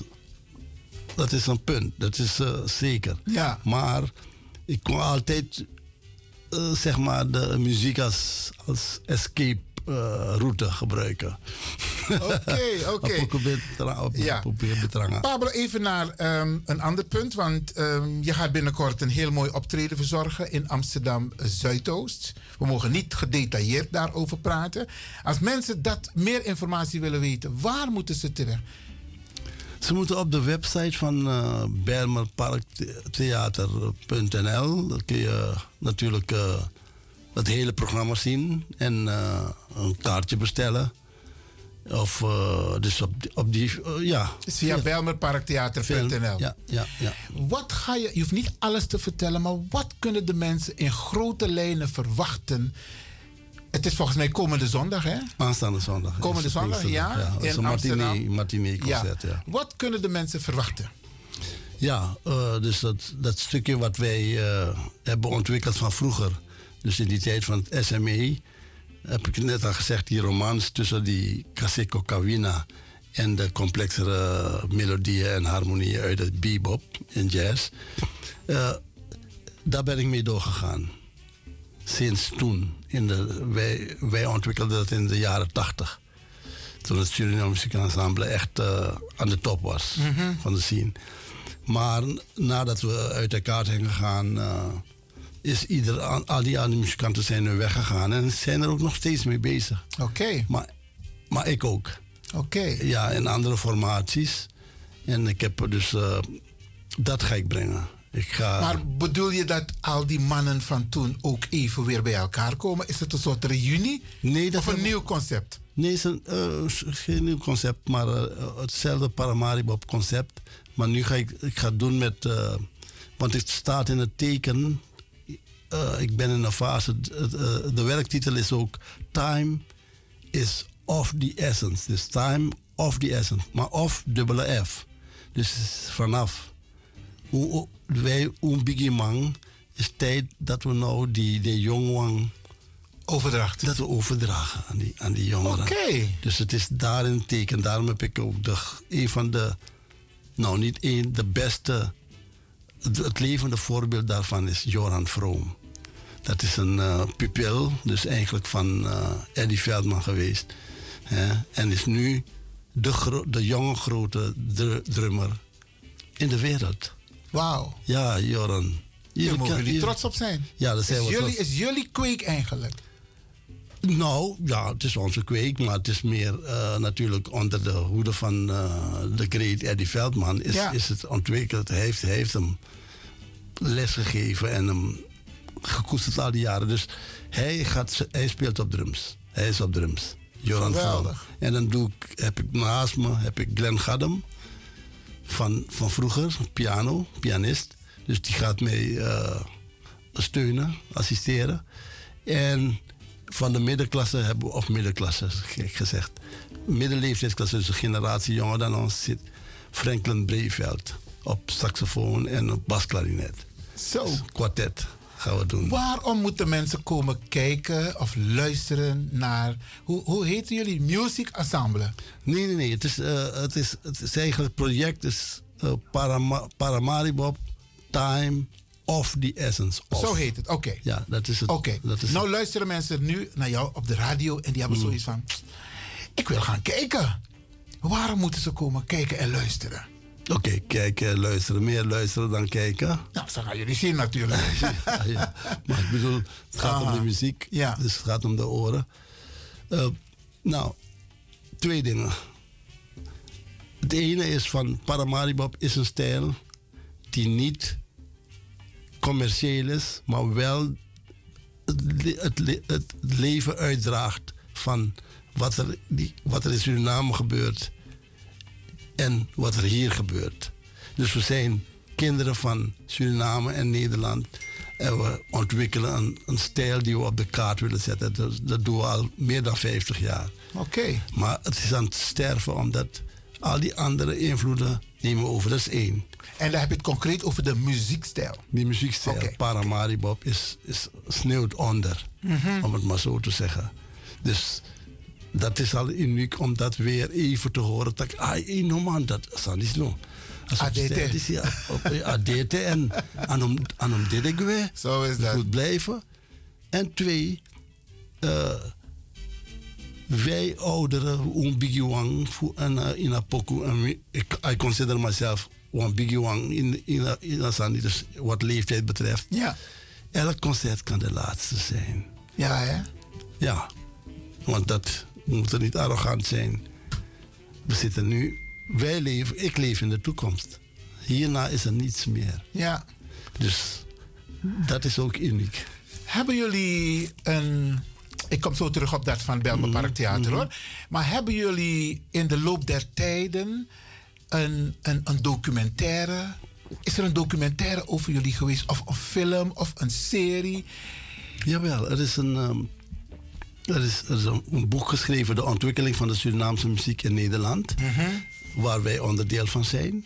Speaker 17: dat is een punt. Dat is eh, zeker.
Speaker 1: Ja.
Speaker 17: Maar ik kon altijd, eh, zeg maar, de muziek als, als escape eh, route gebruiken.
Speaker 1: Oké, oké.
Speaker 17: Op- op- op- op-
Speaker 1: Ja.
Speaker 17: Probeer bedrangen.
Speaker 1: Pablo, even naar ehm, een ander punt. Want ehm, je gaat binnenkort een heel mooi optreden verzorgen in Amsterdam Zuidoost. We mogen niet gedetailleerd daarover praten. Als mensen dat meer informatie willen weten, waar moeten ze terecht?
Speaker 17: Ze moeten op de website van eh bermerparktheater.nl. Dan kun je natuurlijk eh, het hele programma zien en eh, een kaartje bestellen. Of eh, dus op, die- op die, eh, ja.
Speaker 1: Is via belmerparktheater.nl.
Speaker 17: Ja, ja, ja.
Speaker 1: Wat ga je, je hoeft niet alles te vertellen, maar wat kunnen de mensen in grote lijnen verwachten? Het is volgens mij komende zondag, hè?
Speaker 17: Aanstaande zondag.
Speaker 1: Komende
Speaker 17: Is het
Speaker 1: zondag, ja,
Speaker 17: Ja,
Speaker 1: in
Speaker 17: is een matinee,
Speaker 1: Amsterdam.
Speaker 17: matinee concert, ja.
Speaker 1: Wat kunnen de mensen verwachten?
Speaker 17: Ja, eh, dus dat, dat stukje wat wij eh, hebben ontwikkeld van vroeger. Dus in die tijd van het E SME. Heb ik net al gezegd, die romans tussen die Kaseko Kawina en de complexere melodieën en harmonieën uit het bebop en jazz. Eh, daar ben ik mee doorgegaan. Sinds toen. In de, wij, wij ontwikkelden dat in de jaren tachtig. Toen het Suriname Muziek Ensemble echt eh, aan de top was
Speaker 14: Mhm.
Speaker 17: van de scene. Maar nadat we uit elkaar zijn gegaan, eh, is ieder, aan- al die andere muzikanten zijn nu weggegaan en zijn er ook nog steeds mee bezig. Oké. Maar, maar ik ook. Oké. Ja, in andere formaties. En ik heb dus eh, dat ga ik brengen. Ik ga.
Speaker 16: Maar bedoel je dat al die mannen van toen ook even weer bij elkaar komen? Is het een soort reunie?
Speaker 17: Nee, dat
Speaker 16: of een
Speaker 17: heb-
Speaker 16: nieuw concept?
Speaker 17: Nee, het is een, eh, s- geen nieuw concept, maar eh, hetzelfde Paramaribo concept. Maar nu ga ik, ik ga het doen met. eh, want het staat in het teken. eh, ik ben in een fase. d- het, eh, de werktitel is ook Time is of the essence. Dus time of the essence. Maar of dubbele F. Dus het is vanaf. Hoe- hoe- Wij, een biggie man, is tijd dat we nou die, die jongwang. Overdracht. Dat we overdragen aan die, aan die jongeren. Oké. Dus het is daarin een teken. Daarom heb ik ook de, g- een van de, nou niet één, de beste, het, het levende voorbeeld daarvan is Joran Vroom. Dat is een eh, pupil, dus eigenlijk van eh, Eddie Veldman geweest. hè. en is nu de, gro- de jonge grote dr- drummer in de wereld. Wauw. Ja, Joran.
Speaker 16: Daar mogen jullie
Speaker 17: je-
Speaker 16: trots op zijn.
Speaker 17: Ja, dat zijn
Speaker 16: is,
Speaker 17: we
Speaker 16: jullie,
Speaker 17: trots- Mm.
Speaker 16: is jullie kweek eigenlijk?
Speaker 17: nou, ja, het is onze kweek, maar het is meer eh, natuurlijk onder de hoede van eh, de great Eddie Veldman is,
Speaker 16: Ja.
Speaker 17: is het ontwikkeld. Hij heeft, hij heeft hem lesgegeven en hem gekoesterd al die jaren. Dus hij, gaat, z- hij speelt op drums. Hij is op drums. Joran
Speaker 16: Geweldig.
Speaker 17: Velder. En dan doe ik, heb ik naast me heb ik Glenn Gaddam van, van vroeger, piano, pianist. Dus die gaat mij eh, steunen, assisteren. En van de middenklasse hebben we, of middenklasse gek gezegd, middenleeftijdsklasse, dus een generatie jonger dan ons, zit Franklin Breveld op saxofoon en op basklarinet. Dus
Speaker 16: Zo.
Speaker 17: kwartet gaan we doen.
Speaker 16: Waarom moeten mensen komen kijken of luisteren naar... Hoe, hoe heten jullie? Music Ensemble.
Speaker 17: Nee, nee, nee. Het is, eh, het is, het is eigenlijk het project is eh, Parama- Paramaribo Time of the Essence. Of.
Speaker 16: Zo heet het, oké.
Speaker 17: Ja, dat is het.
Speaker 16: Oké,
Speaker 17: dat is Mm.
Speaker 16: nou luisteren mensen nu naar jou op de radio en die hebben zoiets van... "Pst, Ik wil gaan kijken. Waarom moeten ze komen kijken en luisteren?
Speaker 17: Oké, kijken, luisteren. Meer luisteren dan kijken.
Speaker 16: Nou, ze gaan jullie zien natuurlijk.
Speaker 17: ja, ja. Maar ik bedoel, het gaat om de muziek. Dus het gaat om de oren. Eh, nou, twee dingen. Het ene is van Paramaribob is een stijl die niet commercieel is, maar wel het, le- het, le- het leven uitdraagt van wat er, die, wat er in Suriname gebeurt en wat er hier gebeurt. Dus we zijn kinderen van Suriname en Nederland. En we ontwikkelen een, een stijl die we op de kaart willen zetten. Dat, dat doen we al meer dan 50 jaar.
Speaker 16: Oké.
Speaker 17: Maar het is aan het sterven omdat al die andere invloeden nemen we over. Dat is één.
Speaker 16: En daar heb je het concreet over de muziekstijl.
Speaker 17: Die muziekstijl, Paramaribob, is, is sneeuwt onder.
Speaker 16: Mhm.
Speaker 17: Om het maar zo te zeggen. Dus dat is al uniek om dat weer even te horen. Dat, ik, ah, eh, no man, dat is al niet zo.
Speaker 16: ADT.
Speaker 17: ADT en aan om, aan om dit ik weer. Zo is dat. Goed blijven. En twee, eh, wij ouderen, een biggie wang voor- en eh, in Apoku. en we- Ik I consider myself een biggie wang in, in, in, Asani, dus wat leeftijd betreft.
Speaker 16: Ja.
Speaker 17: Elk concert kan de laatste zijn.
Speaker 16: Ja, hè?
Speaker 17: Ja, want dat we moeten niet arrogant zijn. We zitten nu, wij leven, ik leef in de toekomst. Hierna is er niets meer.
Speaker 16: Ja.
Speaker 17: Dus dat is ook uniek.
Speaker 16: Hebben jullie een... Ik kom zo terug op dat van Belme
Speaker 17: Mhm,
Speaker 16: Park Theater hoor. Maar hebben jullie in de loop der tijden een, een, een documentaire... Is er een documentaire over jullie geweest? Of een film of een serie?
Speaker 17: Jawel, er is een, ehm, er is, er is een, een boek geschreven, De ontwikkeling van de Surinaamse muziek in Nederland,
Speaker 6: Mm-hmm.
Speaker 17: waar wij onderdeel van zijn.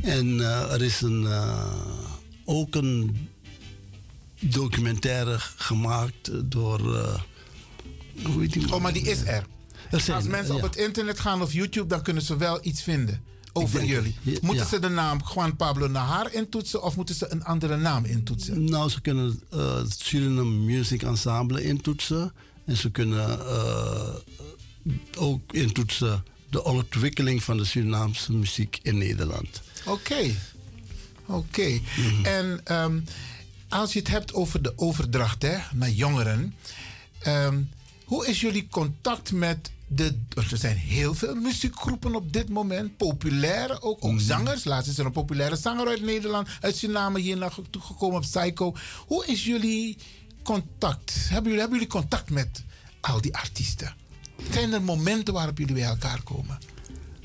Speaker 17: En eh, er is een, eh, ook een documentaire gemaakt door. eh, hoe heet die man?
Speaker 16: Oh, maar die is er.
Speaker 17: zijn-
Speaker 1: Als mensen op
Speaker 17: ja.
Speaker 1: het internet gaan of YouTube, dan kunnen ze wel iets vinden over
Speaker 17: denk-
Speaker 1: jullie.
Speaker 17: ja,
Speaker 1: Moeten
Speaker 17: ja.
Speaker 1: ze de naam Juan Pablo Nahar intoetsen of moeten ze een andere naam intoetsen?
Speaker 17: Nou, ze kunnen eh, het Suriname Music Ensemble intoetsen. En ze kunnen eh, ook intoetsen de ontwikkeling van de Surinaamse muziek in Nederland.
Speaker 1: Oké. Oké. En ehm, als je het hebt over de overdracht hè, naar jongeren. ehm, hoe is jullie contact met de... want Er zijn heel veel muziekgroepen op dit moment. Populaire ook. Ook zangers. Laatst is er een populaire zanger uit Nederland. Uit Suriname hier naartoe toegekomen op Psycho. Hoe is jullie contact? Hebben jullie, hebben jullie contact met al die artiesten? Zijn er momenten waarop jullie bij elkaar komen?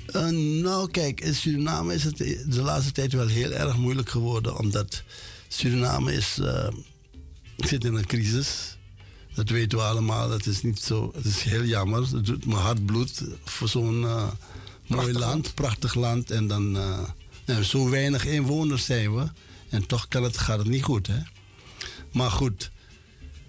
Speaker 17: Eh, nou, kijk, in Suriname is het de laatste tijd wel heel erg moeilijk geworden, omdat Suriname is, eh, zit in een crisis. Dat weten we allemaal, dat is niet zo. Het is heel jammer. Het doet me hart bloed voor zo'n eh, mooi land, prachtig land. En dan eh, nou, zo weinig inwoners zijn we. En toch kan het, gaat het niet goed, hè? Maar goed,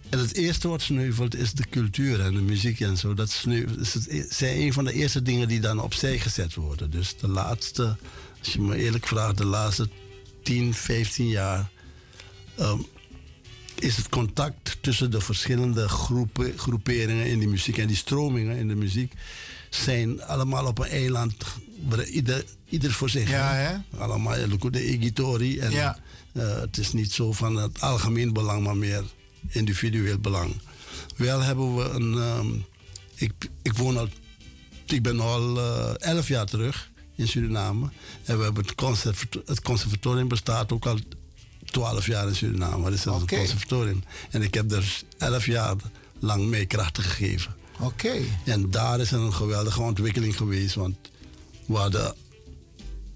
Speaker 17: en het eerste wat sneuvelt is de cultuur en de muziek en zo. Dat sneu- is het, e- zijn een van de eerste dingen die dan opzij gezet worden. Dus de laatste, als je me eerlijk vraagt, de laatste 10, 15 jaar. ehm, is het contact tussen de verschillende groepen, groeperingen in de muziek en die stromingen in de muziek zijn allemaal op een eiland, waar ieder, ieder voor zich.
Speaker 1: Ja,
Speaker 17: Allemaal de igitori. En
Speaker 1: Ja.
Speaker 17: eh, het is niet zo van het algemeen belang, maar meer individueel belang. Wel hebben we een. ehm, ik, ik woon al. Ik ben al eh, elf jaar terug in Suriname. En we hebben het, conservato- het conservatorium bestaat ook al 12 jaar in Suriname. Dat is het
Speaker 1: Oké.
Speaker 17: conservatorium. En ik heb er 11 jaar lang mee krachten gegeven.
Speaker 1: Oké.
Speaker 17: En daar is een geweldige ontwikkeling geweest. Want we hadden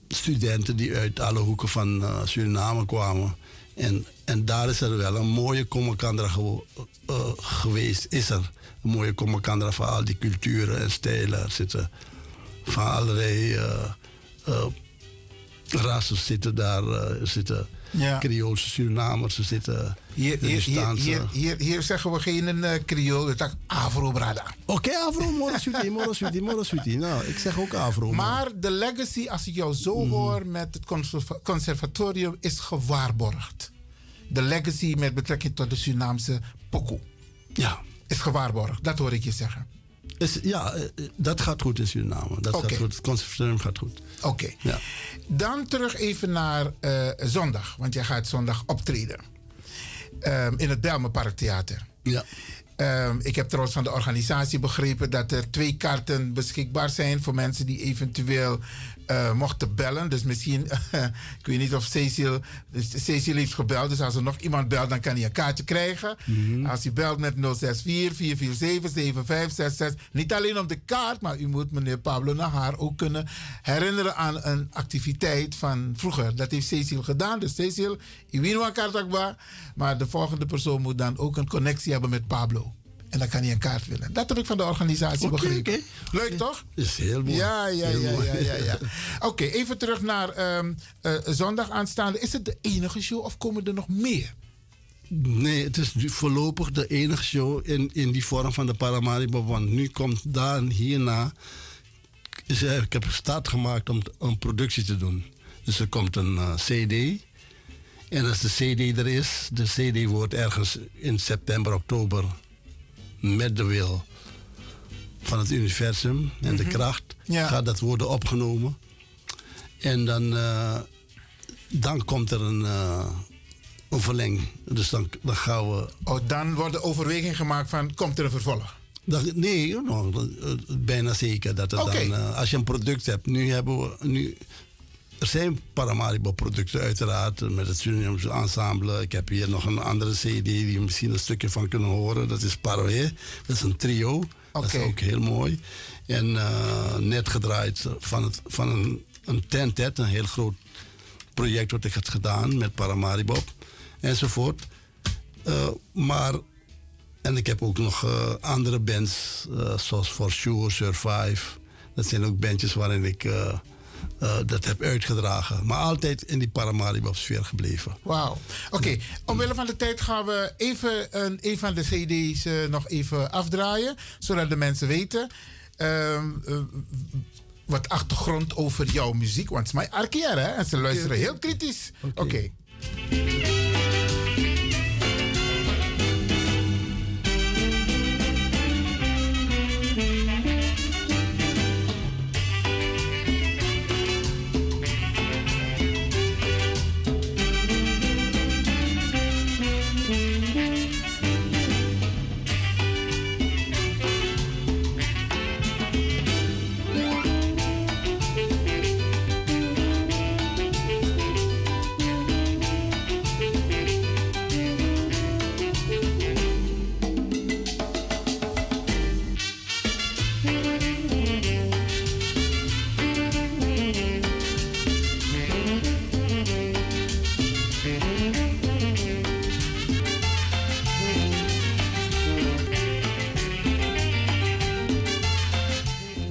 Speaker 17: studenten die uit alle hoeken van eh, Suriname kwamen. En, en daar is er wel een mooie kommakandra gewo- eh, geweest. Is er een mooie kommakandra van al die culturen en stijlen. Er zitten van allerlei eh, eh, rassen zitten daar. eh, er zitten
Speaker 1: Ja.
Speaker 17: Creoolse Surinamers, er zitten
Speaker 1: Hier, hier, hier,
Speaker 17: Hindustaanse-
Speaker 1: hier, hier, hier zeggen we geen eh Creool, we zeggen Afro-Brada.
Speaker 17: Oké, Afro, moro suti, moro suti, moro suti. Nou, ik zeg ook Afro. man.
Speaker 1: Maar de legacy, als ik jou zo hoor met het conserva- conservatorium, is gewaarborgd. De legacy met betrekking tot de Surinaamse pokoe.
Speaker 17: Ja.
Speaker 1: Is gewaarborgd, dat hoor ik je zeggen.
Speaker 17: Is- ja, eh, eh, dat gaat goed in Suriname. Dat
Speaker 1: Oké.
Speaker 17: gaat goed. Het conservatorium gaat goed.
Speaker 1: Oké.
Speaker 17: Ja.
Speaker 1: Dan terug even naar eh, zondag, want jij gaat zondag optreden. Ehm, in het Belmenpark Theater.
Speaker 17: Ja.
Speaker 1: Ehm, ik heb trouwens van de organisatie begrepen dat er twee kaarten beschikbaar zijn voor mensen die eventueel eh, mochten bellen. Dus misschien, ik weet niet of Cecil, dus Cecil heeft gebeld, dus als er nog iemand belt, dan kan hij een kaartje krijgen. Als u belt met 064 447 7566. Niet alleen om de kaart, maar u moet meneer Pablo Nahar ook kunnen herinneren aan een activiteit van vroeger. Dat heeft Cecil gedaan. Dus Cecil, Iwinwa Kartakba. Maar de volgende persoon moet dan ook een connectie hebben met Pablo. En dan kan hij een kaart winnen. Dat heb ik van de organisatie begrepen. Leuk toch?
Speaker 17: Is heel mooi.
Speaker 1: Ja, ja,
Speaker 17: Heel
Speaker 1: ja,
Speaker 17: mooi.
Speaker 1: ja, ja, ja. Oké, even terug naar ehm, eh, zondag aanstaande. Is het de enige show of komen er nog meer?
Speaker 17: Nee, het is nu voorlopig de enige show in, in die vorm van de Paramaribo. Want nu komt daar en hierna. is er- Ik heb staat gemaakt om t- een productie te doen. Dus er komt een eh, CD. En als de CD er is, de CD wordt ergens in september, oktober. met de wil van het universum en de kracht.
Speaker 1: Ja.
Speaker 17: gaat dat worden opgenomen. En dan, eh, dan komt er een. eh, een verlenging. Dus dan, dan gaan we.
Speaker 1: Oh, dan wordt de overweging gemaakt van komt er een vervolg?
Speaker 17: Dan, nee, nou, eh, eh, bijna zeker dat het
Speaker 1: Oké.
Speaker 17: dan. eh, als je een product hebt, nu hebben we. Nu, er zijn Paramaribo-producten, uiteraard. eh, Met het Surinaamse ensemble. Ik heb hier nog een andere CD die je misschien een stukje van kunnen horen. Dat is Paroe. Dat is een trio. Dat is ook heel mooi. En eh, net gedraaid van, het, van een, een tentet, een heel groot project wat ik had gedaan met Paramaribo enzovoort. Eh, maar, en ik heb ook nog eh, andere bands, eh, zoals For Sure, Survive. Dat zijn ook bandjes waarin ik eh, eh, dat heb uitgedragen. Maar altijd in die Paramaribo-sfeer gebleven.
Speaker 1: Wauw. Oké, omwille van de tijd gaan we even een, een van de CD's eh, nog even afdraaien, zodat de mensen weten. ehm, eh, wat achtergrond over jouw muziek. Want het is mijn arkeer, hè? En ze luisteren heel kritisch. Oké.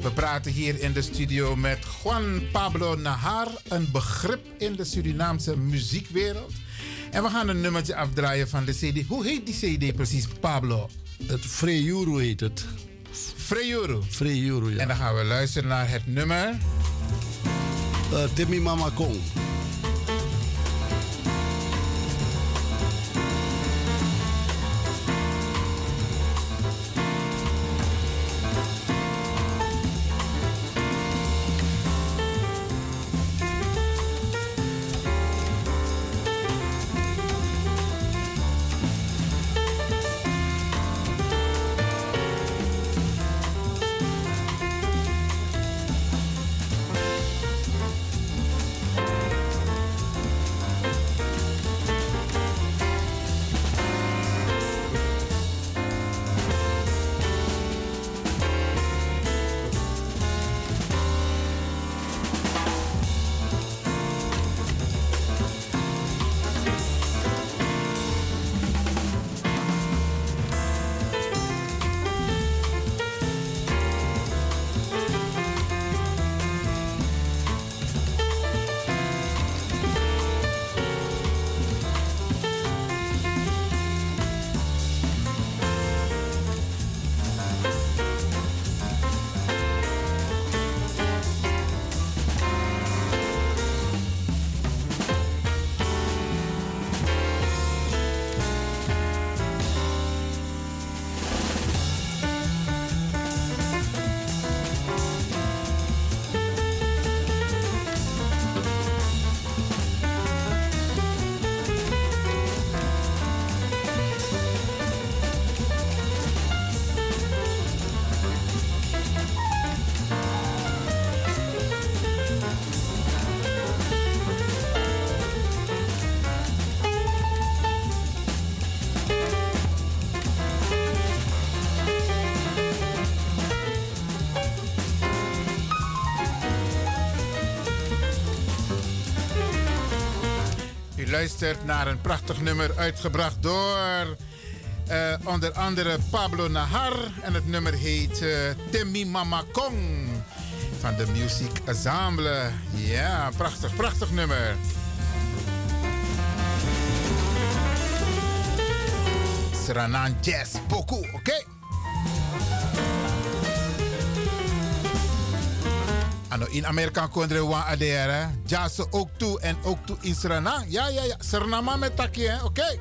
Speaker 1: We praten hier in de studio met Juan Pablo Nahar, een begrip in de Surinaamse muziekwereld. En we gaan een nummertje afdraaien van de CD. Hoe heet die CD precies, Pablo?
Speaker 19: Het Freyuru heet het.
Speaker 1: Freyuru?
Speaker 19: Freyuru, ja.
Speaker 1: En dan gaan we luisteren naar het nummer.
Speaker 19: Timmy Eh, Mama Kong.
Speaker 1: U luistert naar een prachtig nummer uitgebracht door eh, onder andere Pablo Nahar. En het nummer heet eh, Temi Mama Kong van de Music Ensemble. Ja, prachtig, prachtig nummer. Sranan Jazz Poku, oké? Ano in Amerika kondre wan ADR hè. Jazz ook toe en ook toe in Suriname. Ja ja ja, Suriname met takje hè. Oké.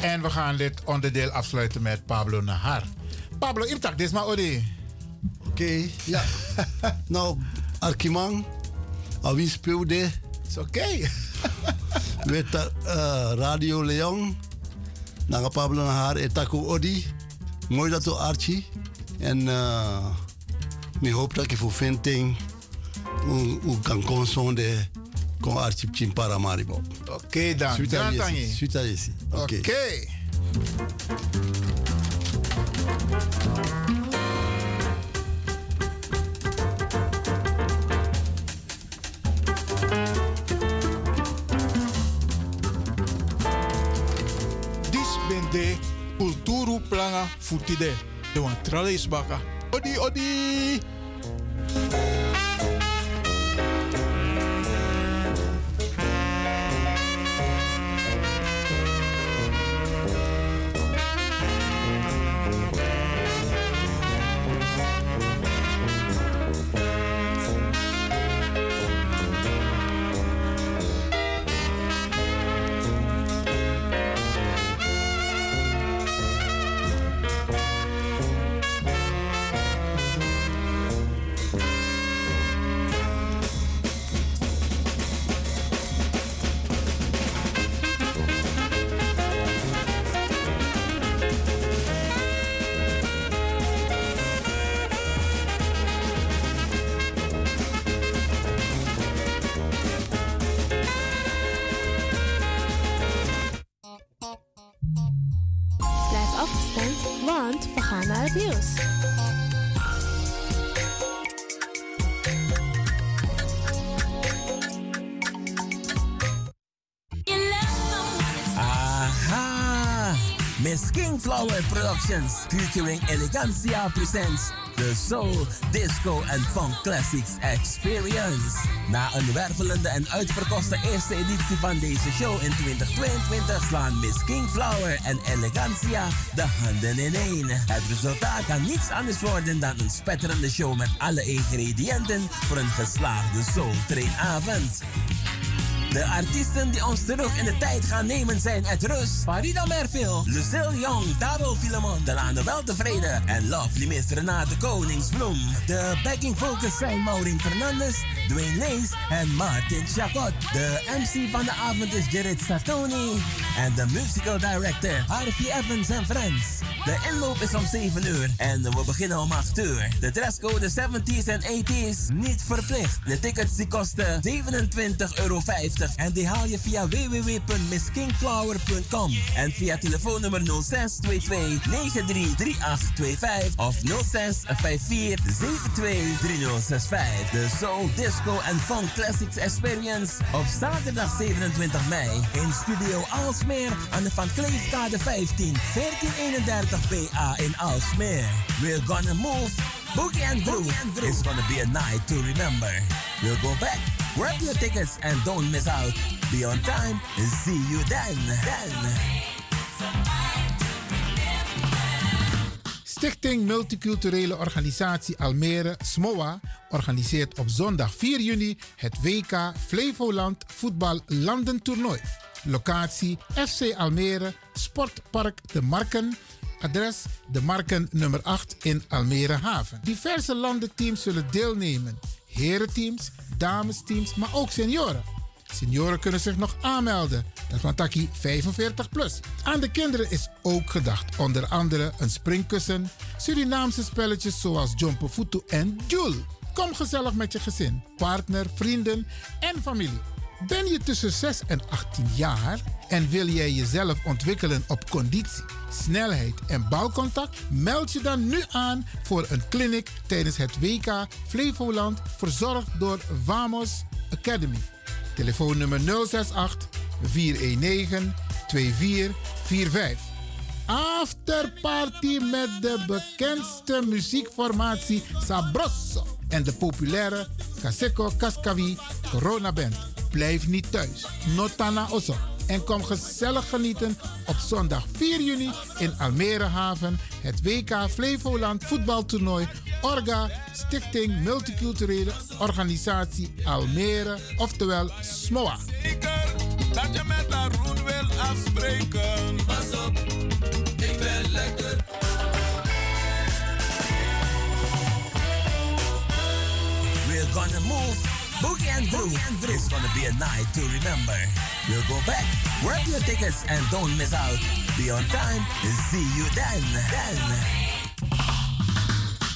Speaker 1: En we gaan dit onderdeel afsluiten met Pablo Nahar. Pablo, intact, dit is maar Odi.
Speaker 17: Oké, ja. nou, Arkimang, aan wie speelde?
Speaker 1: Is oké.
Speaker 17: Weet dat, eh, Radio Leon, Naga Pablo Nahar, Etaku Odi. Mooi dat u Archie. En eh, ik hoop dat ik voor Vinting, hoe hoe kan consonde, kon Archie Pchim Paramaribo.
Speaker 1: Oké dan, dan tangi.
Speaker 17: Suita Yesi.
Speaker 1: Oké.
Speaker 20: Dis bende kulturu planga futide. De wan trale is baka. Odi, odi!
Speaker 11: Blijf afgestemd, want we gaan naar het nieuws.
Speaker 12: Aha! Miss King Flower Productions featuring Elegancia presents the Soul, Disco en Funk Classics Experience. Na een wervelende en uitverkoste eerste editie van deze show in 2022 slaan Miss King Flower en Elegancia de handen ineen. Het resultaat kan niets anders worden dan een spetterende show met alle ingrediënten voor een geslaagde Soul Train avond. De artiesten die ons terug in de tijd gaan nemen zijn Ed Rus, Farida Merville, Lucille Young, Taro Filemon, Delano Weltevreden en Lovely Miss Renate Koningsbloem. De backing vocals zijn Maureen Fernandes, Dwayne Lees en Martin Chacot. De MC van de avond is Gerrit Sartoni en de musical director Harvey Evans en Friends. De inloop is om 7 uur en we beginnen om 8 uur. De dresscode 70s en 80s niet verplicht. De tickets die kosten 27,50 euro en die haal je via www.misskingflower.com en via telefoonnummer 0622 933825 of 0654 723065. De Soul Disco and Funk Classics Experience op zaterdag 27 mei in Studio Alsmeer aan de Van Kleefkade 15 1431 PA in Alsmeer. We're gonna move Boogie and Groove is gonna be a night to remember. We'll go back, grab your tickets, and don't miss out. Be on time and see you then. Then.
Speaker 1: Stichting Multiculturele Organisatie Almere, SMOA, organiseert op zondag 4 juni het WK Flevoland Voetbal Landentoernooi. Locatie FC Almere, Sportpark De Marken. Adres De Marken nummer 8 in Almere Haven. Diverse landenteams zullen deelnemen. Herenteams, damesteams, maar ook senioren. Senioren kunnen zich nog aanmelden. Dat van Taki 45 plus. Aan de kinderen is ook gedacht. Onder andere een springkussen, Surinaamse spelletjes zoals Jompofutu en Jul. Kom gezellig met je gezin, partner, vrienden en familie. Ben je tussen 6 en 18 jaar en wil jij jezelf ontwikkelen op conditie, snelheid en bouwcontact? Meld je dan nu aan voor een clinic tijdens het WK Flevoland, verzorgd door Vamos Academy. Telefoonnummer 068 419 2445. Afterparty met de bekendste muziekformatie Sabroso en de populaire Caseco Cascavi Corona Band. Blijf niet thuis. Notana Osso. En kom gezellig genieten op zondag 4 juni in Almere Haven. Het WK Flevoland voetbaltoernooi Orga Stichting Multiculturele Organisatie Almere, oftewel SMOA.
Speaker 6: Dat je met Haroon wil afspreken.
Speaker 21: Pas op,
Speaker 12: Boogie and Brew. It's gonna be a night to remember. We'll go back, grab your tickets, and don't miss out. Be on time. See you then. Then.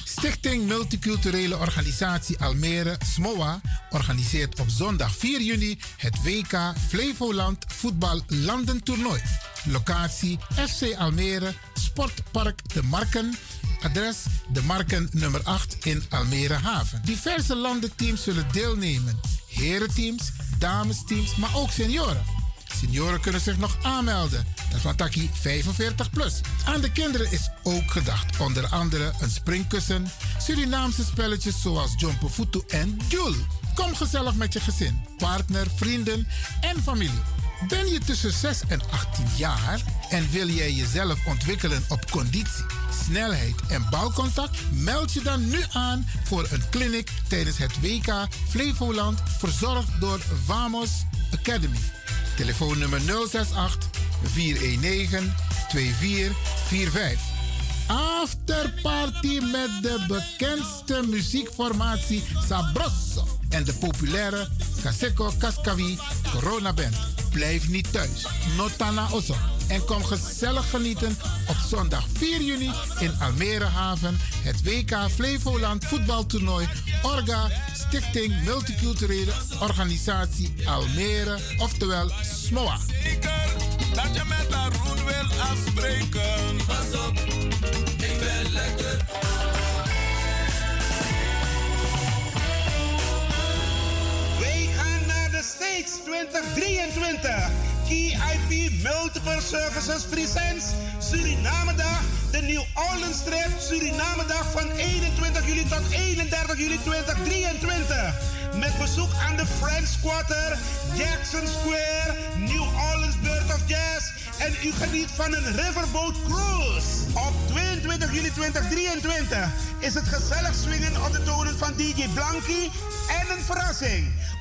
Speaker 1: Stichting Multiculturele Organisatie Almere, SMOA, organiseert op zondag 4 juni het WK Flevoland Voetbal Landentoernooi. Locatie FC Almere, Sportpark De Marken. Adres De Marken nummer 8 in Almere Haven. Diverse landenteams zullen deelnemen. Herenteams, damesteams, maar ook senioren. Senioren kunnen zich nog aanmelden. Dat van Taki 45 plus. Aan de kinderen is ook gedacht. Onder andere een springkussen, Surinaamse spelletjes zoals Jumpo Futu en Jul. Kom gezellig met je gezin, partner, vrienden en familie. Ben je tussen 6 en 18 jaar en wil jij jezelf ontwikkelen op conditie, snelheid en bouwcontact? Meld je dan nu aan voor een clinic tijdens het WK Flevoland, verzorgd door Vamos Academy. Telefoonnummer 068 419 2445. Afterparty met de bekendste muziekformatie Sabroso en de populaire Caseco Cascavi Corona Band. Blijf niet thuis, notana osso. En kom gezellig genieten op zondag 4 juni in Almere Haven. Het WK Flevoland voetbaltoernooi Orga Stichting Multiculturele Organisatie Almere, oftewel SMOA.
Speaker 6: Zeker dat je met Haroon wil afspreken. Pas op, ik ben lekker.
Speaker 13: Wij gaan naar de States 2023. KIP Multiple Services presents Surinamedag, de New Orleans Trip Surinamedag van 21 juli tot 31 juli 2023. Met bezoek aan de French Quarter, Jackson Square, New Orleans Bird of Jazz en u geniet van een Riverboat Cruise. Op 22 juli 2023 is het gezellig swingen op de tonen van DJ Blankie en een verrassing.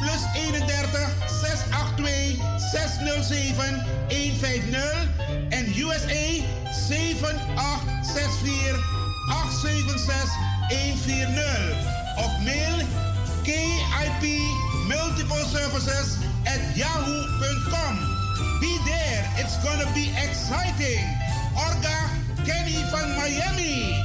Speaker 13: plus 31 682 607 150 en USA 7864 876-140 of mail KIP Multiple Services at yahoo.com. Be there, it's gonna be exciting. Orga Kenny van Miami.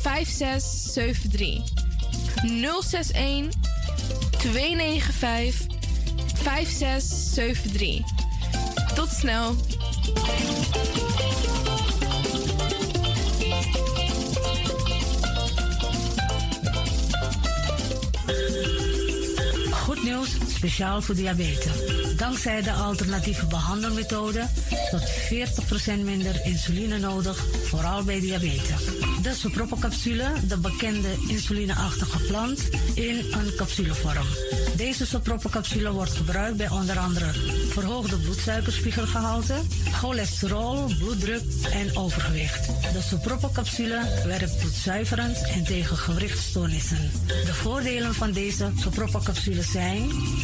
Speaker 22: 5673. 061 295 5673. Tot snel.
Speaker 2: Goed nieuws, speciaal voor diabetes. Dankzij de alternatieve behandelmethode tot 40% minder insuline nodig, vooral bij diabetes. Dus De soproppencapsule, de bekende insulineachtige plant, in een capsulevorm. Deze soproppencapsule wordt gebruikt bij onder andere verhoogde bloedsuikerspiegelgehalte, cholesterol, bloeddruk en overgewicht. De soproppencapsule werkt bloedzuiverend en tegen gewrichtstoornissen. De voordelen van deze soproppencapsule zijn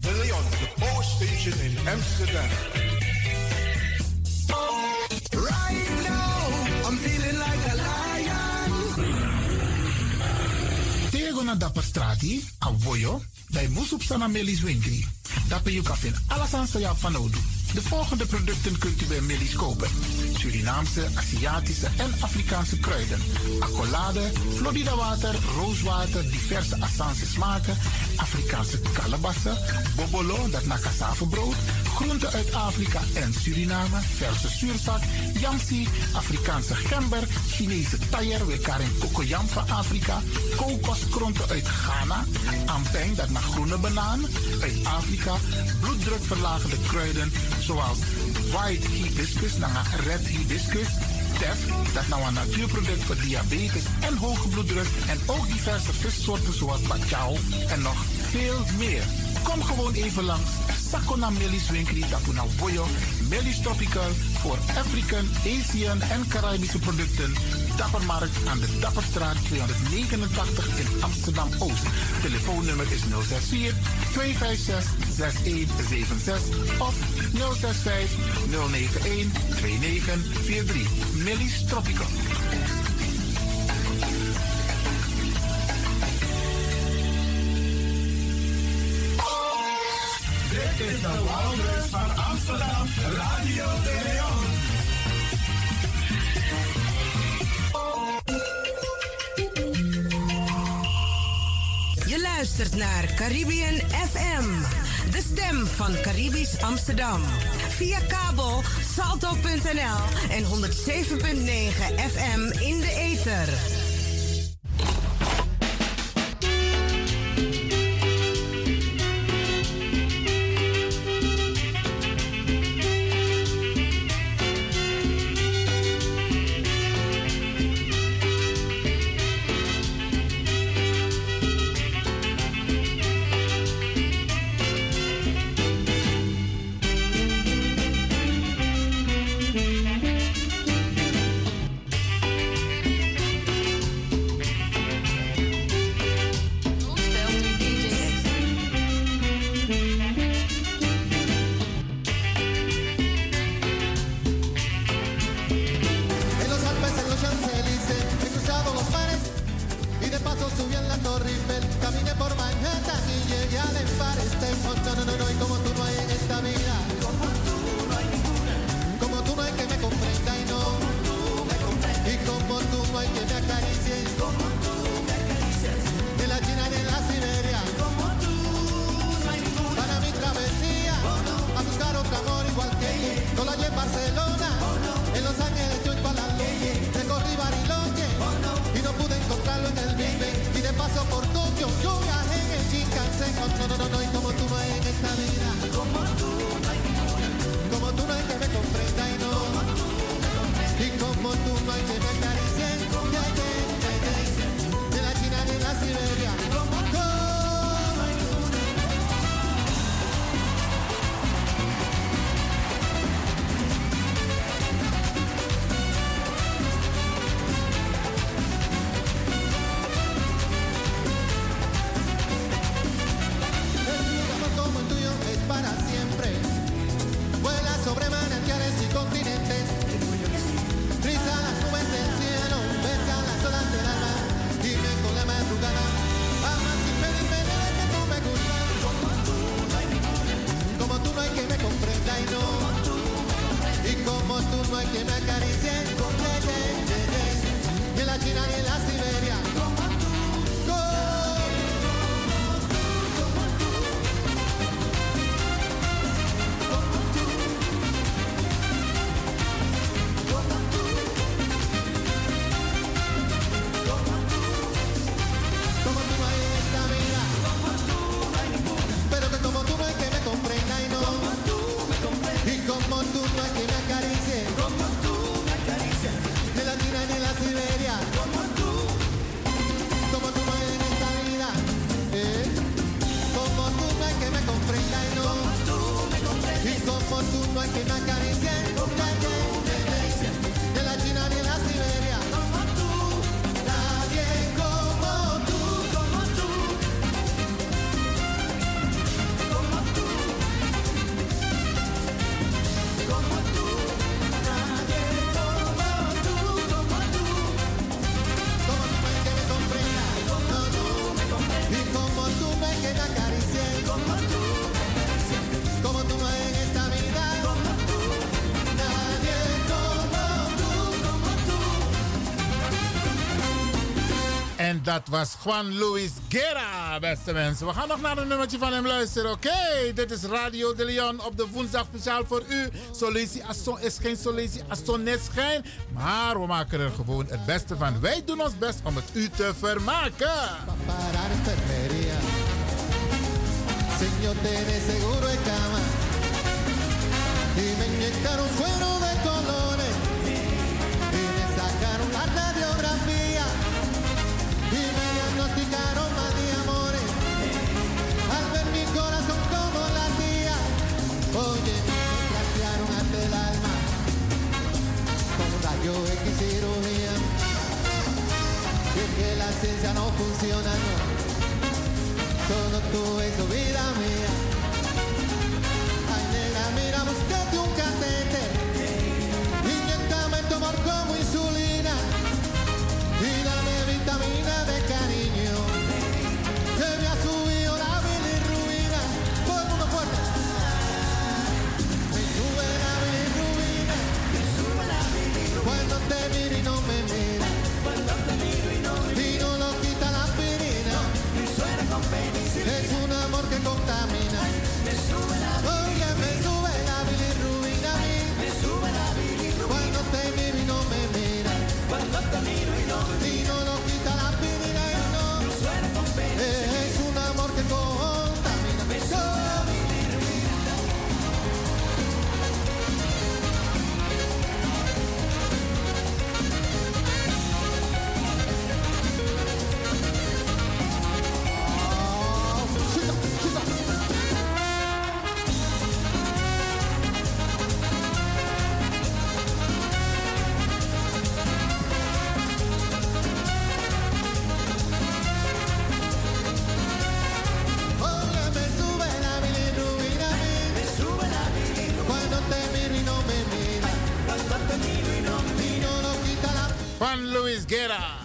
Speaker 6: De Leon, the power station in Amsterdam.
Speaker 23: Right now, I'm feeling like a lion.
Speaker 1: Tego na dapper strati, avoyo, bij Moesop Melis Winkri. Dapper je kafin alles aan sa van Odu. De volgende producten kunt u bij Melis kopen. Surinaamse, Aziatische en Afrikaanse kruiden. Accolade, Florida water, rooswater, diverse Assange smaken. Afrikaanse kalebassen, bobolo, dat na cassavebrood. Groenten uit Afrika en Suriname, verse zuurzak, yamsi, Afrikaanse gember, Chinese taier, we karen kokoyam van Afrika, kokoskronten uit Ghana, ampeng, dat naar groene banaan, uit Afrika, bloeddrukverlagende kruiden, zoals white hibiscus, naar red hibiscus, tef, dat nou een natuurproduct voor diabetes en hoge bloeddruk, en ook diverse vissoorten zoals bacalhau en nog veel meer. Kom gewoon even langs. Sakona Melis Winkri Tapuna Boyo. Melis Tropical voor African, Asian en Caribische producten. Dappermarkt aan de Dapperstraat 289 in Amsterdam Oost. Telefoonnummer is 064 256 6176 of 065 091 2943. Melis Tropical.
Speaker 6: Dit is de Wouders van Amsterdam, Radio de Leon.
Speaker 24: Je luistert naar Caribbean FM, de stem van Caribisch Amsterdam. Via kabel salto.nl en 107.9 FM in de ether.
Speaker 7: En los Alpes, en los Champs-Élysées, he cruzado los mares y de paso subí en la Torre Eiffel. Caminé por Manhattan y llegué al Empire State. Oh, no, no, no, no, y como tú no hay en esta vida. Como tú no hay ninguna. Como tú no hay que me comprenda y no. Y como tú no hay que me acaricie. Como tú me acaricias. Ni la China ni la Siberia. Como tú no hay ninguna. Para mi travesía. A buscar otro amor igual que yo. No la hallé en Barcelona. En Los Ángeles yo en Kuala Lumpur. Recorrí Bariloche. Y no pude encontrarlo en el Big Ben. Y de paso por Tokio yo viajé en el Shinkansen. Oh, no, no, no, no. Y como tú no hay en esta vida. Como tú no hay ninguna. Como tú no hay que me comprenda y no. Y como tú no hay que me acaricie. Como tú no hay que de la China ni la Siberia. El amor como el tuyo es para siempre. Vuela sobre manantiales y continentes. Riza las nubes del cielo, besa las olas del alma. Dime con la madrugada, ama sin pedirme nada que tú me gustas. Como tú no hay que me comprenda y no. Y como tú no hay que me acaricie. Ye, ye, ye, ye. Ni la China ni la Siberia. Go. Como tú no hay en esta vida. Pero que como tú no hay que me comprenda y no. Y como tú no hay que me acaricie. Eh.
Speaker 1: En dat was Juan Luis Guerra, beste mensen. We gaan nog naar een nummertje van hem luisteren, oké? Dit is Radio de Leon op de woensdag speciaal voor u. Solesi Asson is geen Solesi Asson is geen. Maar we maken er gewoon het beste van. Wij doen ons best om het u te vermaken.
Speaker 7: para enfermería. Señor, tiene seguro en cama. Y me inyectaron cuero de colores. Y me sacaron la radiografía. Y me diagnosticaron mal de amores. Al ver mi corazón como la tía. Oye, me platearon hasta el alma. Con rayo X cirugía. Y es que la ciencia no funciona, no. Solo tú es tu vida mía. Ay, nena, mira, búscate un catete. Inyectame tu amor como insulina. Y dame vitamina de cariño. Se me ha subido la bilirrubina. Todo el mundo fuerte. Me sube la bilirrubina. Me sube la bilirrubina. Cuando te miro y no me mira. Vino lo quita la aspirina. Es un amor que contamina. Oye, me sube la bilirrubina a mí. Cuando te miro y no me mira. Vino lo quita la aspirina y no. Es un amor que contamina. Oye, me sube la bilirrubina a mí. Cuando te miro y no me mira. Vino lo quita la
Speaker 1: Van Luis Guerra.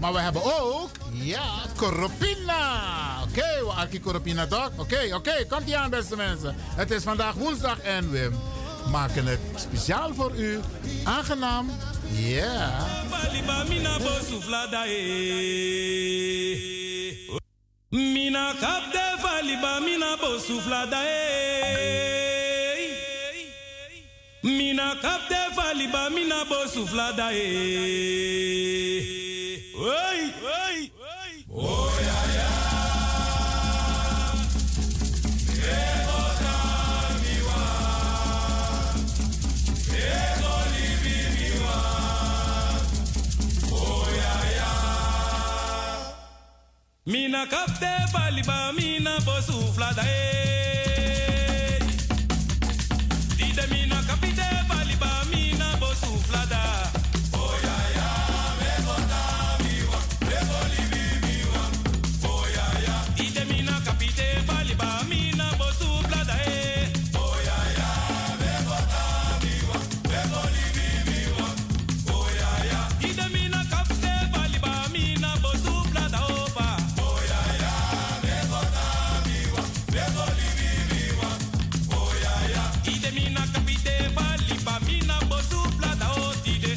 Speaker 1: Maar we hebben ook, ja, Coropina. Oké, we Arki Coropina toch? Oké, oké, komt ie aan beste mensen. Het is vandaag woensdag en we maken het speciaal voor u. Aangenaam. Ja.
Speaker 25: Baliba mina bosu vlada e. Mina kapte valiba mina bosu vlada e. Mina kapte valiba mina bosu vlada e. Oi, oi, Mina kapte baliba mina bosu vlada e. Dide mina kapite baliba mina bosu vlada. Oya ya me gota miwa, me goli miwa. Oya ya. Dide mina kapite baliba mina bosu vlada e. Oya ya me gota miwa, me goli miwa. Oya ya. Dide mina kapite baliba mina bosu vlada opa. Oya ya me gota miwa, me goli miwa. Oya ya. Ide mina kapite baliba mina bosu vlada o dide.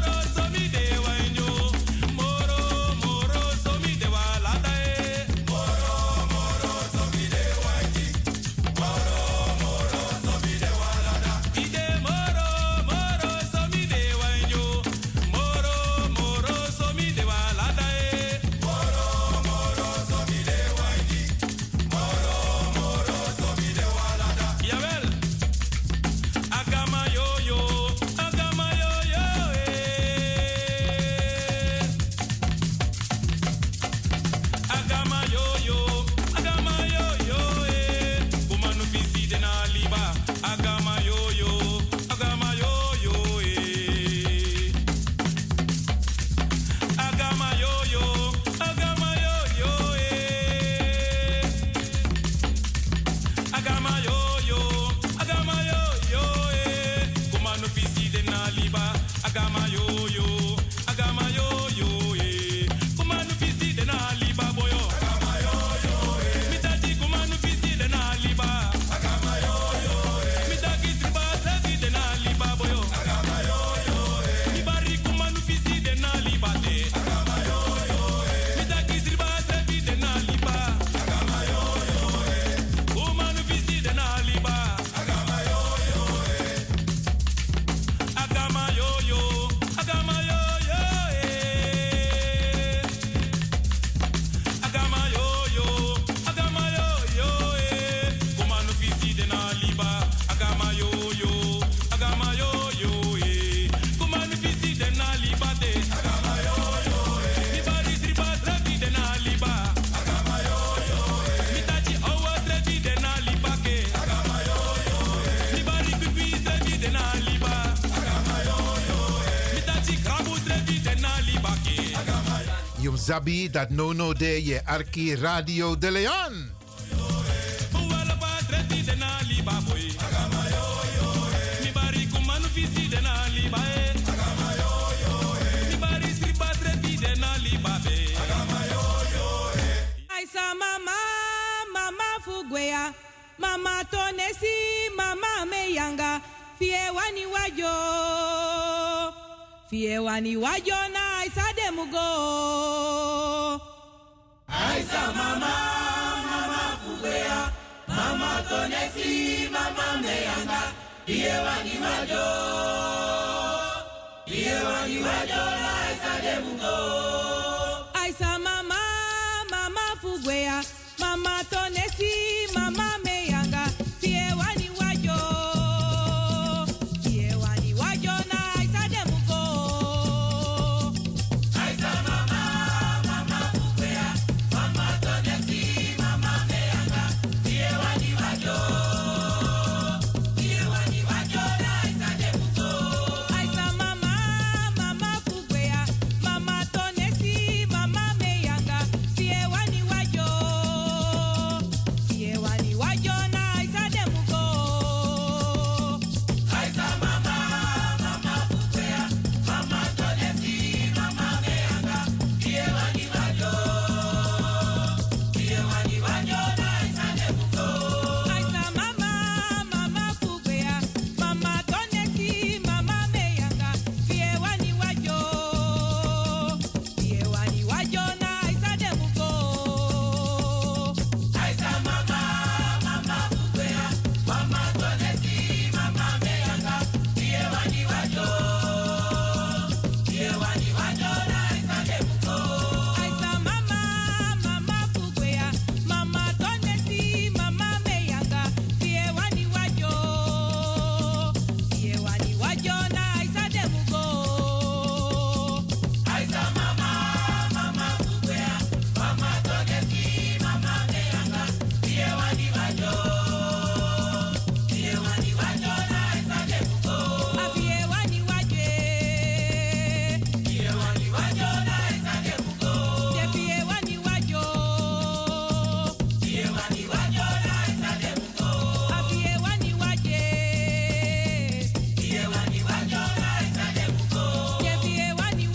Speaker 25: e. E. Adama yo yo, Adama yo yo, eh. Kuma no fisi de na liba, Agama yo yo, Agama yo yo, eh. Agama yo yo, Agama yo yo, eh. Agama yo yo, Agama yo yo, eh. Kuma no fisi de na liba, Agama yo yo, Agama yo yo, eh. Kuma no fisi de na liba boyo. Agama yo yo, eh. Mitati kuma no fisi de na liba. Agama yo yo, eh. Mitaki triba taki de na liba boyo. Agama yo yo, eh. Mibari kuma no fisi de na liba de. Agama yo yo, eh. Mitaki triba taki de na liba. Agama yo yo, eh. Kuma no fisi de na liba. Agama yo yo, eh. Agama yo yo, agama yo yo, eh. Agama yo yo, agama yo yo, eh. Kuma no fisi de na liba. Agama yo yo, agama yo yo, eh. Kuma no fisi de na liba de. Agama yo yo, eh. Mi bari sriba trabi de na liba. Agama yo yo, eh. Mi tachi owa trabi de na liba ke. Agama yo yo, eh. Mi bari kubi trabi de na liba. Agama yo yo, eh. Mi tachi krabu trabi de na liba ke. Agama yo
Speaker 1: Jum Zabi, dat no no de je Arki Radio de Leon.
Speaker 16: Aisa mama, mama fugwea, mama tonesi, mama meyanga, fie wani wajo, fie wani wajo na aisa demugo. Aisa mama, mama fugwea, mama tonesi, mama meyanga, fie wani wajo, fie wani wajo na aisa demugo. Aisa mama, mama fugwea, mama tonesi, mama meyanga, fie wani wajo. Fie wani wajo na aisa demugo. Aisa mama, mama fugwea, mama tonesi, mama meyanga, fie wani wajo. Fie wani wajo na aisa demugo. Aisa mama, mama fugwea, Mama tonesi, mama meyanga, fie wani wajo. Fie wani wajo na aisa demugo. Aisa mama, mama putea, mama tonesi, mama meyanga, fie wani wajo. Fie wani wajo na aisa demugo. Aisa mama, mama putea, mama tonesi, mama meyanga, fie wani wajo. Iewani wajona aisa demugo. Aisa mama, mama fugwea, mama tonesi, mama meyanga, iewani wajo. Iewani wajona aisa demugo. Aisa mama, mama fugwea, mama tonesi, mama meyanga, iewani wajo. Iewani wajona aisa demugo. Aisa mama, mama kukwea, mama togesi, mama meanga, iye wani wajo, iye wani wajo na aisa demuko. Abiye wani waje, iye wani wajo na aisa demuko. Jefiye wani wajo, iye wani wajo na aisa demuko. Abiye wani waje, iye wani wajo na aisa demuko. Jefiye wani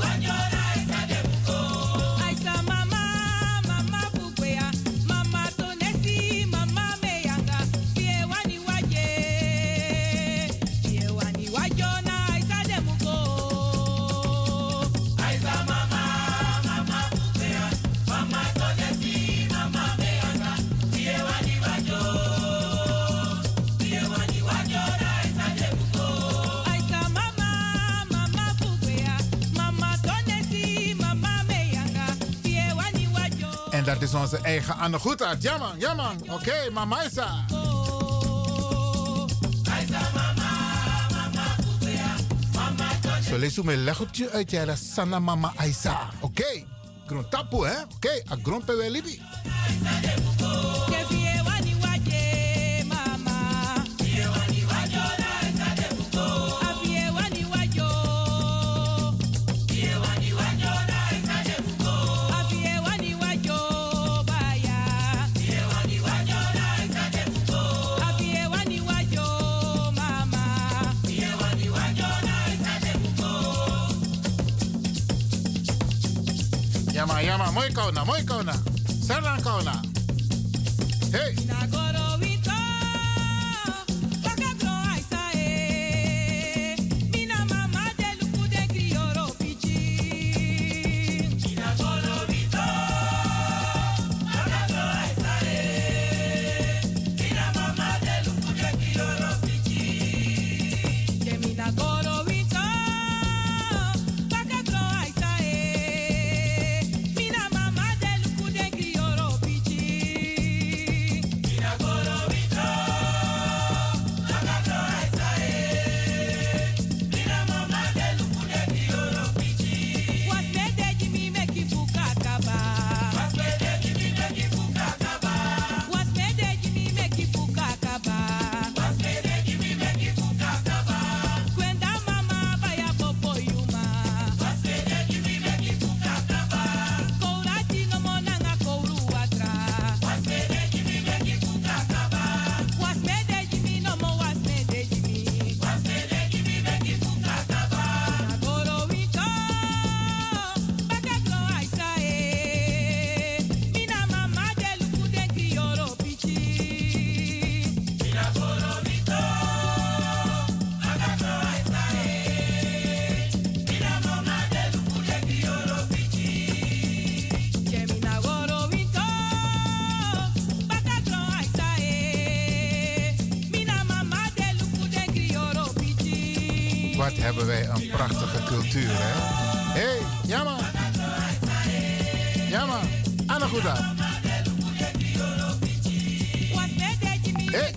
Speaker 16: wajo. Aisa mama, mama bukwea, mama tonesi, mama meyanga, fie wani waje, fie wani wajona, aisa demugo. Aisa mama, mama bukwea, mama tonesi, mama meyanga, fie wani wajo, fie wani wajona, aisa demugo. Aisa mama, mama bukwea, mama tonesi, mama meyanga, fie wani wajo.
Speaker 1: En dat is onze eigen Anne Goedhart. Jamang, jamang. Oké, mama Isa. Zo
Speaker 16: lees me legotje uit jara sana mama Aisa. Oké, okay. grond hè? Oké, okay. a grond pe wel libi. Yama, yama, mooi kona, mooi kona. Sarang kona. Hey. hebben wij een prachtige cultuur, hè? Hé, hey, jammer. Jammer. Anna Goeda. Hey.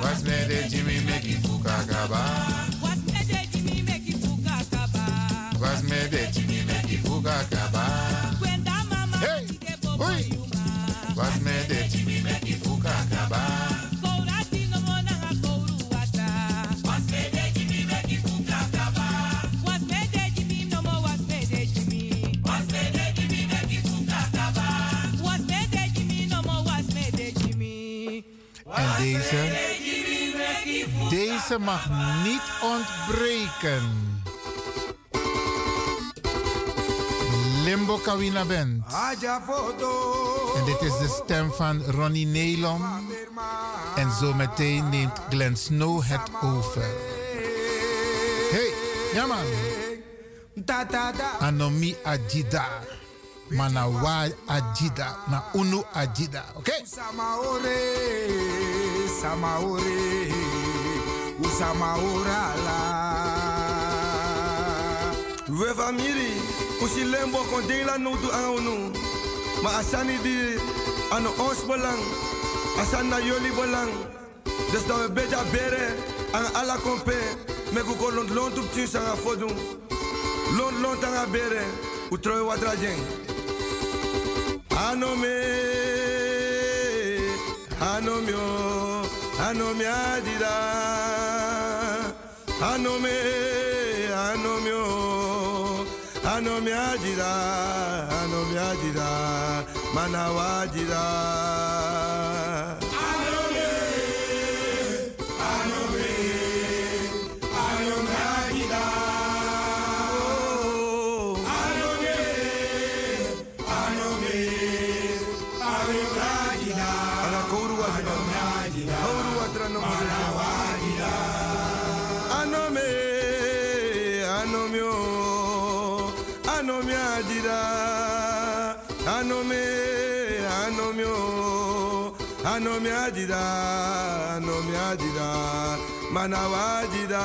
Speaker 16: Was met de Jimmy Mickey Fukakaba? Was met de Jimmy Mickey Fukakaba? Hey, hoi. Was met de Jimmy Mickey Fukakaba? Deze mag niet ontbreken. Limbo Kawina Band. En dit is de stem van Ronnie Nelom. En zometeen neemt Glenn Snow het over. Hey, ja man. Anomi Adida. Manawa Adida. Na Unu Adida. Oké? Okay? samaore usamaorala
Speaker 26: we famiri kusi lembo kon dei la nodu an onu ma a sani di ano ons belang a sani na yoli belang dus dan we beda bere an ala kompe me fu kon lont lontu ptu san a fodu lont lont an a bere u troi watra gen ano me anomio anomi adira anome anomio anomi adira anomi adira manawa adira anomi adida anomi adida manawa adida oh, oh.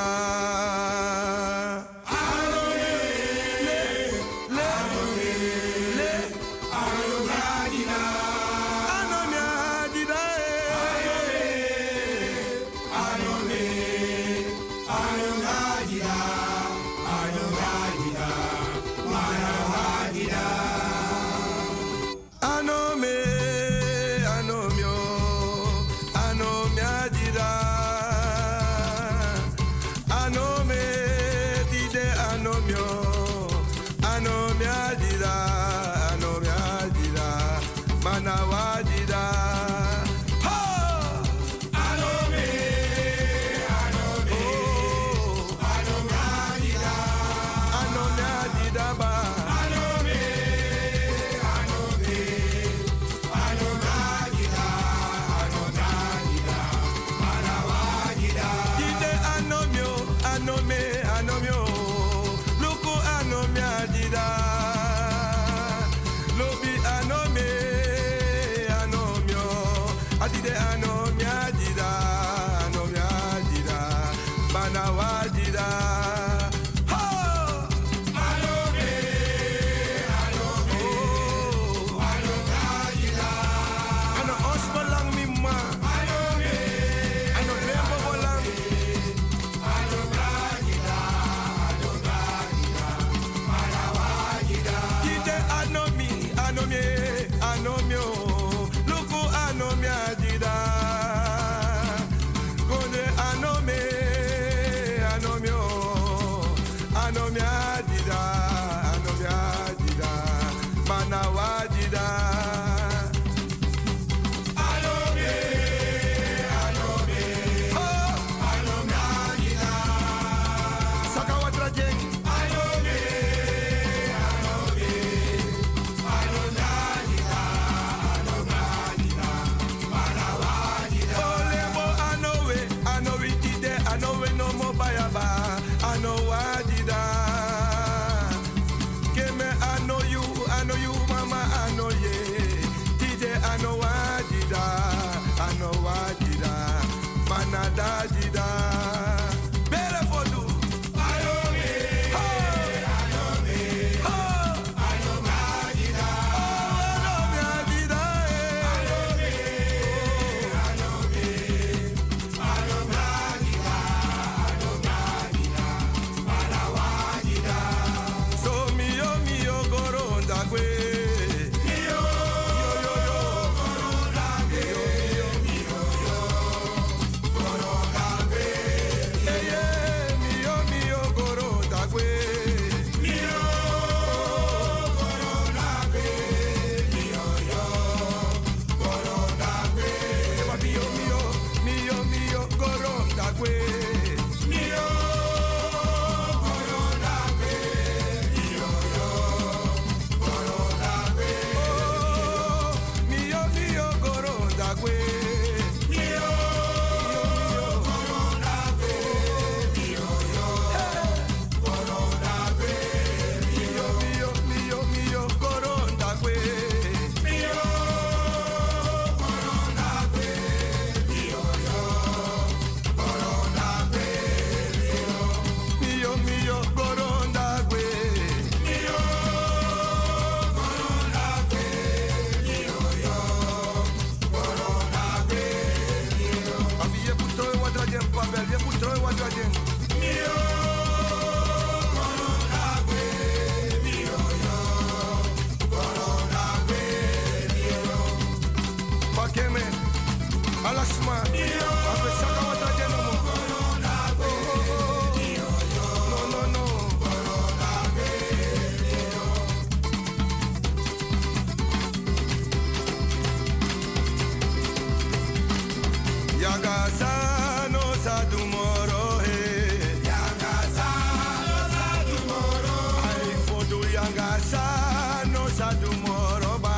Speaker 26: sadu moroba.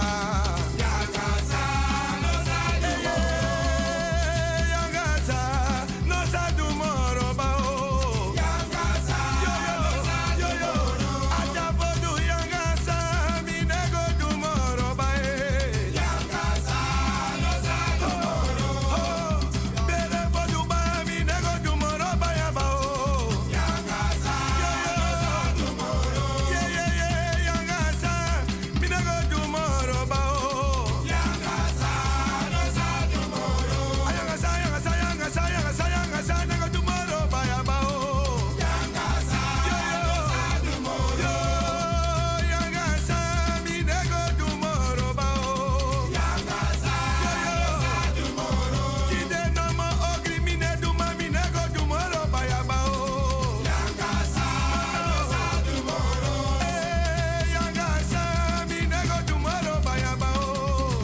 Speaker 26: Yakasa no sadu Yakasa no sadu moroba o. Yakasa yo yo yo yo. Ajabodu yakasa minego du moroba e. Yakasa no sadu moroba. Berebodu ba minego du moroba ya ba o. Yakasa yo yo yeah yeah yeah yangasa minago tomorrow bao yangasa no sa tomorrow ayangasa yangasa yangasa yangasa yangasa minago tomorrow baya bao yangasa no sa tomorrow yangasa minago tomorrow bao yangasa no sa tomorrow kide no mo ogri minago minago tomorrow baya bao yangasa no sa tomorrow Yangasa, mi nego tomorrow, bayabao.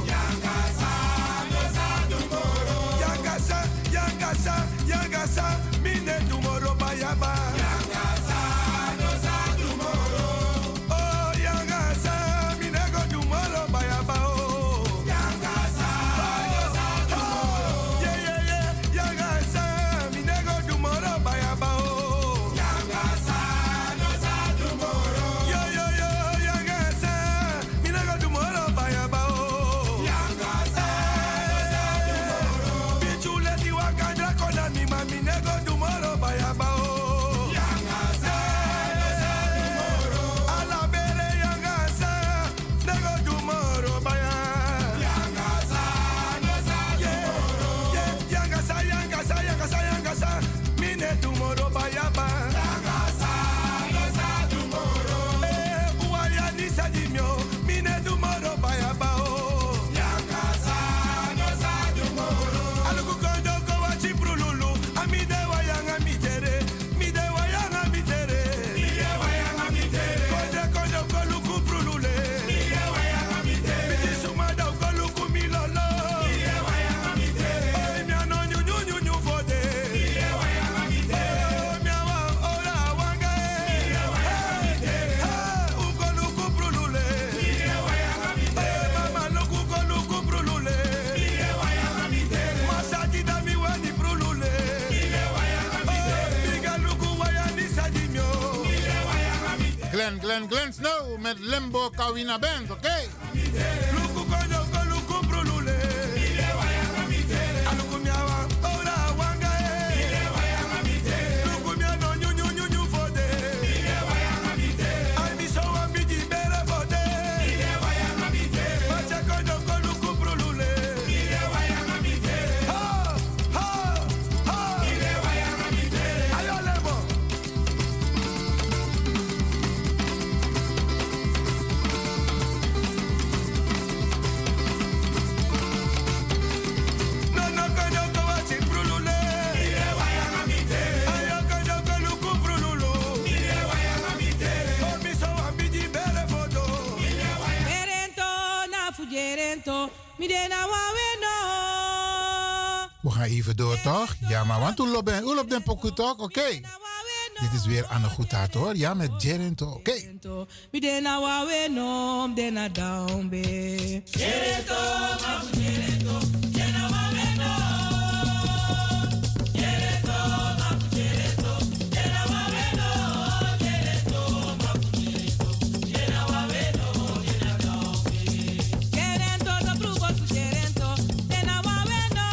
Speaker 26: Yangasa, no sa tomorrow. Yangasa, yangasa, yangasa, mi ne tomorrow, bayaba. Yangasa, no sa tomorrow. Oh, yangasa, mi nego tomorrow, bayabao. Yangasa, no sa tomorrow. Yeah, yeah, yeah, yangasa, mi nego tomorrow, bayabao. Yangasa, no sa tomorrow. Yo yo yo yangasa, mi nego tomorrow, bayabao. Yangasa, no sa tomorrow. Pichule di wakanda kona mi ma mi nego tomorrow, bayabao. Yangasa, no sa tomorrow. Alabere yangasa, nego tomorrow, baya. Yangasa, no sa tomorrow. Yeah, yangasa, yangasa, yangasa, yangasa, mi ne tomorrow, bayaba. Yangasa, no sa tomorrow. Eh, uaya ni sa di mio, mi ne tomorrow, bayaba o. Yangasa, no sa tomorrow. Aluku kondo ko wa chiprululu, ami de wa yanga mi tere, mi de wa yanga mi tere. Mi de wa yanga mi tere. Konde kondo ko luku prulule. Mi de wa yanga mi tere. Mi suma da ko luku mi lolo. Mi de wa yanga mi tere. Oh, mi ano nyu nyu nyu nyu fode. Mi de wa yanga mi tere. Oh, mi awa ora wanga. Mi de wa yanga mi tere. Ha, u ko luku prulule. Mi de wa yanga mi tere. Mama luku ko luku prulule. Mi de wa yanga mi tere. Masaji da mi wa ni prulule. Mi de wa yanga mi tere. Biga luku wa ya ni saji mio. Mi de wa yanga mi tere.
Speaker 1: Glenn, Glenn, Glenn Snow met Limbo Kawina Band, oké?
Speaker 26: Luku kondo ko luku prulule. Mi de wa yanga mi tere. Aluku mi awa ora wanga. Mi de wa yanga mi tere. Luku mi ano nyu nyu nyu nyu fode. Mi de wa yanga mi tere. Ai mi so wa mi di bere fode. Mi de wa yanga mi tere. Macha kondo ko luku prulule. Mi de wa yanga mi tere. Ha ha ha. Mi de wa yanga mi tere. Ayo lebo.
Speaker 1: We gaan even door, toch? Ja, maar want hoe loopt hoe loopt den pokoe, toch? Oké. Dit is weer Anne Goedhaat, hoor. Ja, met Jerento. Oké.
Speaker 16: Mi de na wa we no, mi de na down be.
Speaker 6: Jereto, mamu jereto,
Speaker 16: Querendo do brugo su querendo, de na wa we no.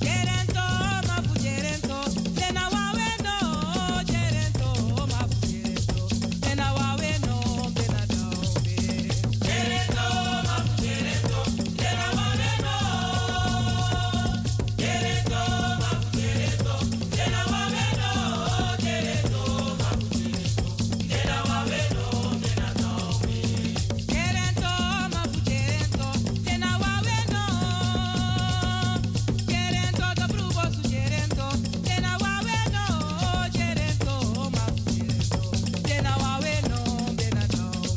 Speaker 16: Querendo ma fu querendo, de na wa we no. Querendo ma fu querendo, de na wa we no, de na down be. Querendo ma fu querendo, de na wa we no. Querendo ma fu querendo, de na wa we no. Querendo ma fu querendo, de na wa we no. Querendo, ma fu querendo, te na wawe no. Querendo, do brugo su querendo, te na wawe no. Querendo, ma fu querendo, te na wawe no.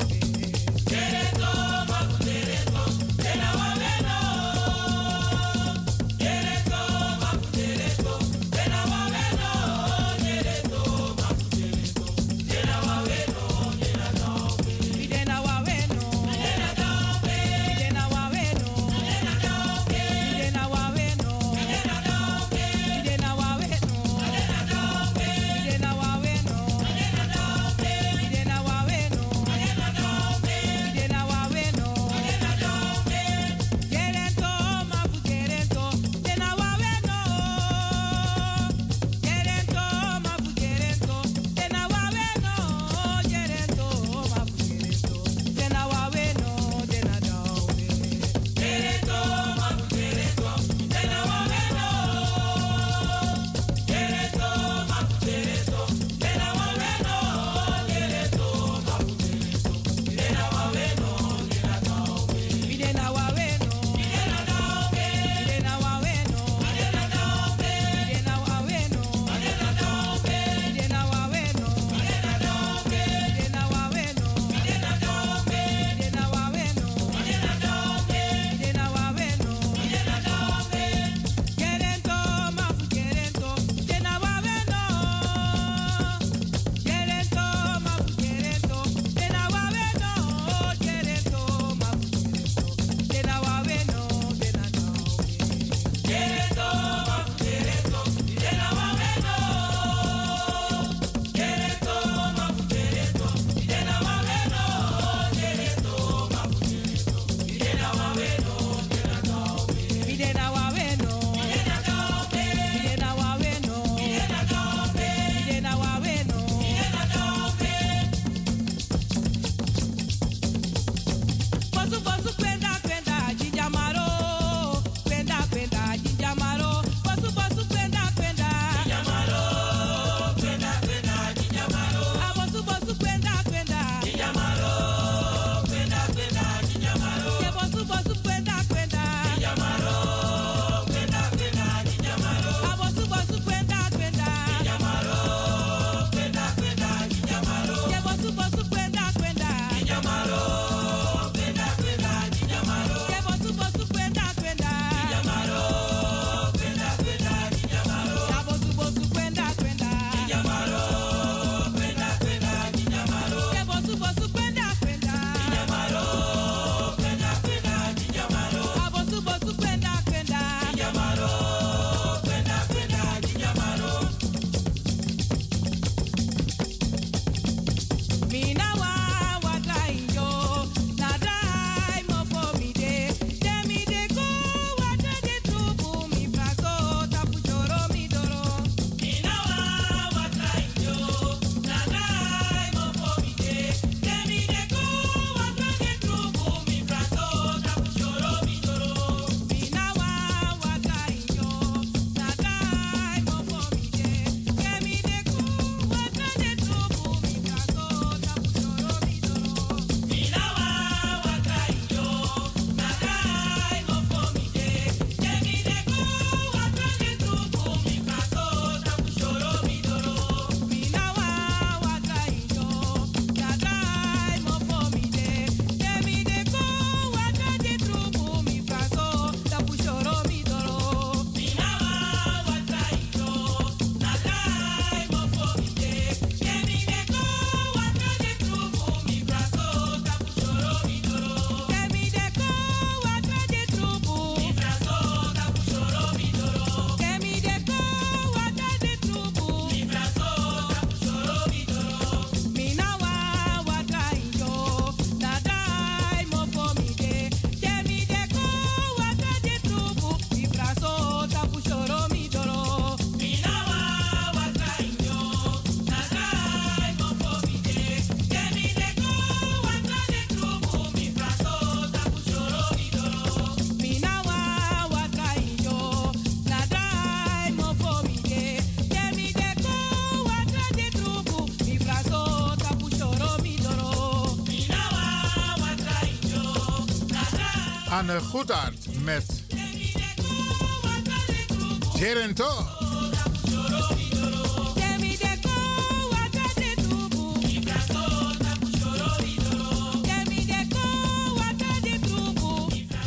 Speaker 16: Anne Goedaard met Gerento.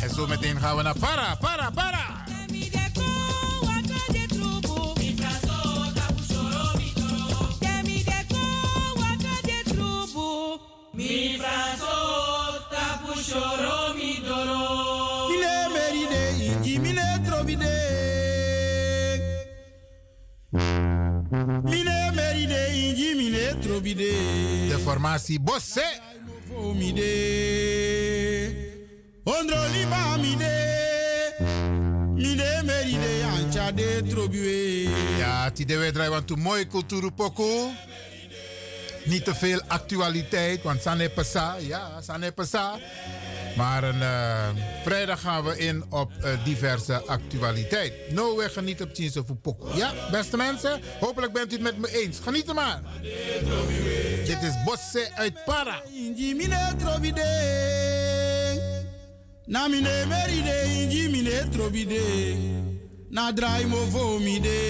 Speaker 16: En zo meteen gaan we naar Para, Para, Para.
Speaker 9: Mi fraso tapu choro mi doro.
Speaker 15: Mine meride, iji mine trobide. Mine meride, iji mine trobide.
Speaker 16: De formatie Bosse.
Speaker 15: Mide. Ondro lima mide. Mide meride, ancha de trobide.
Speaker 16: ah, Ja, die wij draaien, want een mooie cultuurpoko. Niet te veel actualiteit, want Sané Passa, ja, Sané Passa. Maar een, eh, vrijdag gaan we in op eh, diverse actualiteit. No, we genieten op Chinese Poko. Ja, beste mensen, hopelijk bent u het met me eens. Geniet er maar. Dit is Bosse uit Para.
Speaker 15: Inji mine trobide. Na mine meride, inji mine trobide. Na drai mo vomide.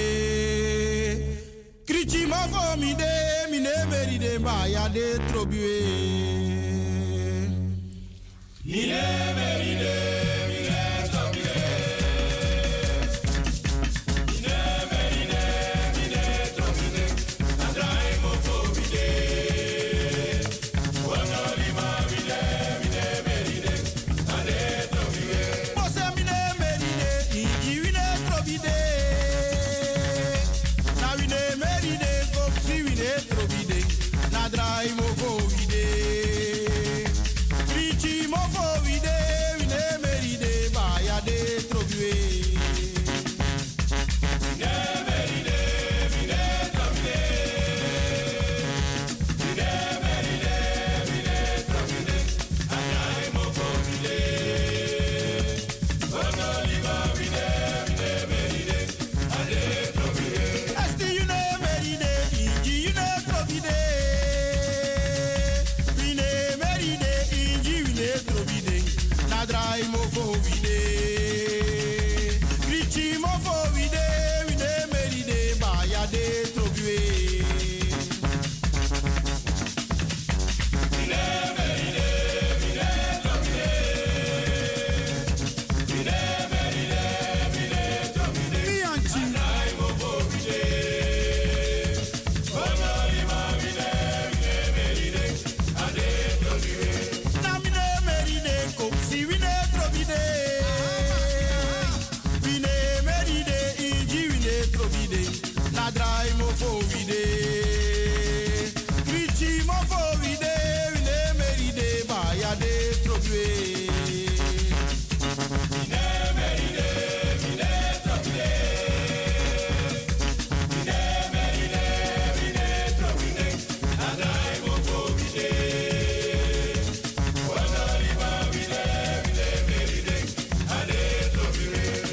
Speaker 15: Kriti mo vomide, mine meride ma ya de trobide. Mine meride, mine trobide. Richie mo fo ide, we ne meride.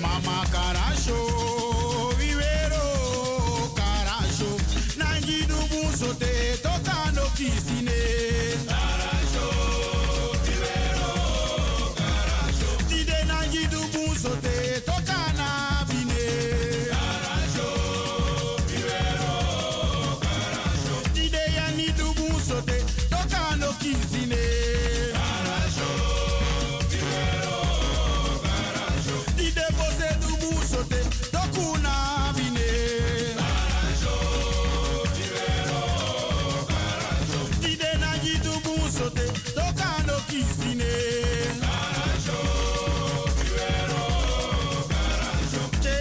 Speaker 15: Mama Caracho, Vivero Caracho, Nangi do Bunsote, tocando piscine. Caracho, Vivero Caracho, Dide Nangi do Bunsote, tocando bine. Caracho, Vivero Caracho, Dide Yani do Bunsote, tocando piscine. Caracho, Vivero Caracho, Dide você do Bunsote, tocando bine. Caracho, Vivero Dide na jitu busote, tokano kisine. Karacho, vivero, karacho. Che,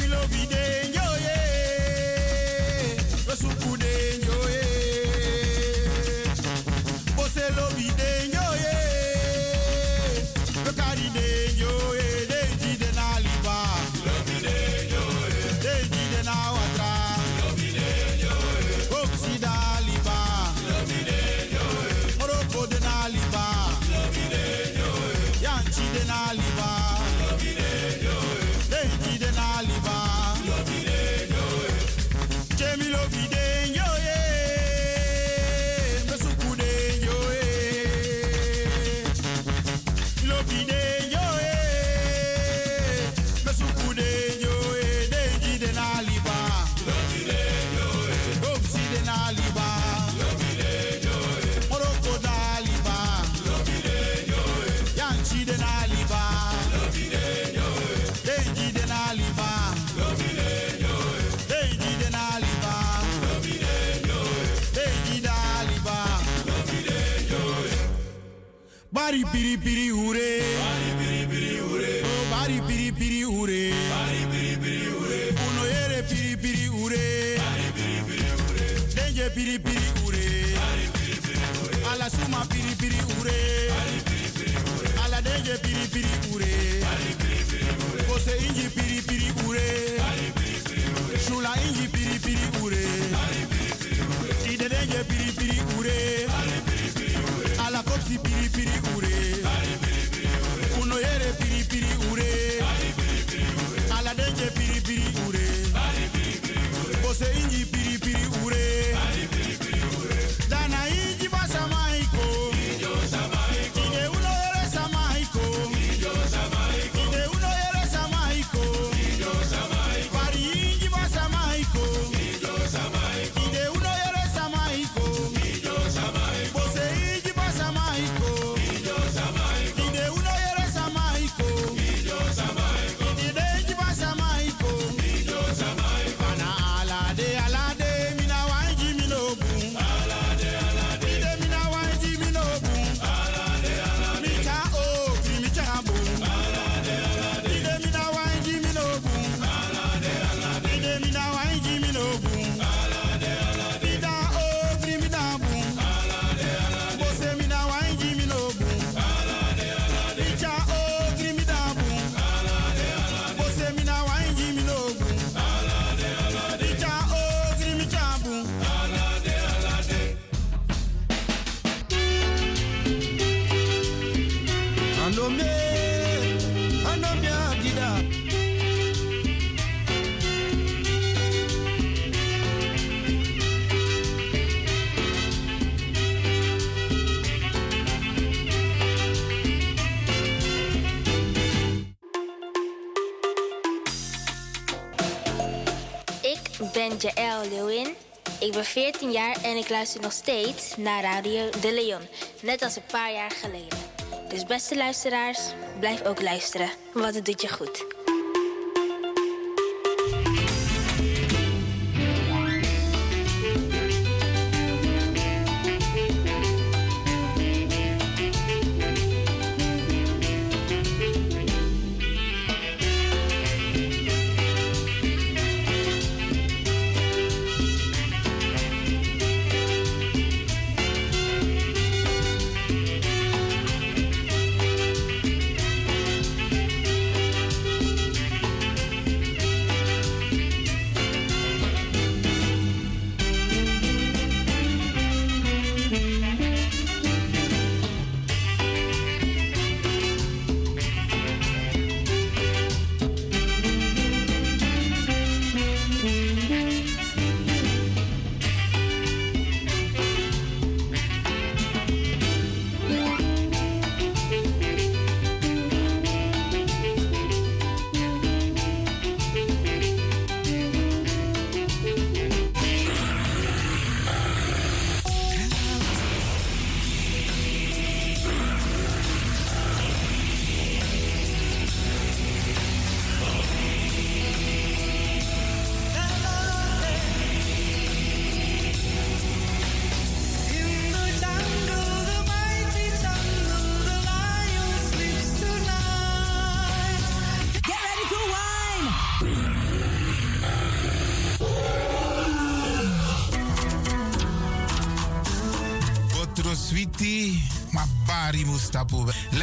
Speaker 15: wilo vide nyoye, osukude nyoye. Bose lo vide nyoye, bekari de nyoye, de jide na liba. Lo vide nyoye, de jide na watra. Lo vide nyoye, oksida liba. Morocco de Naliba. Yanchi de Naliba. Lenki de Naliba. Jamie Lobi de Nyoye. eh. Mesuku de eh. Nyoye. Lobi de Nyoye. eh. Mesuku de Nyoye. Lenki eh. de Naliba. Opsi eh. de Naliba. eh. Morocco d'Aliba. eh. Yanchi de Naliba. Deji eh. de Naliba. Deji eh. de Naliba. eh. Deji d'Aliba. eh. Bari piri piri ure. Bari piri piri ure. Oh, bari piri piri ure. Bari piri piri ure. Uno ere piri piri ure. Bari piri piri ure. Denje piri piri ure. Bari piri piri ure. Ala suma piri piri ure. Bari piri piri ure. Ala denje piri piri ure. Bari piri piri ure. Kose inji piri piri ure. Bari piri piri ure. Shula inji piri piri ure. Bari piri piri ure. Ide denje piri piri ure. Bari piri piri ure. Ala kopsi piri piri ure. Bari piri piri ure. Uno yere piri piri ure. Bari piri piri ure. Ala denje piri piri ure. Bari piri piri ure. Kose inji piri piri ure. Bari piri piri ure. Dana inji basa maiko. Injo samaiko. Ide uno yere samaiko. Injo samaiko. Ide uno yere samaiko. Injo samaiko. Pari inji basa maiko. Injo samaiko. Ide uno yere samaiko. Injo samaiko. Bose inji basa maiko. Injo samaiko. Ide uno yere samaiko. Injo samaiko. Ide inji basa maiko. Injo samaiko. Bana alade alade mina wanji minobu. Alade alade. Ide mina wanji minobu. Alade alade. Micha o micha bu. Alade alade. Ide mina wanji minobu. Alade alade. Ide mina wanji minobu. Alade alade. Ida o mina bu. Alade alade. Bose mina wanji minobu. Alade alade. Micha o mina bu. Alade alade. Bose mina wanji minobu. Alade alade. Micha o micha bu. Alade alade. Anome, anome agida.
Speaker 27: Ik ben Jaël Leeuwin. Ik ben 14 jaar en ik luister nog steeds naar Radio De Leon. Net als een paar jaar geleden. Dus beste luisteraars, blijf ook luisteren, want het doet je goed.
Speaker 1: Petro Sweetie, maar Bari Mustapu.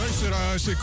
Speaker 26: Luisteraars, ik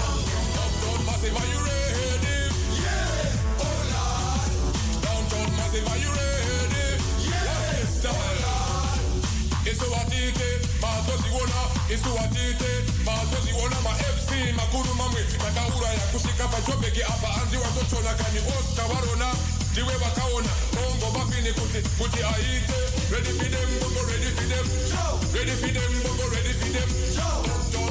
Speaker 9: Massive, are you ready? Yeah. Oh Lord. Downtown Massive, are you ready? Yeah. What's this time? Oh Lord. It's what it is. Mazo ziwona. It's what it is. Mazo ziwona ma FC makuru mamwe. Nakaura ya kushika pachobeki apa anzi watochona kani Oscar warona. Diwe wakaona. Bongo bafini kuti kuti aite. Ready for them, bongo ready for them. Ready for them, bongo ready for them. Downtown